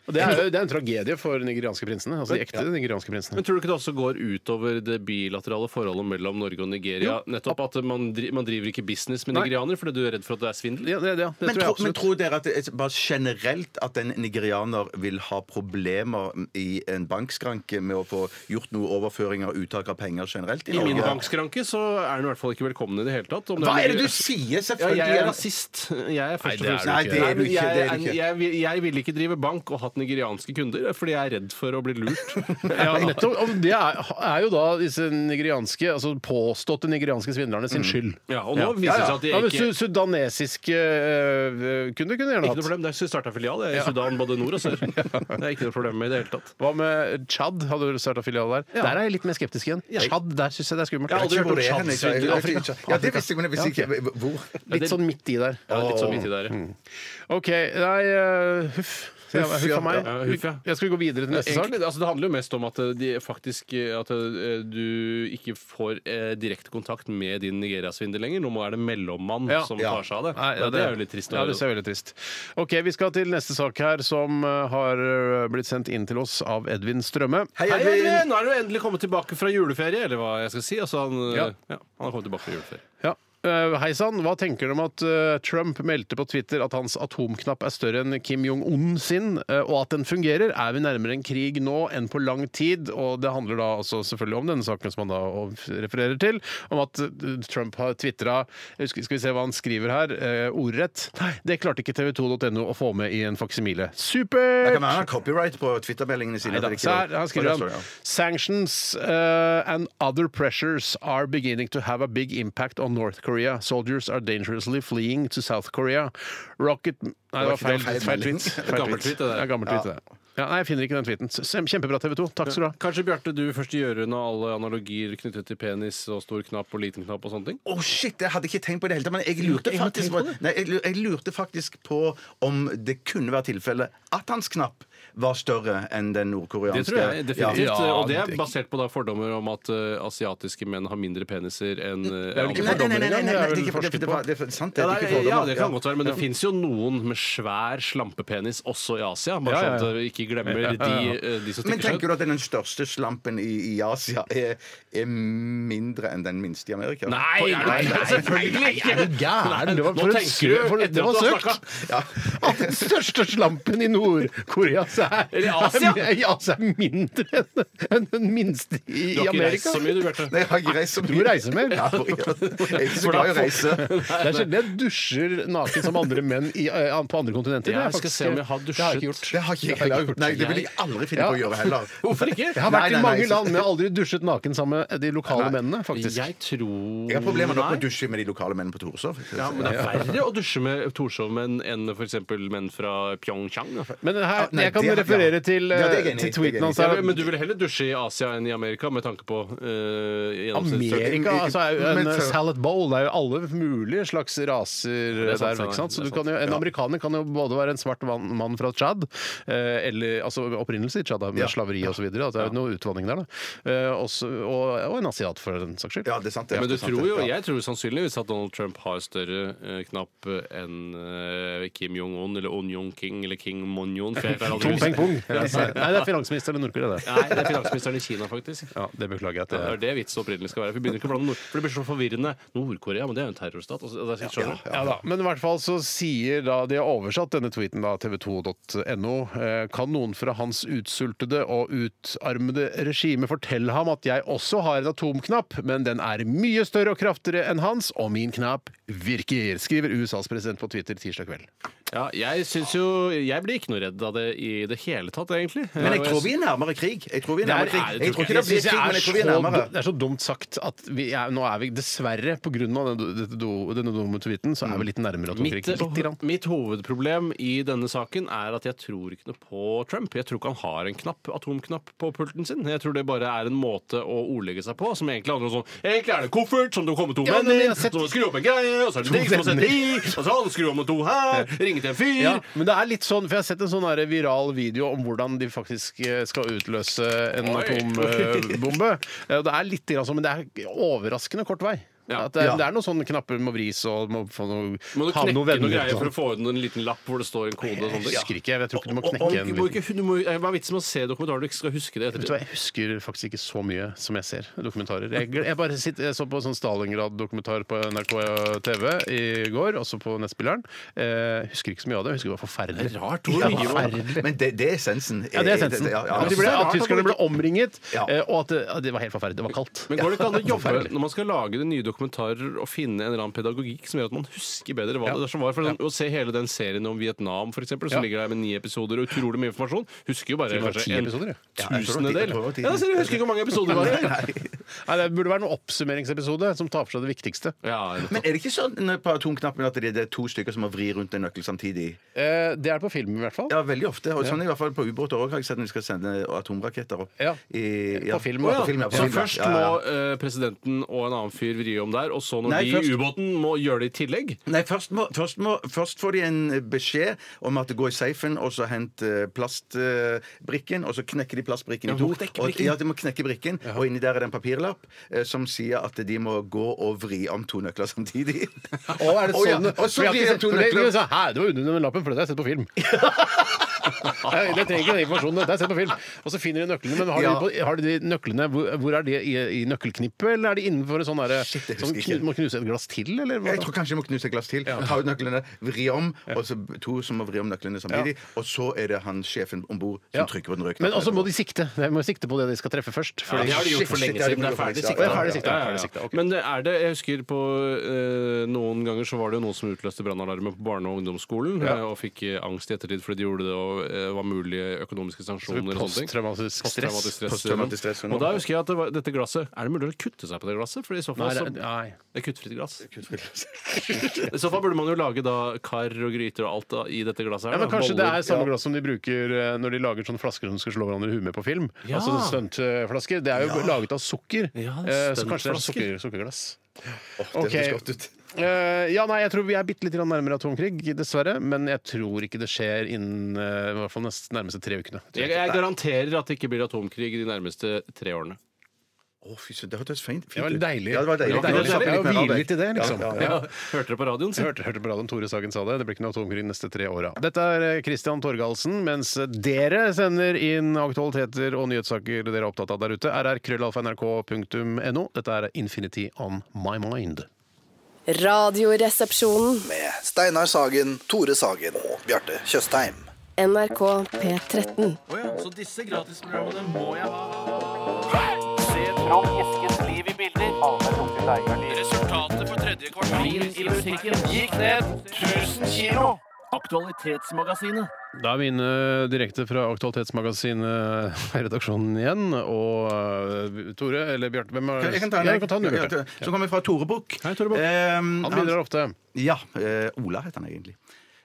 S1: Og det er, det er en tragedie for nigerianske prinsene. Altså de ekte nigerianske prinsene.
S3: Men tror du ikke det også går utover det bilaterale forholdet mellom Norge og Nigeria? Nettopp at man, dri man driver ikke business med
S1: Nei.
S3: nigerianere fordi du er redd for at det er svindel?
S1: Ja, det, ja, det
S2: Men,
S1: tror jeg
S2: tro, men
S1: absolutt.
S2: tror dere at det, er bare generelt at en nigerianer vil ha problemer i en bankskranke med å få gjort noe overføringer og uttak av penger generelt i
S3: I
S2: Norge?
S3: min bankskranke så er den i hvert fall ikke velkommen i det hele tatt. Om
S2: Hva er det du
S3: Nigeria-
S2: sier?
S3: Ja,
S2: Selvfølgelig!
S3: jeg er rasist. Jeg er først og
S1: det er
S3: fremst
S1: du
S2: Nei, det er du
S3: men
S2: ikke. Det er
S3: jeg,
S2: du ikke.
S3: jeg, vil- jeg ville ikke drive bank og hatt nigerianske kunder fordi jeg er redd for å bli lurt. (laughs)
S1: Ja, nettopp. Og det er, er jo da disse nigerianske, altså påståtte nigerianske svindlerne
S3: Mm.
S1: sin skyld.
S3: Ja, og nå viser det seg at de
S1: Ja, men
S3: ikke
S1: su Sudanesiske øh, kunder kunne gjerne
S3: Ikke noe
S1: hatt.
S3: problem. Der starta filial jeg, i Sudan, både nord og sør. (laughs) Det er ikke noe problem med i det hele tatt.
S1: Hva med Tsjad? Hadde du starta filial der? Der er jeg litt mer skeptisk igjen. Tsjad, der syns jeg det er skummelt.
S3: Jeg har aldri
S1: Jeg
S3: hørt
S1: vet ikke
S3: om
S1: hvor
S3: Tsjad.
S1: det er hen, jeg- jeg-
S2: Ja, det visste jeg, men jeg visste ikke hvor.
S1: Litt sånn midt i der. Mm.
S3: Ja, litt sånn midt i der. ja.
S1: OK. Nei, øh, huff. Ja,
S2: Huff,
S1: Huff
S2: ja.
S1: av meg.
S3: Ja, huff, ja.
S1: Jeg skal gå videre til neste sak.
S3: Egentlig, altså, det handler jo mest om at eh, de faktisk eh, At eh, du ikke får eh, direkte kontakt med din Nigeria-svindel lenger. Nå må er det mellommann
S1: Ja.
S3: som
S1: Ja.
S3: tar seg av det.
S1: Nei,
S3: ja, det er jo litt trist. å
S1: Ja,
S3: høre.
S1: det er veldig trist. Ok, Vi skal til neste sak her, som eh, har eh, blitt sendt inn til oss av Edvin Strømme.
S2: Hei,
S3: Hei,
S2: Edvin!
S3: Edvin! Nå er du endelig kommet tilbake fra juleferie, eller hva jeg skal si. Altså, han, ja.
S1: Ja.
S3: han har kommet tilbake fra juleferie.
S1: Ja. Eh, Hei sann, hva tenker du om at eh, Trump meldte på Twitter at hans atomknapp er større enn Kim Jong-un sin, eh, og at den fungerer? Er vi nærmere en krig nå enn på lang tid? Og det handler da altså selvfølgelig om denne saken som han da refererer til, om at eh, Trump har tvitra Skal vi se hva han skriver her, eh, ordrett. Nei, det klarte ikke tv2.no å få med i en faksimile.
S2: Det
S1: Supert!
S2: kan være han har copyright på Twitter-meldingene sine.
S1: Nei da.
S2: at det ikke-
S1: Så her, her skriver
S2: Og der står det,
S1: han
S2: ja.
S1: Sanctions uh, and other pressures are beginning to have a big impact on North Korea. Soldiers are dangerously fleeing to South Korea. Rocket Nei, det var
S2: Det var ikke-
S1: feil,
S2: det var feil
S1: feil
S2: melding.
S1: tweet. Feil
S3: Gammel tweet, (laughs) det der.
S1: Ja, gammel tweet, det. Ja, nei, jeg finner ikke den tweeten. S- Kjempebra, TV 2. Takk skal du ha.
S3: Kanskje Bjarte, du først gjør unna alle analogier knyttet til penis og stor knapp og liten knapp og sånne ting?
S2: Å, shit! Jeg hadde ikke tenkt på det hele tatt. Men jeg lurte,
S3: ikke
S2: faktisk på,
S3: tenkt på
S2: nei, jeg lu- jeg lurte faktisk på om det kunne være tilfellet at hans knapp var større enn den nordkoreanske.
S3: Det tror jeg definitivt.
S2: Ja.
S3: og det er basert på da fordommer om at eh, asiatiske menn har mindre peniser enn eh,
S1: er
S2: Nei,
S1: vel
S3: andre.
S2: nei, nei, nei, nei, nei,
S1: Det er vel
S2: det er ikke- det er- det er- det er sant, det
S3: Ja,
S2: er
S3: det,
S2: ikke
S3: er, ja,
S2: fordommer.
S3: det kan godt være, men det fins jo noen med svær slampepenis også i Asia. Bare
S1: Ja, ja, ja.
S3: sånn at vi ikke glemmer De, eh, de som
S2: Men
S3: stikker seg
S2: tenker
S3: ut.
S2: du at den største slampen i, i Asia er, er mindre enn den minste i Amerika?
S3: Nei, nei, nei, selvfølgelig ikke!
S1: Gæren! Det var
S3: Nå
S1: for en
S3: tenker du
S1: søk! for-
S3: etter
S1: Det
S3: at
S1: var
S3: du har
S1: søkt! (laughs) At den største slampen i Nord-Korea så er
S3: Eller i Asia.
S1: er- i Asia er mindre enn- enn den minste i,
S3: Du
S1: i
S3: har ikke reist
S1: Amerika.
S3: så mye, du, Bjarte.
S2: Nei, jeg har ikke reist så mye.
S1: Du må reise mer.
S2: Ja, jeg er ikke så glad i å reise.
S1: Det er sjelden jeg dusjer naken som andre menn i, eh, på andre kontinenter.
S3: Jeg
S1: Det er
S3: skal
S1: faktisk-
S3: se om jeg har
S1: Det har jeg ikke
S3: dusjet.
S1: gjort.
S2: Det har ikke jeg heller gjort. Nei, det vil jeg aldri finne på å gjøre heller.
S3: Hvorfor ikke?
S1: Jeg har vært
S2: Nei, nei,
S1: i mange
S2: nei, så-
S1: land, men jeg har aldri dusjet naken sammen med de lokale mennene. faktisk.
S3: Jeg tror
S2: Jeg har problemer nok med å
S3: Nei.
S2: dusje med de lokale mennene på Torshov.
S3: Ja, men det er verre å dusje med Torshov-menn enn f.eks. menn fra Pyeongchang. da.
S1: Men her,
S2: nei,
S1: jeg kan
S2: det- ja.
S1: referere til,
S2: Ja, det er jeg
S1: eh,
S2: enig i, det er
S1: til
S2: jeg
S1: tweeten
S2: enig i.
S1: hans.
S3: Ja,
S1: her.
S3: men du vil heller dusje i Asia enn i Amerika med tanke på uh, gjennomsnittsstørrelse?
S1: Amerika altså, er jo en
S2: Men-
S1: eh, salad bowl. Det er jo alle mulige slags raser eh,
S3: er
S1: der.
S3: sant, det er
S1: Ikke sant? Så
S3: sant.
S1: du kan jo, en amerikaner kan jo både være en svart van- mann fra Tsjad, eh, eller altså opprinnelse i Tsjad, da, med slaveri og så videre. At det er jo noe utvandring der, da. Eh, også, og, og en asiat, for den saks skyld.
S2: Ja, det er sant. Det er
S3: Men du
S2: sant,
S3: tror
S2: det.
S3: jo,
S2: Ja.
S3: jeg tror sannsynligvis at Donald Trump har større eh, knapp enn eh, Kim Jong-un eller On Jong-king eller King Mon-yon. for jeg klarer aldri å
S1: Tom
S3: huske-
S1: Peng
S3: (laughs)
S1: Pung. Nei, det er finansministeren i Nord-Korea, det.
S3: Nei, det er finansministeren i Kina, faktisk.
S1: Ja, det beklager jeg.
S3: Det er
S1: At det
S3: det vitsen opprinnelig skal være. For, vi begynner ikke å blande nord for det blir så forvirrende. Nord-Korea, men det er jo en terrorstat. Altså, det er, altså, skjønner du?
S1: ja da, Men i hvert fall så sier da de har oversatt denne tweeten da, tv2.no. Eh, Kan noen fra hans utsultede og utarmede regime fortelle ham at jeg også har en atomknapp, men den er mye større og kraftigere enn hans, og min knapp virker, skriver USAs president på Twitter tirsdag kveld.
S3: Ja, jeg syns jo Jeg blir ikke noe redd av det i det hele tatt, egentlig.
S2: Men jeg tror vi er nærmere krig. Jeg tror vi er nærmere
S3: Nei,
S2: krig.
S3: nei, det
S2: Jeg
S3: tror
S2: tror
S3: ikke
S2: ikke det blir
S1: synes jeg
S2: krig, men jeg tror vi er
S1: så
S2: nærmere.
S1: dum- det er så dumt sagt at vi er, nå er vi dessverre, pga. denne, do- denne dumme tweeten, så er vi litt nærmere atomkrig.
S3: Mitt,
S1: Lite grann.
S3: mitt hovedproblem i denne saken er at jeg tror ikke noe på Trump. Jeg tror ikke han har en knapp, atomknapp på pulten sin. Jeg tror det bare er en måte å ordlegge seg på som egentlig handler om sånn Egentlig er det en koffert som du kommer to
S1: Ja, men
S3: venner,
S1: jeg har sett-
S3: så må du skru opp en greie, og så er det ting som må sette i, og så alle skrur om med to her, ringe til en fyr (laughs)
S1: Ja, men det er litt sånn, for jeg har sett en sånn her viral video om hvordan de faktisk eh, skal utløse en
S3: Oi.
S1: (laughs) atombombe. Eh, og Det er litt grann sånn, men det er overraskende kort vei.
S3: Ja.
S1: At det, er, det er noen sånne knapper må vris og må få noe,
S3: Må du
S1: ha
S3: knekke
S1: noen
S3: noen
S1: venner.
S3: greier
S1: og sånn.
S3: for å få ut en liten lapp hvor det står en kode og sånt?
S1: Jeg husker ikke, jeg tror ikke du må
S3: Og- og-
S1: knekke en
S3: du må ikke, du må, Hva er vitsen med å se dokumentarer du ikke skal huske det
S1: Vet du hva, Jeg
S3: ettertid?
S1: husker faktisk ikke så mye som jeg ser dokumentarer.
S3: (laughs)
S1: Jeg, gl- jeg bare sitter, jeg så på sånn Stalingrad-dokumentar på NRK TV i går, også på Nettspilleren. Eh, husker ikke så mye av det. Jeg husker det var forferdelig.
S3: Rart ord.
S1: Det var forferdelig.
S2: Men det, det er essensen.
S1: Ja, det er essensen.
S2: Ja, Altså, ja.
S1: At, de ble, at tyskerne ble omringet,
S2: Ja.
S1: eh, og at det, at det var helt forferdelig. Det var kaldt.
S3: Men går
S2: (laughs)
S3: det ikke an å jobbe når man skal lage de nye dokumentarer og finne en eller annen pedagogikk som gjør at man husker bedre hva
S1: Ja.
S3: det er som var? For sånn, Å se hele den serien om Vietnam, for eksempel, som
S1: Ja.
S3: ligger der med ni episoder og utrolig mye informasjon, husker jo bare
S1: Tror det var
S3: kanskje
S1: ti
S3: en
S1: episoder, ja.
S2: Ja, jeg tror det var ti- jeg
S3: tusendedel.
S2: tror det var ti.
S3: Ja, så jeg husker ikke hvor mange
S2: (laughs)
S3: episoder det var.
S1: Nei, det burde være en oppsummeringsepisode som tar for seg det viktigste.
S3: Ja,
S2: Men er det ikke sånn på atomknappen at det det er to stykker som må vri rundt en nøkkel samtidig?
S1: Eh, det er det på filmen, i hvert fall.
S2: Ja, veldig ofte. Og sånn i hvert fall på ubåter òg, har jeg sett når de skal sende atomraketter opp.
S1: Ja.
S2: I,
S1: På film.
S2: Å, ja. på film, ja, på
S3: Så
S2: film, ja.
S3: først
S2: Ja, ja.
S3: må eh, presidenten og en annen fyr vri om der, og så når
S2: Nei,
S3: de i
S2: først-
S3: ubåten må gjøre det i tillegg.
S2: Nei, først, må, først, må, først får de en beskjed om at det går i safen, og så hent eh, plastbrikken, og så knekker de plastbrikken
S3: Ja,
S2: i to.
S3: må knekke
S2: Og,
S3: brikken.
S2: ja, de må knekke brikken, og inni der er det en papirlapp eh, som sier at de må gå og vri om to nøkler samtidig.
S1: Å,
S2: (laughs)
S1: er det
S2: Å, ja.
S1: sånn?
S2: Og så
S1: For jeg har
S2: blir
S1: ikke
S2: det to
S1: sett- for det-
S2: nøkler. (laughs)
S1: så, Hæ, det var under den lappen, for det har jeg sett på film. Nei, Det trenger ikke den informasjonen. Det har jeg sett på film. Og så finner de nøklene. Men har,
S2: Ja.
S1: de, på- har de de nøklene Hvor, hvor er de i, i nøkkelknippet, eller er de innenfor en sånn derre
S2: Shit, jeg husker
S1: Som knu,
S2: ikke.
S1: må knuse et glass til, eller? hva
S2: Jeg tror kanskje jeg må knuse et glass til. Ta ut nøklene, vri om, og så to som må vri om nøklene samtidig. Og så er det han sjefen om bord som
S1: Ja.
S2: trykker på den røde
S1: Men også må de sikte. De må sikte på det de skal treffe først.
S3: Ja,
S1: Fordi
S3: det har de gjort for
S2: Shit,
S3: lenge
S2: shit,
S3: siden. Det
S2: det
S3: er
S2: har de
S3: ferdig
S2: gjort
S3: sikta.
S2: for
S1: lenge siden.
S3: Ja,
S1: Ja,
S3: ja,
S1: ferdig
S3: ja.
S1: sikta, ok.
S3: Men det er det Jeg husker på eh, Noen ganger så var det jo noen som utløste brannalarmer på barne- og ungdomsskolen, eh, og fikk eh, angst i ettertid fordi de gjorde det og eh, var mulige økonomiske sanksjoner. og sånne ting.
S1: Posttraumatisk
S3: Posttraumatisk
S1: stress.
S3: stress.
S2: Posttraumatisk stress,
S3: Og da husker jeg at det var, dette glasset Er det mulig å kutte seg på det glasset? For i så fall
S1: Nei,
S3: så,
S1: det- nei.
S3: Det er kuttfritt glass. (laughs) I så fall burde man jo lage da kar og gryter og alt da, i dette glasset.
S1: Ja,
S3: her,
S1: men
S3: da.
S1: Kanskje det
S3: Boller.
S1: er sånn- samme glass som de bruker eh, når de lager sånne flasker som skal slå hverandre i huet med på film.
S3: Ja.
S1: Altså stuntflasker. Det er jo laget av sukker,
S3: Ja,
S1: eh, så kanskje det er
S3: stuntflasker.
S1: sukker, sukkerglass.
S2: Det høres
S1: Ok.
S2: godt ut.
S1: Eh, ja, nei, jeg tror vi er bitte litt grann nærmere atomkrig, dessverre. Men jeg tror ikke det skjer innen eh, i hvert fall nest, nærmeste tre ukene.
S3: Jeg, jeg garanterer at det ikke blir atomkrig de nærmeste tre årene.
S2: Å, fy søren, det hørtes fint,
S1: Det
S2: fint
S1: var
S2: ut.
S1: deilig.
S2: Ja, det var deilig.
S1: Det var deilig.
S2: Vi slapp
S1: Jeg
S2: litt mer av
S1: hviler litt i det, liksom.
S2: Ja, ja, ja.
S3: Ja. (laughs) Hørte dere på radioen?
S1: Jeg
S3: Siv?
S1: hørte, hørte på radioen Tore Sagen sa det. Det blir ikke noe atomkrig de neste tre åra. Dette er eh, Christian Torgalsen, mens dere sender inn aktualiteter og nyhetssaker dere er opptatt av der ute. rrkrøllalfa.nrk.no. Dette er Infinity on my mind.
S6: Radioresepsjonen.
S5: Med Steinar Sagen, Tore Sagen og Bjarte Tjøstheim.
S6: NRK P13.
S3: Så disse gratisprogrammene må jeg ha. Resultatet på tredje kvartal i musikken gikk ned 1000 kilo. Aktualitetsmagasinet.
S1: Da er vi inne direkte fra Aktualitetsmagasinet eh, redaksjonen igjen. Og eh, Tore, eller Bjarte, hvem er
S2: Jeg kan ta en.
S1: Ja, jeg kan ta en, du,
S2: Ja,
S1: Bjarte.
S2: Så kommer vi fra Tore Bukk.
S1: Hei, Tore Bukk.
S2: Ehm,
S1: Han bidrar ofte.
S2: Ja. eh, Ola heter han egentlig.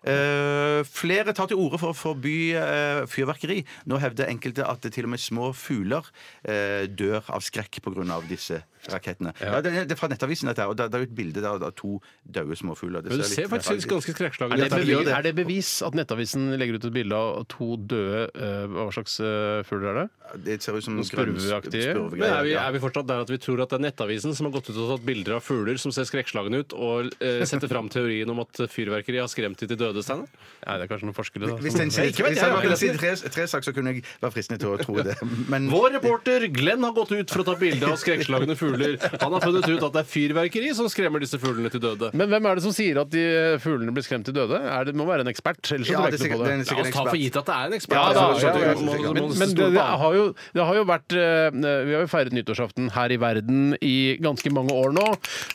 S2: Eh, flere tar til orde for å forby eh, fyrverkeri. Nå hevder enkelte at til og med små fugler eh, dør av skrekk pga. disse rakettene. Ja. det, er- det er fra Nettavisen, dette her. Og det, det er jo et bilde der av to døde småfugler.
S3: Men du ser faktisk ganske
S1: Er
S3: skrekkslagen
S1: det,
S2: Ja, takk,
S3: ut.
S2: vi gjør
S1: bevis,
S2: det.
S1: er det bevis at Nettavisen legger ut et bilde av to døde eh, Hva slags eh, fugler er det?
S2: Det ser ut som
S1: sånn spurveaktige.
S2: grønn-
S3: Men er vi,
S2: ja.
S3: er vi fortsatt der at vi tror at det er Nettavisen som har gått ut og tatt bilder av fugler som ser skrekkslagne ut, og eh, setter fram teorien om at fyrverkeri har skremt de til døde, Steinar?
S1: Nei, det er kanskje noen forskere, da.
S2: Hvis den
S1: som-
S2: sier,
S3: Ikke vet
S2: hvis
S3: jeg,
S2: den var
S3: jeg vet
S2: til å si tre, tre sak, så kunne jeg være fristende til å (laughs) tro det. Men
S3: Vår reporter Glenn har gått ut for å ta bilde av skrekkslagne fugler. Han har funnet ut at det er fyrverkeri som skremmer disse fuglene til døde.
S1: Men hvem er det som sier at de fuglene blir skremt til døde? Er det, det må være en ekspert. Ellers så
S2: Ja,
S1: tror
S2: det
S1: jeg
S2: er sikkert,
S1: ikke noe
S2: det
S1: på
S2: er
S1: det.
S2: en
S3: La
S2: sikkert
S3: oss ta for
S2: ekspert.
S3: gitt at det er en ekspert.
S1: Ja,
S3: altså,
S1: da,
S3: så
S1: ja,
S3: du
S1: ja, ja,
S3: må- må-
S1: sikkert.
S3: må
S1: men,
S3: du
S1: men det,
S3: stole på
S1: det
S3: han.
S1: har jo, det har jo vært eh, Vi har jo feiret nyttårsaften her i verden i ganske mange år nå.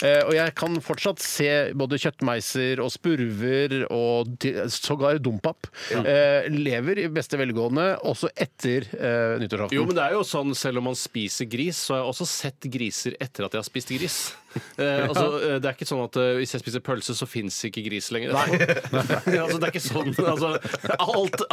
S1: eh, Og jeg kan fortsatt se både kjøttmeiser og spurver og til- sågar dompap eh, lever i beste velgående også etter eh, nyttårsaften.
S3: Jo, men det er jo sånn, Selv om man spiser gris, så har jeg også sett griser etter at jeg har spist gris.
S1: (laughs)
S3: Eh, altså, eh, Det er ikke sånn at eh, hvis jeg spiser pølse, så fins ikke gris lenger. (laughs) altså, det er ikke sånn. Altså, alt,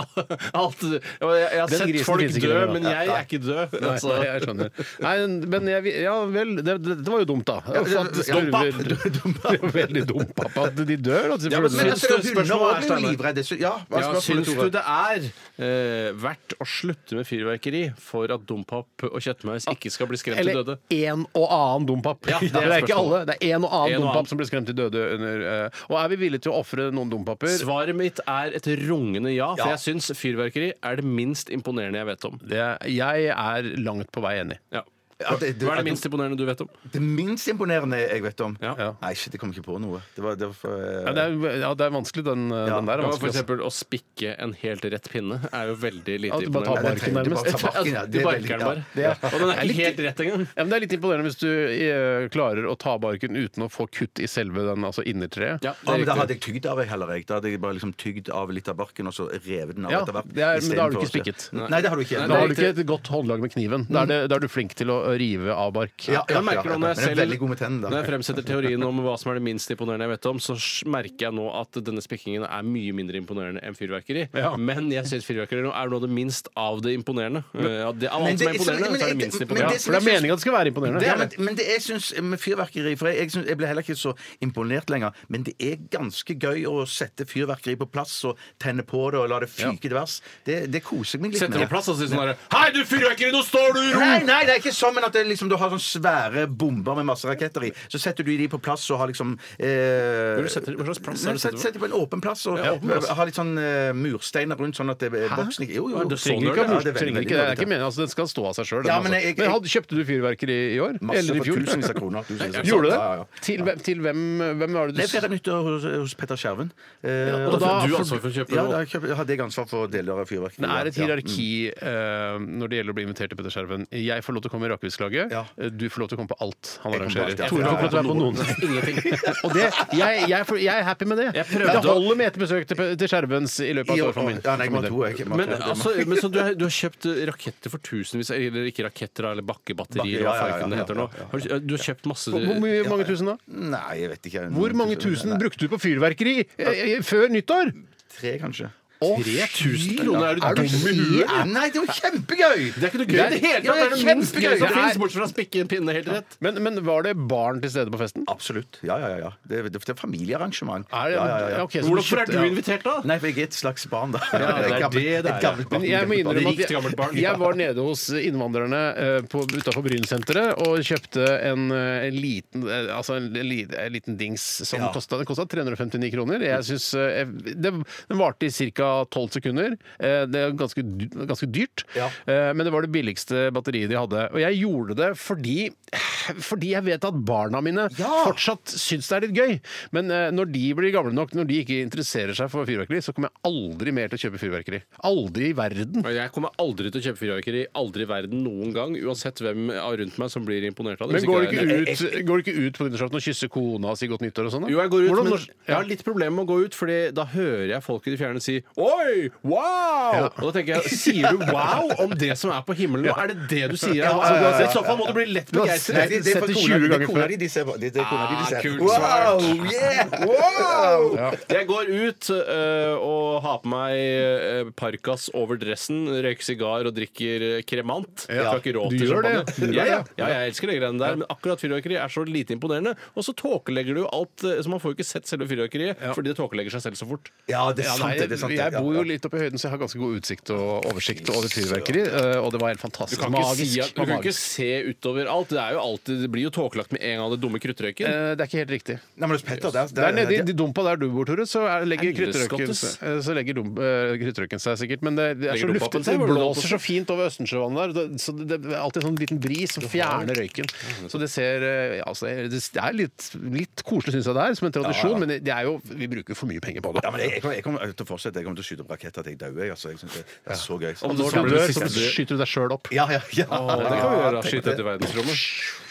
S3: alt Jeg, jeg har
S1: Den
S3: sett
S1: grisen
S3: folk
S1: finnes ikke
S3: dø,
S1: lenger, da.
S3: men jeg er ikke død.
S1: Nei,
S3: Altså,
S1: nei, jeg skjønner. Nei, men jeg, ja vel, det, det, det var jo dumt, da. At spurver- (laughs) Det er Veldig dumt, pappa. At de dør. At de
S2: Ja, men, men jeg tror hunder
S3: Spørsmålet er,
S2: også er jo
S3: Steinar.
S2: livredde. så- Ja, hva er
S3: Ja,
S2: spørsmålet,
S3: syns du
S2: Tore?
S3: det er eh, verdt å slutte med fyrverkeri for at dompap og kjøttmeis ikke skal bli skremt til
S1: Eller
S3: døde?
S1: en og annen dompap.
S3: Ja, det
S1: (laughs) det,
S3: er
S1: er ikke alle.
S3: spørsmålet.
S1: Det er en og annen
S3: En og annen.
S1: dompap som blir skremt til døde under eh, Og er vi villige til å ofre noen dompaper?
S3: Svaret mitt er et rungende ja, for
S2: Ja.
S3: jeg syns fyrverkeri er det minst imponerende jeg vet om.
S1: Det, jeg er langt på vei enig.
S3: Ja.
S2: At det-
S3: Hva
S2: at-
S3: er det minst imponerende du vet om?
S2: Det minst imponerende jeg vet om.
S3: Ja.
S1: Ja.
S2: Nei, shit, jeg kom ikke på noe. Det var, det var for,
S1: Ja, det er, ja, det er vanskelig, den, eh,
S2: Ja,
S1: den der. Er
S3: Ja, for
S1: vanskelig, altså.
S3: eksempel å spikke en helt rett pinne er jo veldig
S1: Ja,
S3: lite
S1: du bare tar
S3: imponerende.
S1: barken nærmest.
S2: Du bare tar
S1: (laughs)
S2: barken, ja.
S3: Du
S2: Det er
S3: barker
S2: veldig-
S3: den
S2: ja.
S3: bare. Og den er ikke helt rett engang.
S1: Ja, men det er litt imponerende hvis du eh, klarer å ta barken uten å få kutt i selve den, altså innertreet.
S3: Ja,
S2: Ja, men Da hadde jeg tygd av, jeg heller. Jeg. Da hadde jeg bare liksom tygd av litt av barken og så revet den av
S1: Ja,
S2: etter hvert.
S1: det er- men da har
S2: istedenfor
S1: du
S2: å-
S1: ikke spikket.
S2: Nei, Nei, det har du ikke.
S3: Nei,
S1: Da
S2: Nei,
S1: har du ikke et godt håndlag med kniven. Da er, det, da er du flink til å rive av bark.
S2: Ja,
S3: Jeg
S2: Men
S3: merker nå når jeg
S2: jeg er
S3: selv
S2: veldig god med tennene, da.
S3: Når jeg fremsetter teorien om hva som er det minst imponerende jeg vet om, så sj- merker jeg nå at denne spikkingen er mye mindre imponerende enn fyrverkeri.
S1: Ja.
S3: Men jeg syns fyrverkeri nå er noe av det minst av det imponerende. Eh, av det- Av
S2: Men
S3: alt som er
S2: det- så- men
S3: imponerende, så er det
S2: jeg-
S3: minst
S2: men
S3: imponerende.
S1: Ja, for det er meninga at det skal være imponerende.
S2: Det er, men, men det jeg syns med fyrverkeri For jeg, jeg, syns- jeg ble heller ikke så imponert lenger. Men det er ganske gøy å sette fyrverkeri på plass og tenne på det og la det fyke til vers. Det, det koser jeg meg litt
S3: Setter
S2: med.
S3: på plass og sier sånn herre Hei, du fyrverkeri, nå står du i ro!
S2: Nei, nei, det er ikke sånn, men at det, liksom, du har sånne svære bomber med masse raketter i. Så setter du de på plass og har liksom eh,
S3: Hvor du setter- hva slags plass er
S2: Nei,
S3: det du
S2: set-
S3: setter på?
S2: setter på en åpen plass og
S3: åpen plass.
S2: har litt sånn eh, mursteiner rundt, sånn at det, boksen ikke Jo, jo,
S3: Men
S2: jo.
S3: det
S1: Trenger ikke, ha
S3: Sånn
S2: Ja, det
S1: mur-
S2: er veldig,
S1: trenger
S2: veldig
S1: ikke, det er
S2: dårlig.
S1: ikke meningen, altså, den skal stå av seg sjøl.
S2: Ja, men
S1: men,
S2: jeg- jeg-
S1: hadde- kjøpte du fyrverkeri i år?
S2: Masse
S1: Eller i
S2: for
S1: fjor?
S2: tusenvis
S1: (laughs)
S2: av kroner. Tusenvis av
S1: Gjorde du det?
S2: sånn. Ja, ja, ja.
S1: Til, hvem- til hvem, hvem var det du
S2: Det er feira nyttår hos, hos Petter Skjerven. Eh,
S3: og da fikk du ansvar for å kjøpe
S2: Ja,
S3: noe.
S2: da kjøp- jeg hadde jeg ansvar for deler av fyrverkeriet.
S1: Det er et
S2: Ja.
S1: hierarki eh, når det gjelder å bli invitert til Petter Skjerven. Jeg får lov til å komme i Rakehuslaget.
S2: Ja.
S1: Eh, Du får lov til å komme på alt han
S2: Jeg kommer på
S1: arrangerer.
S2: alt, ja.
S1: Tore får ikke lov til å være på noen.
S3: (laughs) Ingenting.
S1: Og det, jeg, jeg, får- jeg er happy med det.
S3: Jeg prøvde
S1: det
S3: å-
S1: holder med ett besøk til, Pe- til Skjervens i løpet av
S2: I
S1: et
S2: år,
S1: år for min.
S2: ja, nei, jeg må
S1: for
S2: ha
S1: min
S2: to,
S1: del.
S2: jeg, jeg må ha
S3: Men,
S2: to.
S3: altså, men så du, har- du har kjøpt raketter for tusenvis, eller ikke raketter da, eller
S2: Bakke-
S3: bakkebatterier,
S2: ja,
S3: hva
S2: ja, ja,
S3: farken det
S2: ja,
S3: heter
S2: ja,
S3: nå. Har Du du har kjøpt masse
S1: Hvor hvor mye, mange tusen da?
S2: Nei, jeg vet ikke.
S1: Hvor mange tusen brukte du på fyrverkeri eh, eh, før nyttår?
S2: Tre, kanskje.
S3: 3000 kroner? Er du dum i huet?
S2: Ja, nei, det var kjempegøy!
S3: Det er ikke noe gøy i det hele tatt! Det er det minst gøye som
S1: Det er-
S3: fins, bortsett fra å spikke en pinne, helt rett.
S1: Men, men var det barn til stede på festen?
S2: Absolutt. Ja, ja, ja, ja. Det, det, det er familiearrangement.
S1: Er det-
S2: ja, ja, ja.
S1: ja, ok, så
S3: Hvorfor er
S1: kjøpte-
S3: du
S1: ja.
S3: invitert, da?
S2: Nei, for jeg er (laughs) et slags barn, da.
S3: det er
S2: Et gammelt-
S3: det det er,
S2: et gammelt barn.
S1: Men jeg må
S2: gammelt barn.
S1: innrømme
S3: Rikt
S1: at
S3: gammelt barn.
S1: jeg, (laughs) jeg var nede hos innvandrerne eh, utafor Brynsenteret og kjøpte en, eh, en, liten, eh, altså en, li- en liten dings som
S2: Ja.
S1: kosta, den kosta 359 kroner. Jeg synes, eh, jeg- det, Den varte i ca. 12 sekunder. Eh, Det er ganske, dy- ganske dyrt,
S2: Ja.
S1: Eh, men det var det billigste batteriet de hadde. Og jeg gjorde det fordi fordi jeg vet at barna mine
S2: Ja.
S1: fortsatt syns det er litt gøy. Men eh, når de blir gamle nok, når de ikke interesserer seg for fyrverkeri, så kommer jeg aldri mer til å kjøpe fyrverkeri. Aldri i verden.
S3: Og Jeg kommer aldri til å kjøpe fyrverkeri. Aldri i verden noen gang. Uansett hvem av rundt meg som blir imponert av det.
S1: Men går du ikke ut, går du ikke ut på nyttårsaften og kysser kona og sier godt nyttår og sånn? da?
S3: Jo, jeg går ut,
S1: Hvordan-
S3: men jeg har litt problemer med å gå ut, Fordi da hører jeg folk i det fjerne si Oi! Wow! Og da tenker jeg Sier du wow om det som er på himmelen? nå? Er det det du sier? Altså, du har sett- I så fall må du bli lett
S2: Nei,
S3: begeistret.
S2: det, det er for
S1: Sett det
S2: kona
S1: 20
S2: di- det er
S1: ganger
S2: kona
S1: før.
S2: di de ser på. Det, det er kona di de
S3: Ah,
S2: ser
S3: kult,
S2: Wow! Yeah! Wow!
S3: Jeg går ut øh, og har på meg øh, parkas over dressen, røyker sigar og drikker øh, kremant. Jeg har ikke råd
S1: Du
S3: til
S1: gjør det.
S3: champagne.
S1: Du gjør
S3: Ja, ja.
S1: det.
S3: ja, jeg elsker de greiene der, men akkurat fyrverkeri er så lite imponerende. Og så eh, tåkelegger du jo alt, øh, så man får jo ikke sett selve fyrverkeriet fordi det tåkelegger seg selv så fort.
S2: Ja, det er
S1: Ja,
S2: sant.
S1: nei,
S2: det, det er sant det.
S1: Jeg bor jo litt oppe i høyden, så jeg har ganske god utsikt og oversikt over fyrverkeri. eh, Og det var helt
S3: Du
S1: fantastisk.
S3: kan, ikke si at,
S1: Magisk. Det
S3: du
S1: var
S3: kan ikke
S1: magisk.
S3: se utover alt. Det, er jo alltid, det blir jo tåkelagt med en gang det dumme kruttrøyken.
S1: Eh, Det er ikke helt riktig.
S2: Nei, men hos Petter, der,
S1: Der nede i de dumpa der du bor, Tore, så er, legger
S3: Helvetes
S1: kruttrøyken
S3: skottes.
S1: eh, Så legger dum- eh, kruttrøyken seg sikkert. Men det, det er så
S3: Legger dumpa på
S1: luftig.
S3: seg,
S1: Det
S3: hvor det holder på
S1: blåser så fint over Østensjøvannet der. det- Så det, det er alltid en sånn liten bris som fjerner røyken. Så det ser eh, altså, det- Det er litt, litt koselig, syns jeg det er, som en tradisjon, men det er jo, vi bruker for mye penger på det.
S2: Ja, men jeg, jeg, kommer, jeg kommer til å fortsette. Jeg kommer til å skyte opp raketter til jeg dauer. jeg, Altså, jeg synes det er så gøy.
S1: Og når du dør, så skyter du deg sjøl opp.
S2: Ja, ja, ja.
S3: det kan vi gjøre. Skyte etter verdensrommet.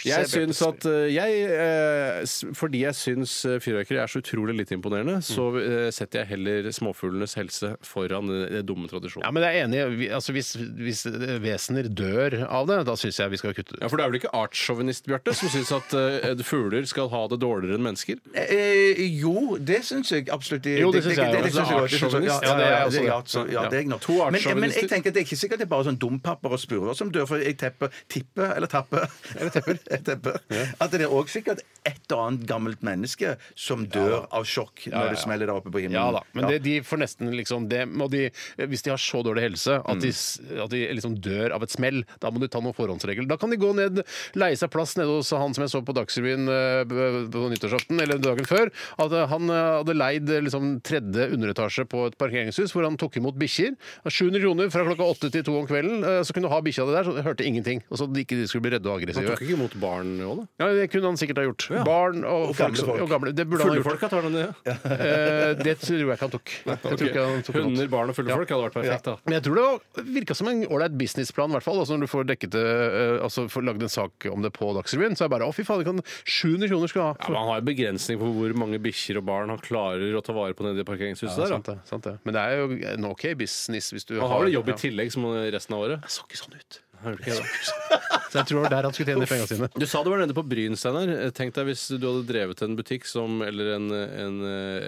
S3: Jeg syns at eh, jeg, eh, s- Fordi jeg syns eh, fyrverkeri er så utrolig litt imponerende, så
S1: Mm.
S3: eh, setter jeg heller småfuglenes helse foran eh, den dumme
S1: Ja,
S3: tradisjonen.
S1: men jeg er enig. Vi- Altså, hvis, hvis vesener dør av det, da syns jeg vi skal kutte det.
S3: Ja, For det er vel ikke artssjåvinist, Bjarte, som syns at eh, fugler skal ha det dårligere enn mennesker?
S2: Eh, jo, det syns jeg absolutt.
S1: Jo, det syns
S2: det,
S1: jeg
S2: det, synes jeg også. Det syns
S1: også.
S2: jeg-
S3: Artssjåvinist.
S2: Ja, ja, ja,
S1: Ja, det er jeg
S2: ja,
S1: også.
S2: det- ja, så- ja, det er jeg nok.
S3: To
S2: Men,
S3: artssjåvinister.
S2: men jeg tenker at det er ikke sikkert det er bare sånn dompapper og spurver som dør, for jeg tepper, tipper (laughs) eller tapper Jeg tepper. At det er òg sikkert et og annet gammelt menneske som dør av sjokk når det smeller der oppe på himmelen.
S1: Ja da, men
S2: Ja.
S1: Det, de får nesten liksom det må de, Hvis de har så dårlig helse at
S2: Mm.
S1: de, s- at de liksom dør av et smell, da må de ta noen forhåndsregel. Da kan de gå ned, leie seg plass nede hos han som jeg så på Dagsrevyen eh, b- på nyttårsaften, eller dagen før. At eh, han eh, hadde leid eh, liksom tredje underetasje på et parkeringshus hvor han tok imot bikkjer. 700 kroner fra klokka åtte til to om kvelden. eh, Så kunne du ha bikkja di der, så hørte ingenting. Og så de ikke de skulle bli redde og
S3: Han
S1: aggressive.
S3: tok ikke imot barn òg, da?
S1: Ja, Det kunne han sikkert ha gjort. Barn og,
S2: Og
S1: folk,
S2: gamle folk.
S1: og gamle. Det burde han ha
S3: Fulle
S1: gjort.
S3: folk tar de det? Ja.
S1: Eh, det tror jeg ikke han tok. Jeg tror ikke han tok noe.
S3: Hunder, barn og fulle folk hadde vært perfekt, da.
S1: Men jeg tror det virka som en ålreit businessplan, i hvert fall. Altså når du får dekket det, eh, altså får lagd en sak om det på Dagsrevyen, så er det bare å, fy fader, kan 700 kroner skal du
S3: Ja,
S1: ha.
S3: men Han har en begrensning på hvor mange bikkjer og barn han klarer å ta vare på nede i parkeringshuset.
S1: Ja,
S3: der,
S1: sant
S3: da.
S1: det, sant det. Men det er jo en OK business hvis du
S3: Han har vel jobb i
S1: ja.
S3: tillegg som han- resten av året.
S1: Det så ikke sånn ut.
S3: Har du ikke (laughs) det?
S1: Så jeg tror det var der han skulle tjene pengene sine.
S3: Du sa du var nede på Bryn, Steinar. Tenk deg hvis du hadde drevet en butikk som, eller en, en,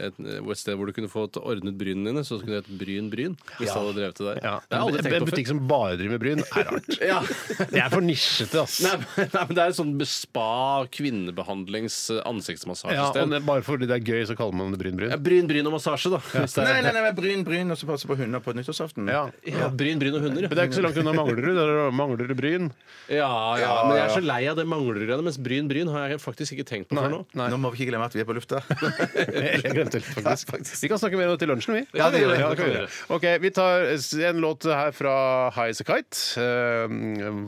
S3: et, et sted hvor du kunne fått ordnet brynene dine, så skulle det hett Bryn Bryn. Hvis du hadde drevet det der.
S1: Ja.
S3: Det har jeg aldri
S1: En
S3: tenkt
S1: en
S3: på før.
S1: butikk som bare driver med bryn, er rart.
S3: (laughs) Ja.
S1: Det er for nisjete, ass.
S3: Nei, men- nei, men Det er et sånn spa kvinnebehandlings
S1: Ja, og
S3: ansiktsmassasjested.
S1: det, bare fordi det er gøy, så kaller man det
S3: Ja,
S1: bryn-bryn.
S3: bryn, bryn og massasje, da. Hvis det
S2: Nei,
S3: er.
S2: nei, nei, men bryn, bryn, og så passe på hunder på nyttårsaften.
S1: Ja.
S3: Ja, bryn, bryn og hunder. ja.
S1: Men det er ikke så langt unna Manglerud. Der er Manglerud Bryn.
S3: Ja, ja, men jeg er så lei av det manglergreiene. Mens Bryn Bryn har jeg faktisk ikke tenkt på før nå.
S1: Nei.
S2: Nå må vi ikke glemme at vi er på (laughs) lufta.
S1: Jeg glemte det litt, faktisk. Vi kan snakke mer om det til lunsjen, vi.
S3: Ja, det gjør vi.
S1: kan vi gjøre. Ok, Vi tar en låt her fra High As A Kite. Eh,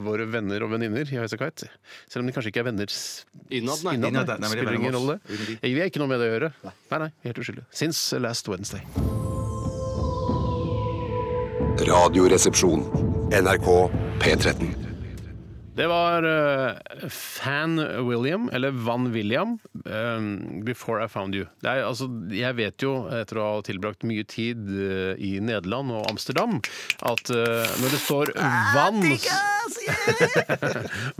S1: våre venner og venninner i High As A Kite. Selv om de kanskje ikke er venner s-
S3: Innad, nei.
S1: innad,
S2: Innad, nei, men de er
S1: Spiller
S2: venner
S1: ingen
S2: med
S1: rolle.
S2: oss.
S1: Vi har ikke noe med det å gjøre. Nei, nei, helt uskyldig. Since last Wednesday.
S4: Radioresepsjon. NRK P13.
S1: Det var eh, Fan William, eller Van William, eh, 'Before I Found You'. Det er, altså, jeg vet jo, etter å ha tilbrakt mye tid eh, i Nederland og Amsterdam, at eh, når det står Van (laughs)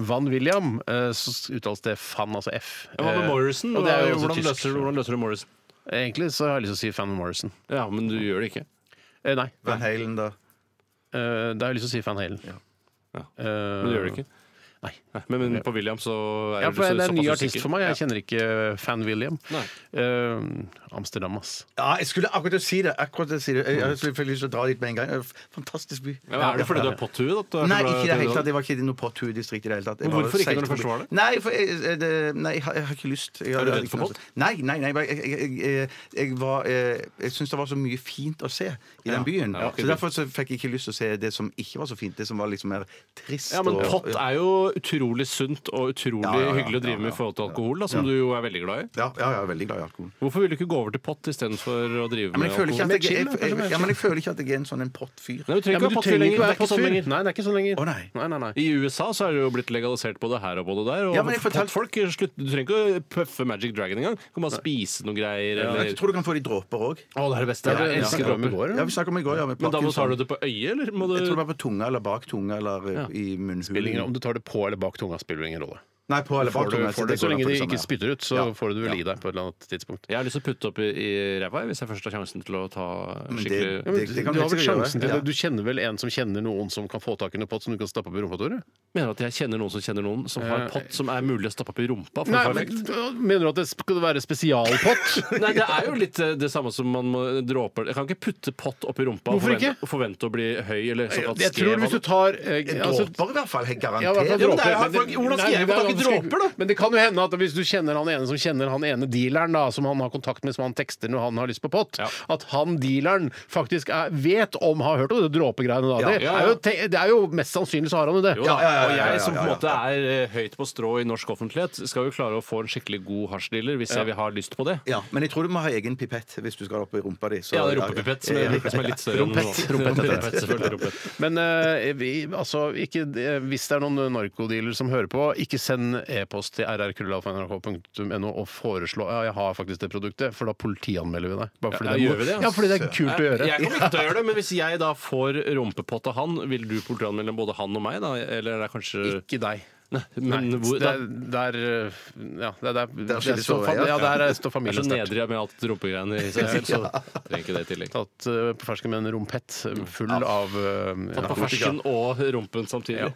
S1: Van William, eh, så uttales det Fan, altså F.
S3: Ja, Hva
S1: Eh,
S3: med Morrison?
S1: og det er jo også
S3: hvordan,
S1: tysk.
S3: løser, du- hvordan løser du Morrison?
S1: Egentlig så har jeg lyst til å si Fan Morrison.
S3: Ja, men du gjør det ikke.
S1: Eh, nei,
S2: Van Halen, da.
S1: eh, da har jeg lyst til å si Fan Halen.
S3: Ja.
S1: Eh,
S3: Men du gjør det ikke.
S1: Nei.
S3: Men, men på William så er
S1: Ja,
S3: du
S1: for
S3: så-
S1: det er en ny
S3: såpass
S1: artist
S3: usikker.
S1: for meg. Jeg
S3: Ja.
S1: kjenner ikke Fan William.
S3: Nei.
S1: Eh, Amsterdam, ass.
S2: Ja, jeg skulle akkurat til å si det. Akkurat til å si det. Jeg, jeg fikk lyst til å dra dit med en gang. Fantastisk by.
S3: Ja, men er det fordi du er potthue? da, at du er så
S2: Nei,
S3: glad
S2: ikke i det
S3: i
S2: hele
S3: Nederland?
S2: tatt. Jeg var ikke i noe potthue-distrikt i det hele tatt. Jeg
S3: Men hvorfor
S2: var
S3: ikke når du
S2: seilt
S3: først var der?
S2: forbi. Nei, for jeg, jeg- det- nei, jeg, har, jeg har ikke lyst. Jeg, har-
S3: Er du
S2: jeg har
S3: redd
S2: ikke
S3: for
S2: noe-
S3: båt?
S2: Nei, nei, nei. Jeg, jeg, jeg, jeg, jeg, var, eh, jeg syns det var så mye fint å se i den byen.
S3: Ja, ok.
S2: så derfor så fikk jeg ikke lyst til å se det som ikke var så fint. Det som var liksom mer trist.
S3: Ja, men
S2: og-
S3: pott er jo utrolig sunt og utrolig
S2: Ja, ja, ja,
S3: hyggelig å drive
S2: ja,
S3: med i
S2: ja.
S3: forhold til alkohol, da, som du jo er veldig glad i.
S2: ja, ja, jeg er veldig glad i alkohol.
S3: Hvorfor vil du ikke gå over til pott istedenfor å drive
S2: Ja, men
S3: med
S2: jeg føler ikke
S3: alkohol?
S2: at jeg, jeg, jeg,
S1: kanskje,
S2: ja, men jeg føler ikke at jeg er en sånn en pott-fyr.
S3: Nei, du trenger
S1: Ja, men du
S3: ikke ha pott lenger.
S1: trenger ikke
S3: Det
S1: være
S3: er ikke
S1: på
S3: sånn
S1: fyr.
S3: lenger.
S1: Nei, det er ikke sånn lenger.
S2: Å, nei.
S1: Nei, nei, nei.
S3: I USA så er det jo blitt legalisert både her og både der. Og
S2: Ja, men jeg fortalte-
S3: folk, slutt, Du trenger ikke å puffe Magic Dragon engang. Du kan bare spise noen greier.
S2: Jeg
S3: Eller...
S2: tror du kan få de dråper òg.
S3: Å, det er det beste.
S1: Ja,
S3: jeg
S1: jeg
S3: elsker
S1: snakket om i
S3: dråper.
S1: går,
S2: Ja, vi snakket om i går. Ja, med
S3: Men da må- tar
S2: Parkinson.
S3: du det på øyet, eller må du
S2: Jeg tror det var på tunga eller bak tunga eller eh, i munnhulen.
S1: Spiller ingen- Om du tar det på eller bak tunga, spiller det ingen rolle.
S2: Nei, på eller
S1: Mm. Får
S2: bak
S1: du,
S2: tunga.
S1: får du,
S2: det
S1: så
S2: går
S1: lenge
S2: da
S1: de
S2: på det
S1: ikke
S2: samme.
S1: spytter ut, så får du det vel i deg på et eller annet tidspunkt.
S3: Jeg har lyst til å putte opp i, i ræva jeg, hvis jeg først har sjansen til å
S2: Men
S3: ta
S2: det-
S1: Ja,
S3: skikkelig
S1: men
S2: det kan
S1: du
S2: du sikkert
S1: har vel
S2: gjøre.
S1: sjansen til
S2: Ja.
S1: det. Du kjenner vel en som kjenner noen som kan få tak i en pott som du kan stappe opp i rumpa, Tore?
S3: Mener du at jeg kjenner noen som kjenner noen som har en pott som er mulig å stappe opp i rumpa?
S1: Eh,
S3: For
S1: Nei,
S3: å få
S1: men, (laughs) øh,
S3: effekt?
S1: mener du at det skal være spesialpott? (laughs)
S3: Nei, det er jo litt eh, det samme som man må dråper Jeg kan ikke putte pott opp i rumpa
S1: Hvorfor
S3: og forvente,
S1: ikke?
S3: og forvente å bli høy eller såkalt
S1: Jeg tror hvis du tar eh, altså,
S2: Dråper i hvert fall, helt
S1: ja, i hvert
S2: garantert.
S1: fall
S3: Ja, men det
S1: dråper,
S3: er jo-
S1: men det-
S3: hvordan
S1: Nei,
S3: skal jeg
S1: det er
S3: få tak i
S1: vanskelig-
S3: dråper, da?
S1: Men det kan jo hende at hvis du kjenner han ene som kjenner han ene dealeren, da, som han har kontakt med, som han tekster når han har lyst på pott,
S3: Ja.
S1: at han dealeren faktisk er, vet om, har hørt om det dråpegreiene da.
S2: Ja,
S1: Det,
S3: ja, ja.
S1: er jo, te- det er jo mest sannsynlig så har han jo det.
S3: Jo da,
S2: Ja, ja, ja, ja,
S3: og
S2: ja,
S3: jeg
S2: ja,
S3: som på
S2: ja,
S3: en
S2: ja.
S3: måte er eh, høyt på strå i norsk offentlighet, skal jo klare å få en skikkelig god hasjdealer hvis jeg vil ha lyst på det.
S2: Ja, men jeg tror du må ha egen pipett hvis du skal opp i rumpa di. så-
S3: Ja, rumpepipett, som er, som er litt større enn
S1: Rumpett.
S3: Rumpett, rumpett, selvfølgelig rumpett.
S1: Men eh, vi, altså, ikke, eh, hvis det er noen narkodealer som hører på, ikke send e-post til rrkrøllalfa.nrk.no og foreslå ja, jeg har faktisk det produktet, for da politianmelder vi deg. Bare fordi
S3: Ja,
S1: det, er
S3: gjør
S1: moro.
S3: vi det, altså?
S1: ja, fordi det er kult å gjøre.
S3: Jeg kommer ikke til å gjøre det, men hvis jeg da får rumpepott av han, vil du politianmelde både han og meg, da? Eller er det kanskje
S1: Ikke deg.
S3: Nei,
S1: Nei,
S3: men hvor,
S1: det
S3: da,
S1: er, der, eh, ja, det er, der, der,
S2: skilles
S1: står,
S2: våre veier.
S1: ja, der står
S3: jeg er så
S1: familien sterkt.
S3: nedrig med alt rumpegreiene i seg
S1: (laughs)
S3: selv, så trenger ikke det i tillegg.
S1: Tatt eh, på fersken med en rompett full av eh,
S3: Tatt på
S1: narkotika.
S3: fersken og rumpen samtidig.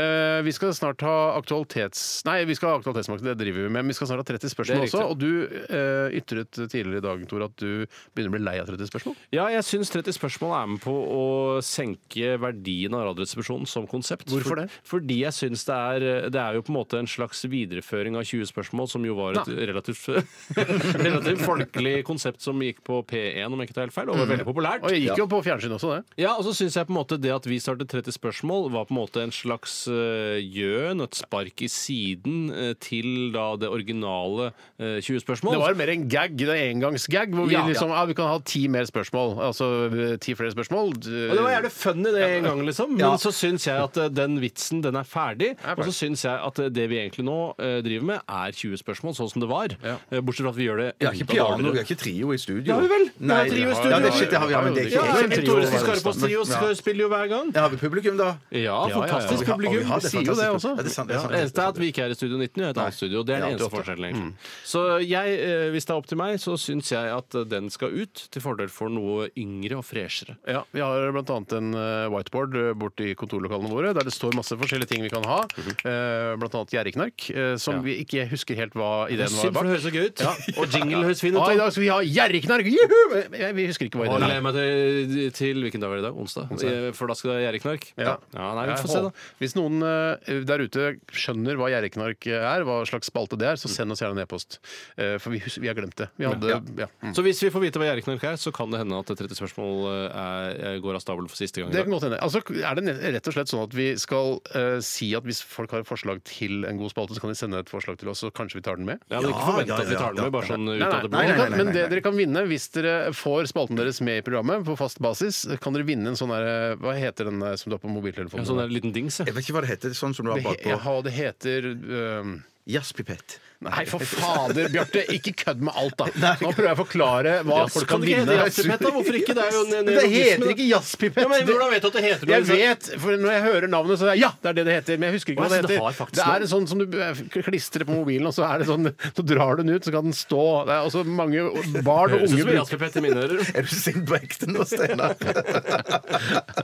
S1: Eh, vi skal snart ha aktualitets... Nei, vi skal ha aktualitetsmakten, det driver vi med. Men vi skal snart ha 30 spørsmål
S3: Det er
S1: også.
S3: riktig.
S1: Og du eh, ytret tidligere i dag, Tor, at du begynner å bli lei av 30 spørsmål.
S3: Ja, jeg syns 30 spørsmål er med på å senke verdien av Radioresepsjonen som konsept.
S1: Hvorfor det?
S3: Fordi jeg syns det er Det er jo på en måte en slags videreføring av 20 spørsmål, som jo var et relativt, (laughs) relativt folkelig konsept som gikk på P1, om jeg ikke tar helt feil, og
S1: Mm.
S3: var veldig populært.
S1: Og jeg gikk jo på fjernsyn også, det.
S3: Ja, og så syns jeg på en måte det at vi startet 30 spørsmål, var på en måte en slags eh, gjøn, et spark i siden eh, til da det originale eh, 20 spørsmål.
S1: Det var mer en gag, det er en engangsgag, hvor vi
S3: Ja.
S1: liksom ja, vi kan ha ti mer spørsmål. Altså eh, ti flere spørsmål. eh,
S3: og det var jævlig funny det en gang, liksom. Men så syns jeg at eh, den vitsen, den er ferdig. Og så syns jeg at eh, det vi egentlig nå eh, driver med, er 20 spørsmål, sånn som det var. Eh, Bortsett fra at vi gjør det
S2: Vi har ikke
S3: enda
S2: piano,
S3: dårligere.
S2: vi har ikke trio i studio.
S3: Det har vi vel? Vi
S2: Nei,
S3: har trio i
S2: det
S3: studio.
S2: Ja, det, shit, det har vi, ja, men det er ikke
S3: Ja,
S2: ikke en
S3: men
S2: trio.
S3: Tore Skarpaas Trio skal- spiller jo hver gang.
S2: Ja, har vi publikum, da?
S3: Ja,
S1: ja, ja.
S3: fantastisk
S2: Ja, og vi
S3: publikum.
S2: har
S1: sier jo det
S2: fantastisk-
S1: også.
S2: Ja, det er sant, det er sant.
S3: Det eneste er at vi ikke er i Studio 19, vi er i et annet studio. Det er den
S2: Ja,
S3: eneste
S2: 88.
S3: forskjellen, egentlig. Så jeg, eh, hvis det er opp til meg, så syns jeg at eh, den skal ut, til fordel for noe yngre og freshere.
S1: Ja, Vi har bl.a. en eh, whiteboard eh, borti kontorlokalene våre der det står masse forskjellige ting vi kan ha.
S3: Mhm.
S1: Eh, Blant annet gjerdeknark, eh, som vi ikke husker helt hva ideen var
S3: Synd, for
S1: bak.
S3: det høres så gøy ut. (laughs) Og jingle høres
S1: (laughs)
S3: fin ut.
S1: Ah, I
S3: da.
S1: dag skal vi ha gjerriknark! Juhu! Jeg- Vi husker ikke hva
S3: Og
S1: ideen
S3: gleder jeg meg til, til hvilken dag var det i dag? Onsdag? Eh, For da skal det være gjerdeknark?
S1: Ja.
S3: nei, vi
S1: Jeg
S3: får se,
S1: håper-
S3: da.
S1: Hvis noen eh, der ute skjønner hva gjerriknark er, hva slags spalte det er,
S3: Mm.
S1: så send oss gjerne en e-post. Eh, For vi, hus- vi har glemt det. Vi hadde, ja. Mm.
S3: Så hvis vi får vite hva gjerdeknark er, så kan det hende at 30 spørsmål eh, er, går av stabelen for siste gang. i
S1: Det kan
S3: dag.
S1: godt hende. Altså, er det ne- rett og slett sånn at vi skal eh, si at hvis folk har forslag til en god spalte, så kan de sende et forslag til oss, så kanskje vi tar den med?
S3: Ja, men ikke
S2: Ja,
S3: forvent
S2: ja,
S3: at vi
S2: ja,
S3: tar den
S2: ja,
S3: med, bare sånn ut
S1: Nei,
S3: av
S1: nei,
S3: det blå.
S1: nei, nei, nei,
S2: nei,
S1: Men det
S2: nei.
S1: dere kan vinne hvis dere får spalten deres med i programmet på fast basis, kan dere vinne en sånn der Hva heter den der som du har på
S3: Ja, sånn
S1: mobiltelefonen?
S3: der liten dings, ja.
S2: Jeg vet ikke hva det heter, sånn som du har
S1: Det he-
S2: bakpå.
S1: ja, det heter øhm,
S2: Jazzpipett.
S1: Nei, (laughs) for fader, Bjarte! Ikke kødd med alt, da! Nå prøver jeg å forklare hva folk kan vinne.
S3: Hvorfor ikke? Det er jo en
S2: Men det heter ikke jazzpipett!
S3: vet du at det heter
S1: Jeg vet, for Når jeg hører navnet, så er jeg, ja, det er det det heter. Men jeg husker ikke
S3: Å,
S1: hva det
S3: så det har
S1: heter.
S3: faktisk
S1: Det er en sånn som du eh, klistrer på mobilen, og så er det sånn, så drar du den ut, så kan den stå. Det er også mange barn og
S3: Høres ut
S1: unge
S3: som jazzpipett i mine ører.
S2: Er du sint på ekte nå,
S1: (laughs)
S2: Steinar?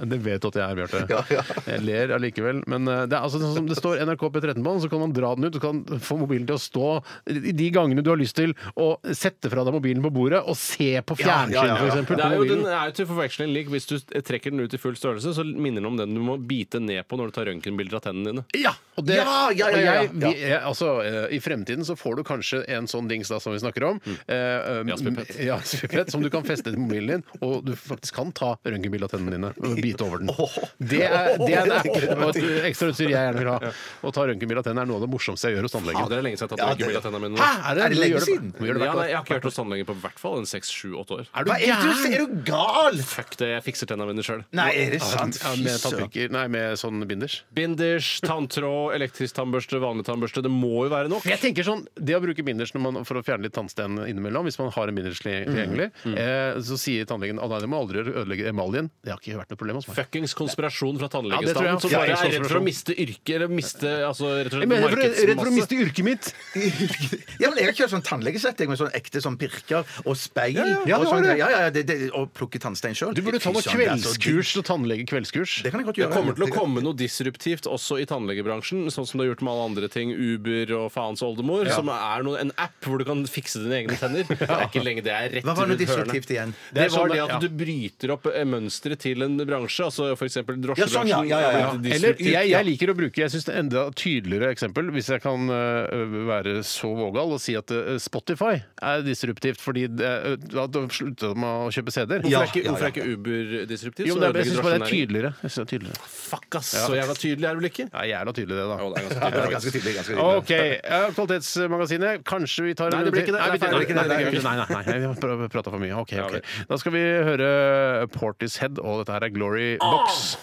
S1: Det vet du at jeg er, Bjarte.
S2: Ja, ja.
S1: Jeg ler allikevel. Men eh, det er altså sånn som det står NRK P13 på den, så kan man dra den ut og kan få mobilen til å stå i de gangene du har lyst til å sette fra deg mobilen på bordet og se på fjernsyn,
S2: ja, ja, ja.
S1: for eksempel.
S3: Det
S1: på
S3: er jo, den
S1: mobilen.
S3: er jo til forveksling lik. Hvis du trekker den ut i full størrelse, så minner den om den du må bite ned på når du tar røntgenbilder av tennene dine.
S1: Ja! Og det,
S2: Ja, ja, ja, ja, ja.
S1: og jeg- vi- jeg- altså, eh, I fremtiden så får du kanskje en sånn dings da, som vi snakker om. eh, um,
S3: Jazzpipett.
S1: (laughs) ja, jazzpipett, som du kan feste til mobilen din, og du faktisk kan ta røntgenbilde av tennene dine og bite over den. Det er, det er en app og et ekstrautstyr jeg gjerne vil ha. Å ta røntgenbilde av tennene er noe av det morsomste jeg gjør hos
S3: Ja,
S1: tannlegen.
S3: det er lenge siden jeg har
S2: Ja,
S3: tatt
S2: det-
S3: ja, tennene mine.
S2: Hæ? Er det-
S3: Ja,
S2: er det lenge siden?
S1: Vi gjør det hvert
S3: nei,
S1: år.
S3: jeg har ikke vært hos tannlegen på hvert fall en seks-sju-åtte år.
S1: Er du
S2: Hva er du, er
S1: gæren?
S2: du gal?!
S3: Fuck det, jeg fikser tennene mine sjøl.
S2: Nei, er det sant?
S1: Ja, med tannpirker Nei, med sånn binders.
S3: Binders, tanntråd, elektrisk tannbørste, vanlig tannbørste. Det må jo være nok.
S1: Jeg tenker sånn, Det å bruke binders når man, for å fjerne litt tannsten innimellom, hvis man har en binders tilgjengelig, eh, så sier tannlegen at nei, det må aldri ødelegge emaljen. Det har ikke vært noe problem hos meg.
S3: Fuckings konspirasjon fra
S1: Ja, det tror
S3: tannlegestanden
S1: jeg.
S3: som
S1: Ja,
S3: bare
S1: ja,
S3: er redd for
S1: konspirasjon.
S3: å miste yrket eller miste altså, rett
S1: Jeg
S3: og slett
S1: mener, for, jeg er redd for å
S3: markedsmasse.
S1: miste yrket mitt!
S2: Ja, men jeg har kjørt sånn tannlegesett jeg, med sånn ekte sånn pirker og speil.
S1: Ja,
S2: og,
S1: det har
S2: sånn,
S1: du.
S2: ja, ja, ja, det, det, og plukke tannstein sjøl.
S1: Du burde ta noe kveldskurs og tannlegekveldskurs.
S2: Det kan jeg godt
S3: Det
S2: gjøre.
S3: kommer til å komme noe disruptivt også i tannlegebransjen, sånn som det har gjort med alle andre ting, Uber og faens oldemor, som er noe, en app hvor du kan fikse dine egne
S2: (laughs)
S3: tenner. Det er ikke lenge det er rett
S2: Hva var noe
S3: rundt hørnet.
S2: disruptivt igjen?
S3: Det,
S1: Det er
S3: var
S1: sånn
S3: det
S1: det-
S3: at du bryter opp eh, mønsteret til en bransje, altså f.eks. drosjebransjen.
S2: Ja, sånn, ja, ja, ja, ja.
S3: er blitt
S1: Eller,
S3: disruptivt.
S1: jeg, jeg liker å bruke jeg synes det er enda tydeligere eksempel, hvis jeg kan øh, være så vågal og si at øh, Spotify er disruptivt fordi det, øh, da da slutta de med å kjøpe CD-er.
S3: Hvorfor
S2: Ja,
S3: er ikke,
S2: ja,
S3: hvorfor
S2: ja.
S3: er ikke Uber disruptivt?
S1: Jo,
S3: som
S1: men det, er- jeg
S3: ødelegger
S1: syns bare det er
S3: drosjenæringen?
S1: tydeligere. Jeg synes det er tydeligere.
S3: Fuck, ass! Så jævla tydelig er det vel ikke?
S1: Det er jævla tydelig, det, da.
S3: Jo, det er ganske tydelig,
S2: Ja, ganske tydelig, ganske tydelig.
S1: OK. ja, Kvalitetsmagasinet. Kanskje vi tar en
S3: Nei, det blir
S1: runde til?
S3: ikke det.
S1: Nei, vi-
S3: Det er feil.
S1: nei, nei, nei, nei, nei, nei, vi har prata for mye. OK. ok. Da skal vi høre Portishead, og dette her er Glory Box.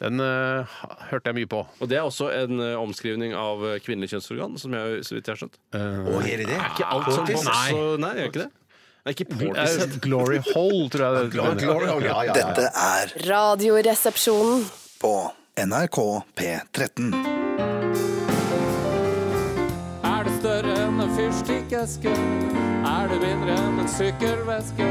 S1: Den øh, hørte jeg mye på.
S3: Og det er også en eh, omskrivning av eh, kvinnelig kjønnsorgan, som jeg, så vidt jeg har skjønt.
S2: Å, er det det?
S3: Ikke alt som
S1: Portis?
S3: boks og Nei, gjør ikke det. Nei, ikke Portis.
S1: Eh, Glory Hole, tror jeg det
S2: Ja,
S1: heter.
S2: Glory Hole, ja, ja, ja.
S5: Dette er
S6: Radioresepsjonen.
S5: på NRK P13.
S8: Er det større enn en fyrstikkeske? Er det mindre enn en sykkelveske?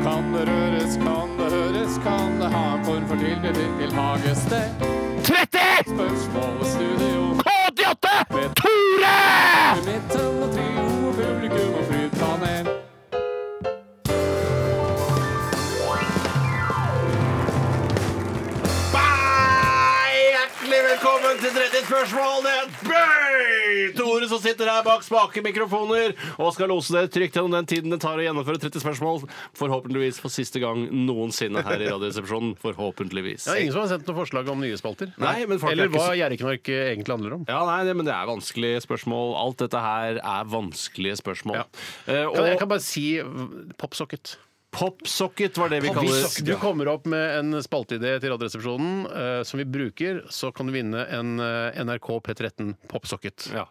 S8: Kan det røres, kan det høres, kan det ha en form for tilknytning til hagested?
S1: 30!
S8: Spørsmål og studio,
S1: 88! Tore!
S8: i midten og trio, og publikum og flypanel.
S3: Hjertelig velkommen til 30 spørsmål. Det er Bøy! Tore som sitter her bak spake mikrofoner og skal lose dere trygt gjennom den tiden det tar å gjennomføre 30 spørsmål. Forhåpentligvis for siste gang noensinne her i Radioresepsjonen. Forhåpentligvis.
S1: Ja, ingen som har sendt noe forslag om nye spalter?
S3: Nei, men folk er
S1: Eller
S3: ikke
S1: hva
S3: så-
S1: Gjerriknark egentlig handler om?
S3: Ja, nei, det, men det er vanskelige spørsmål. Alt dette her er vanskelige spørsmål. Eh,
S1: Kan, jeg
S3: og
S1: kan bare si v- popsocket.
S3: popsocket var det vi
S1: Hvis
S3: kaller
S1: du kommer opp med en spalteidé til Radioresepsjonen eh, som vi bruker, så kan du vinne en eh, NRK P13 popsocket.
S3: ja.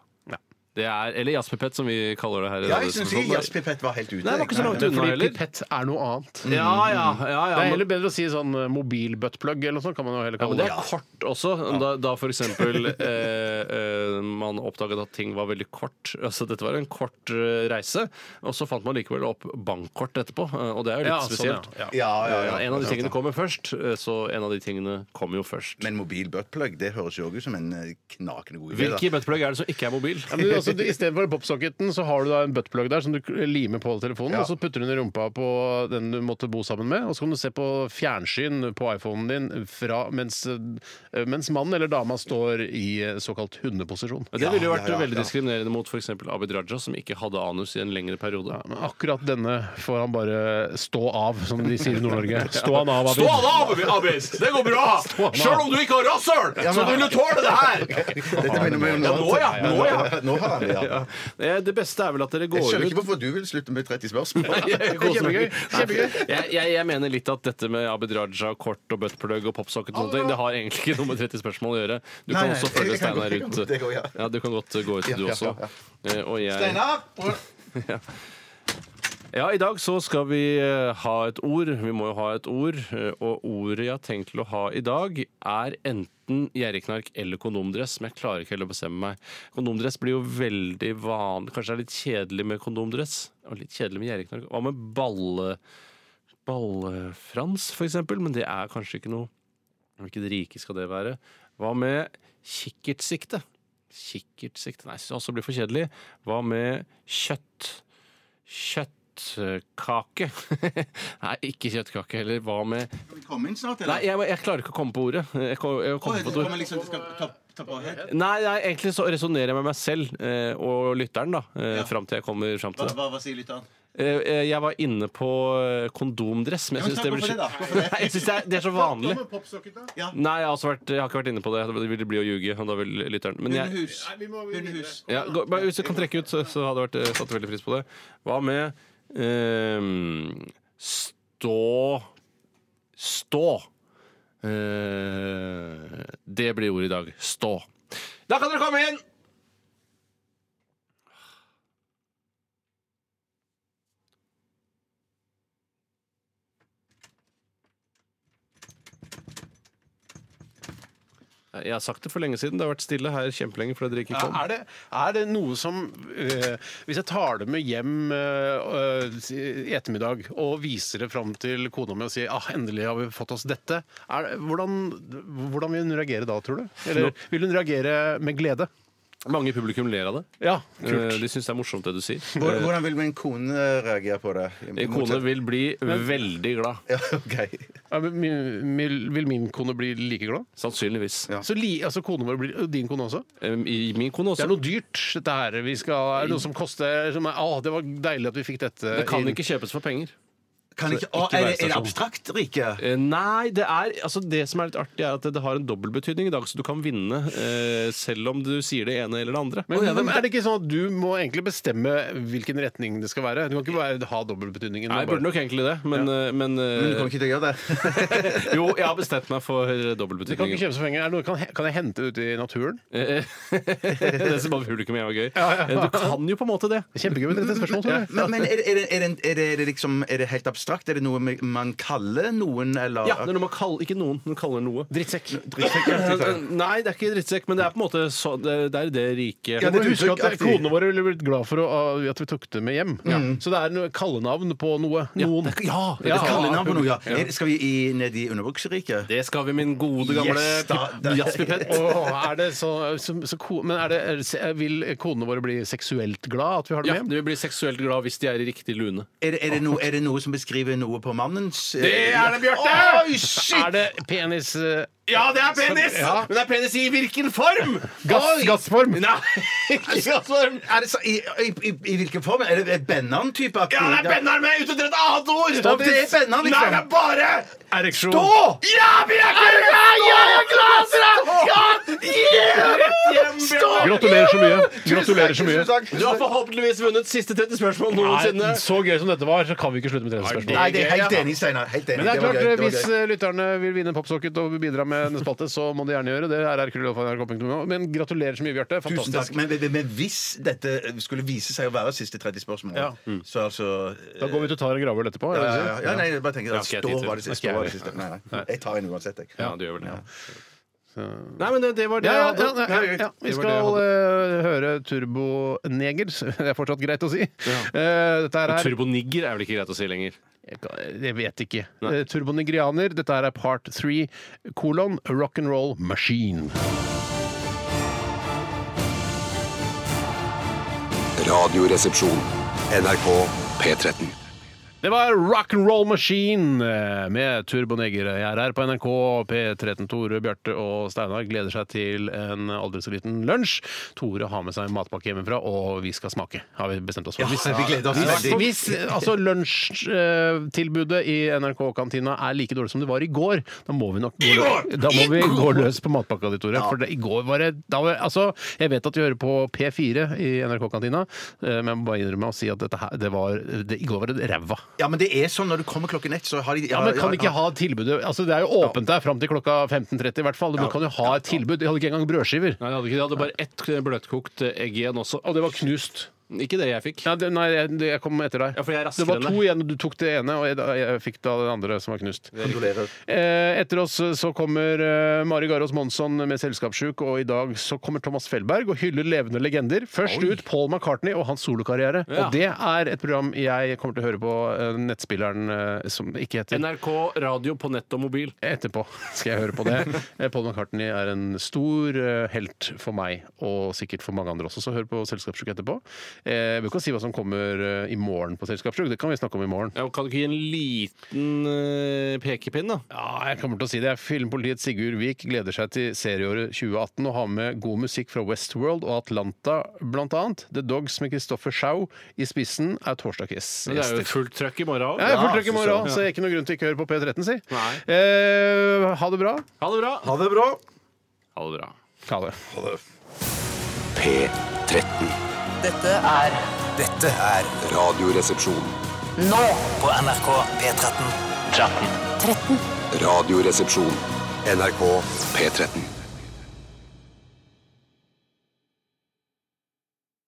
S3: Det er, eller jazzpipett, som vi kaller det her. i
S2: Ja, jeg syns
S3: Radioresepsjonen.
S2: jazzpipett var helt ute.
S3: Nei, det var ikke så langt
S1: Men
S3: unna
S1: fordi
S3: heller.
S1: pipett er noe annet.
S3: Ja, ja, ja, ja,
S1: Det er
S3: men-
S1: heller bedre å si sånn eh, mobilbuttplug eller noe sånt. kan man jo heller
S3: Ja,
S1: kalle
S3: men det
S1: det.
S3: er kort også. Da, da for eksempel (laughs) eh, eh, man oppdaget at ting var veldig kort. Altså, dette var en kort eh, reise, og så fant man likevel opp bankkort etterpå. eh, Og det er jo
S1: Ja,
S3: litt
S1: sånn, ja.
S3: spesielt.
S1: Ja.
S3: Eh,
S2: Ja, ja, ja.
S3: En av de tingene kommer først, eh, så en av de tingene kommer jo først.
S2: Men mobil buttplug, det høres jo også ut som en eh, knakende god idé. da.
S3: Hvilken buttplug er det som ikke er mobil?
S1: Ja, men
S3: (laughs)
S1: du, altså, du- I stedet for popsocketen så har du da en buttplug der som du k- limer på telefonen, og så putter du den i rumpa på den du måtte bo sammen med, og så kan du se på fjernsyn på iPhonen din fra, mens, eh, mens mannen eller dama står i eh, såkalt hundeposisjon.
S3: Det ville jo
S2: Ja,
S3: vært
S2: ja, ja,
S3: veldig
S2: ja.
S3: diskriminerende mot f.eks. Abid Raja, som ikke hadde anus i en lengre periode.
S1: Men akkurat denne får han bare stå av, som de sier i
S3: (laughs)
S1: Nord-Norge. Stå han av, Abid.
S3: av, Abid! Det går bra! (laughs) Selv om du ikke har rasshøl, så vil du tåle det her!
S2: Dette minner meg om
S3: Ja, nå, ja. Nå, (laughs) ja.
S2: Nå har han det, ja.
S3: Det beste er vel at dere går
S2: Jeg
S3: ut
S2: skjønner ikke hvorfor du vil slutte med 30 spørsmål.
S3: Kjempegøy.
S1: Kjempegøy.
S3: Jeg, jeg, jeg mener litt at dette med Abid Raja, kort og buttplug og popsocket og sånne ting, det har egentlig ikke noe med 30 spørsmål å gjøre. Du
S2: Nei,
S3: kan
S2: nei,
S3: også
S2: det
S3: følge
S2: kan godt-
S3: Steinar
S2: det kan godt- det går, ja.
S3: ut. Ja, du kan godt gå ut, du
S2: ja,
S3: også.
S2: ja,
S3: Eh, Og jeg
S2: Steinar!
S3: Ja, i dag så skal vi eh, ha et ord. Vi må jo ha et ord. eh, Og ordet jeg har tenkt til å ha i dag, er enten gjerriknark eller kondomdress. Men jeg klarer ikke heller å bestemme meg. Kondomdress blir jo veldig vanlig. Kanskje det er litt kjedelig med kondomdress. Og litt kjedelig med gjerriknark. Hva med balle... Ballefrans, for eksempel? Men det er kanskje ikke noe Hvilket rike skal det være? Hva med kikkertsikte? Kikkertsikte Nei, synes jeg også blir for kjedelig. Hva med kjøtt? Kjøttkake? (laughs) Nei, ikke kjøttkake heller. Hva med
S2: Kom inn snart,
S3: Nei, jeg, jeg klarer ikke å komme på ordet. Jeg kom, jeg kom på et ord.
S2: liksom, du skal ta, ta på helt.
S3: Nei, nei, egentlig så resonnerer jeg med meg selv eh, og lytteren, da. Eh, Fram til jeg kommer fram til det.
S2: hva sier lytteren?
S3: Eh, eh, Jeg var inne på eh, kondomdress, men jeg syns det blir
S7: hvorfor det da? Hvorfor det?
S3: Nei, jeg synes det, er, det er så vanlig.
S7: med popsocket, da?
S3: Nei, jeg har, også vært, jeg har ikke vært inne på det. Det ville bli å ljuge. og Da vil lytteren Men jeg,
S7: Hundehus.
S1: Nei, vi må
S7: Hundehus.
S3: ja, gå, bare, Hvis du kan trekke ut, så, så hadde jeg vært, eh, satt veldig pris på det. Hva med eh, stå Stå. Eh, det blir ordet i dag. Stå. Da kan dere komme inn! Jeg har sagt det for lenge siden. Det har vært stille her kjempelenge. For dere ikke kom.
S1: Er det, er det noe som eh, Hvis jeg tar det med hjem eh, eh, i ettermiddag og viser det fram til kona mi og sier ah, 'endelig har vi fått oss dette', er det, hvordan, hvordan vil hun reagere da, tror du? Eller vil hun reagere med glede?
S3: Mange i publikum ler av det.
S1: Ja,
S3: Eh,
S1: kult.
S3: De syns det er morsomt, det du sier.
S2: Hvor- Hvordan vil min kone reagere på det?
S3: Eh, Kone vil bli veldig glad.
S2: Ja, ok.
S1: Ja, men min- min- Vil min kone bli like glad?
S3: Sannsynligvis.
S2: Ja.
S1: Så li, altså kona vår blir, og din kone også?
S3: Eh, I min kone
S1: Det
S3: også.
S1: er noe dyrt, dette her. Vi skal, er det noe som koster som er, «Å, Det var deilig at vi fikk dette
S3: Det kan
S1: inn».
S3: ikke kjøpes for penger.
S2: Kan ikke, å,
S3: ikke
S2: er,
S3: være
S2: det, er det
S3: stasjon.
S2: abstrakt, Rike?
S3: Eh, Nei, det er altså Det som er litt artig, er at det- det har en dobbeltbetydning i dag, så du kan vinne eh, selv om du sier det ene eller det andre.
S1: Men, men er det ikke sånn at du må egentlig bestemme hvilken retning det skal være? Du kan ikke bare ha dobbeltbetydningen.
S3: Nei, jeg burde nok egentlig det, men, eh, men, eh,
S2: Men du kommer ikke til å gjøre det.
S3: (laughs) Jo, jeg har bestemt meg for
S1: det kan ikke
S3: dobbeltbetydningen.
S1: kjøpes for penger. Er det noe, kan, kan jeg hente det ute i naturen?
S3: Eh, (laughs) det som bare publikum er gøy.
S1: Ja, ja.
S3: Eh, Du kan jo på en måte det.
S1: Det er Kjempegøy med
S2: (laughs)
S1: dette spørsmålet.
S2: (laughs) Men, men er, det, er, det, er, det, er, det, er det liksom Er det helt abstrakt? Er det noe man kaller noen, eller
S3: Ja, det er noe man kaller, Ikke noen, men kaller noe.
S1: Drittsekk.
S3: Nei, det er ikke drittsekk, men det er på en måte så, det, det er det rike
S2: Ja,
S1: Du
S2: det
S1: må
S2: er
S1: huske at
S2: uttrykk-
S1: Kodene våre ville blitt glad for å, at vi tok det med hjem. Så det er noe kallenavn på noe. Noen.
S3: Ja,
S2: Ja,
S3: ja,
S2: kallenavn på noe, ja. Er, skal vi i, ned i underbukseriket?
S3: Det skal vi, min gode gamle
S2: Yes, da-
S3: pip- jazzpipett.
S1: Åh, er det så, så, så, ko- men er det, er, det- vil konene våre bli seksuelt glad at vi har
S3: Ja,
S1: dem hjem?
S3: de vil bli seksuelt glad hvis de er i riktig lune.
S2: Er det, er, det noe, er det noe som beskriver noe på mannens eh,
S3: det, Bjarte!
S1: Oi, shit! Er det penis... eh,
S3: Ja, det er penis! Men det er penis i hvilken form?
S1: Gass,
S3: Oi!
S1: gassform?
S3: Nei, (laughs) ikke gassform.
S2: Altså, Er det så, i, i, i, I hvilken form? Er det Bennan-type?
S3: Ja, det er Bennar, men jeg er ute etter et annet ord!
S2: Stopp, det er Bennar, liksom.
S3: Nei, det er bare
S1: Ereksjon.
S3: Stå! Ja, vi er ikke
S1: Gratulerer så mye. Gratulerer så mye.
S3: Du har forhåpentligvis vunnet siste 30 spørsmål noensinne.
S1: Nei, så gøy som dette var, så kan vi ikke slutte med 30 spørsmål.
S2: Nei, det er helt enig, Steinar. Helt enig.
S1: Men det er
S2: var
S1: klart,
S2: gøy, det var
S1: Hvis
S2: gøy.
S1: eh, lytterne vil vinne Popsocket og bidra med en spalte, så må de gjerne gjøre det. rr.nrk.no. Men gratulerer så mye, Bjarte.
S2: Tusen takk.
S1: Fantastisk.
S2: Men, men, men hvis dette skulle vise seg å være siste 30 spørsmål,
S1: Ja.
S2: så altså
S1: Da går vi ut og tar en gravøl etterpå.
S2: ja,
S1: er
S2: ja,
S1: det det du
S2: ja,
S1: sier?
S2: ja, nei, jeg bare tenker at
S3: Ja, ok, jeg
S2: Stå var det
S3: titter.
S2: siste. stå var det siste. Nei, nei. Jeg tar en uansett, jeg.
S3: Ja, du gjør vel det. Nei, men det, det var det
S1: Ja,
S3: jeg
S1: ja,
S3: hadde.
S1: ja, ja, ja. Vi
S3: Det var det
S1: skal
S3: jeg hadde.
S1: eh, høre Turboneger. (laughs) Det er fortsatt greit å si. Eh, dette her er
S3: Turbonigger er vel ikke greit å si lenger.
S1: Jeg kan- Jeg vet ikke. Eh, Turbonegrianer. Dette her er part three, kolon rock'n'roll machine.
S4: Radioresepsjon. NRK P13.
S1: Det var rock'n'roll machine eh, med Turboneger. Jeg er her på NRK P13. Tore, Bjarte og Steinar gleder seg til en aldri så liten lunsj. Tore har med seg en matpakke hjemmefra, og vi skal smake, har vi bestemt oss for. Hvis-
S2: vi gleder oss
S1: Hvis,
S2: veldig.
S1: hvis altså, lunsjtilbudet eh, i NRK-kantina er like dårlig som det var i går, da må vi nok gå, da må vi gå løs på matpakka di, Tore. For det, i går var det da var, Altså, jeg vet at de hører på P4 i NRK-kantina, eh, men jeg må bare innrømme å si at dette her, det var det, I går var det ræva.
S2: Ja, men det er sånn når du kommer klokken ett, så har de
S1: Ja, men kan de ikke ha tilbudet Altså, Det er jo åpent der fram til klokka 15.30 i hvert fall. Du kan jo ha et tilbud. De hadde ikke engang brødskiver.
S3: Nei, de hadde, ikke, de hadde bare ett bløtkokt egg igjen også.
S1: Og det var knust.
S3: Ikke det jeg fikk.
S1: Ja, det, nei, jeg, det- jeg kom etter deg.
S3: Ja, for jeg er raskere
S1: det var
S3: enn
S1: to
S3: deg.
S1: igjen, og du tok det ene, og jeg, jeg fikk da den andre som var knust.
S2: Gratulerer.
S1: Eh, Etter oss så kommer eh, Mari Garås Monsson med 'Selskapssjuk', og i dag så kommer Thomas Felberg og hyller levende legender. Først ut Paul McCartney og hans solokarriere.
S3: Ja.
S1: Og det er et program jeg kommer til å høre på eh, nettspilleren eh, som ikke heter
S3: NRK radio på nett og mobil.
S1: Etterpå skal jeg høre på (laughs) det. Eh, Paul McCartney er en stor eh, helt for meg, og sikkert for mange andre også, så hør på Selskapssjuk etterpå. Eh, Jeg vil ikke si hva som kommer eh, i morgen på Selskapssjuk, det kan vi snakke om i morgen.
S3: Ja, kan du ikke gi en liten eh, pekepinn, da?
S1: Ja, jeg kommer til å si det. Filmpolitiet Sigurd Vik gleder seg til serieåret 2018 og har med god musikk fra Westworld og Atlanta bl.a. The Dogs med Kristoffer Schau i spissen er torsdagsgjess.
S3: Men det er jo fullt trøkk i morgen òg.
S1: Ja, jeg får trykk i morgen,
S3: Ja.
S1: så jeg er ikke noe grunn til ikke å høre på P13, si.
S3: Nei.
S1: Eh, ha det bra.
S3: Ha det bra!
S2: Ha det bra.
S3: Ha det bra.
S1: Ha det.
S4: P13.
S9: Dette er
S4: Dette er Radioresepsjon.
S9: nå på NRK P13. 13.
S4: Radioresepsjon. NRK P13.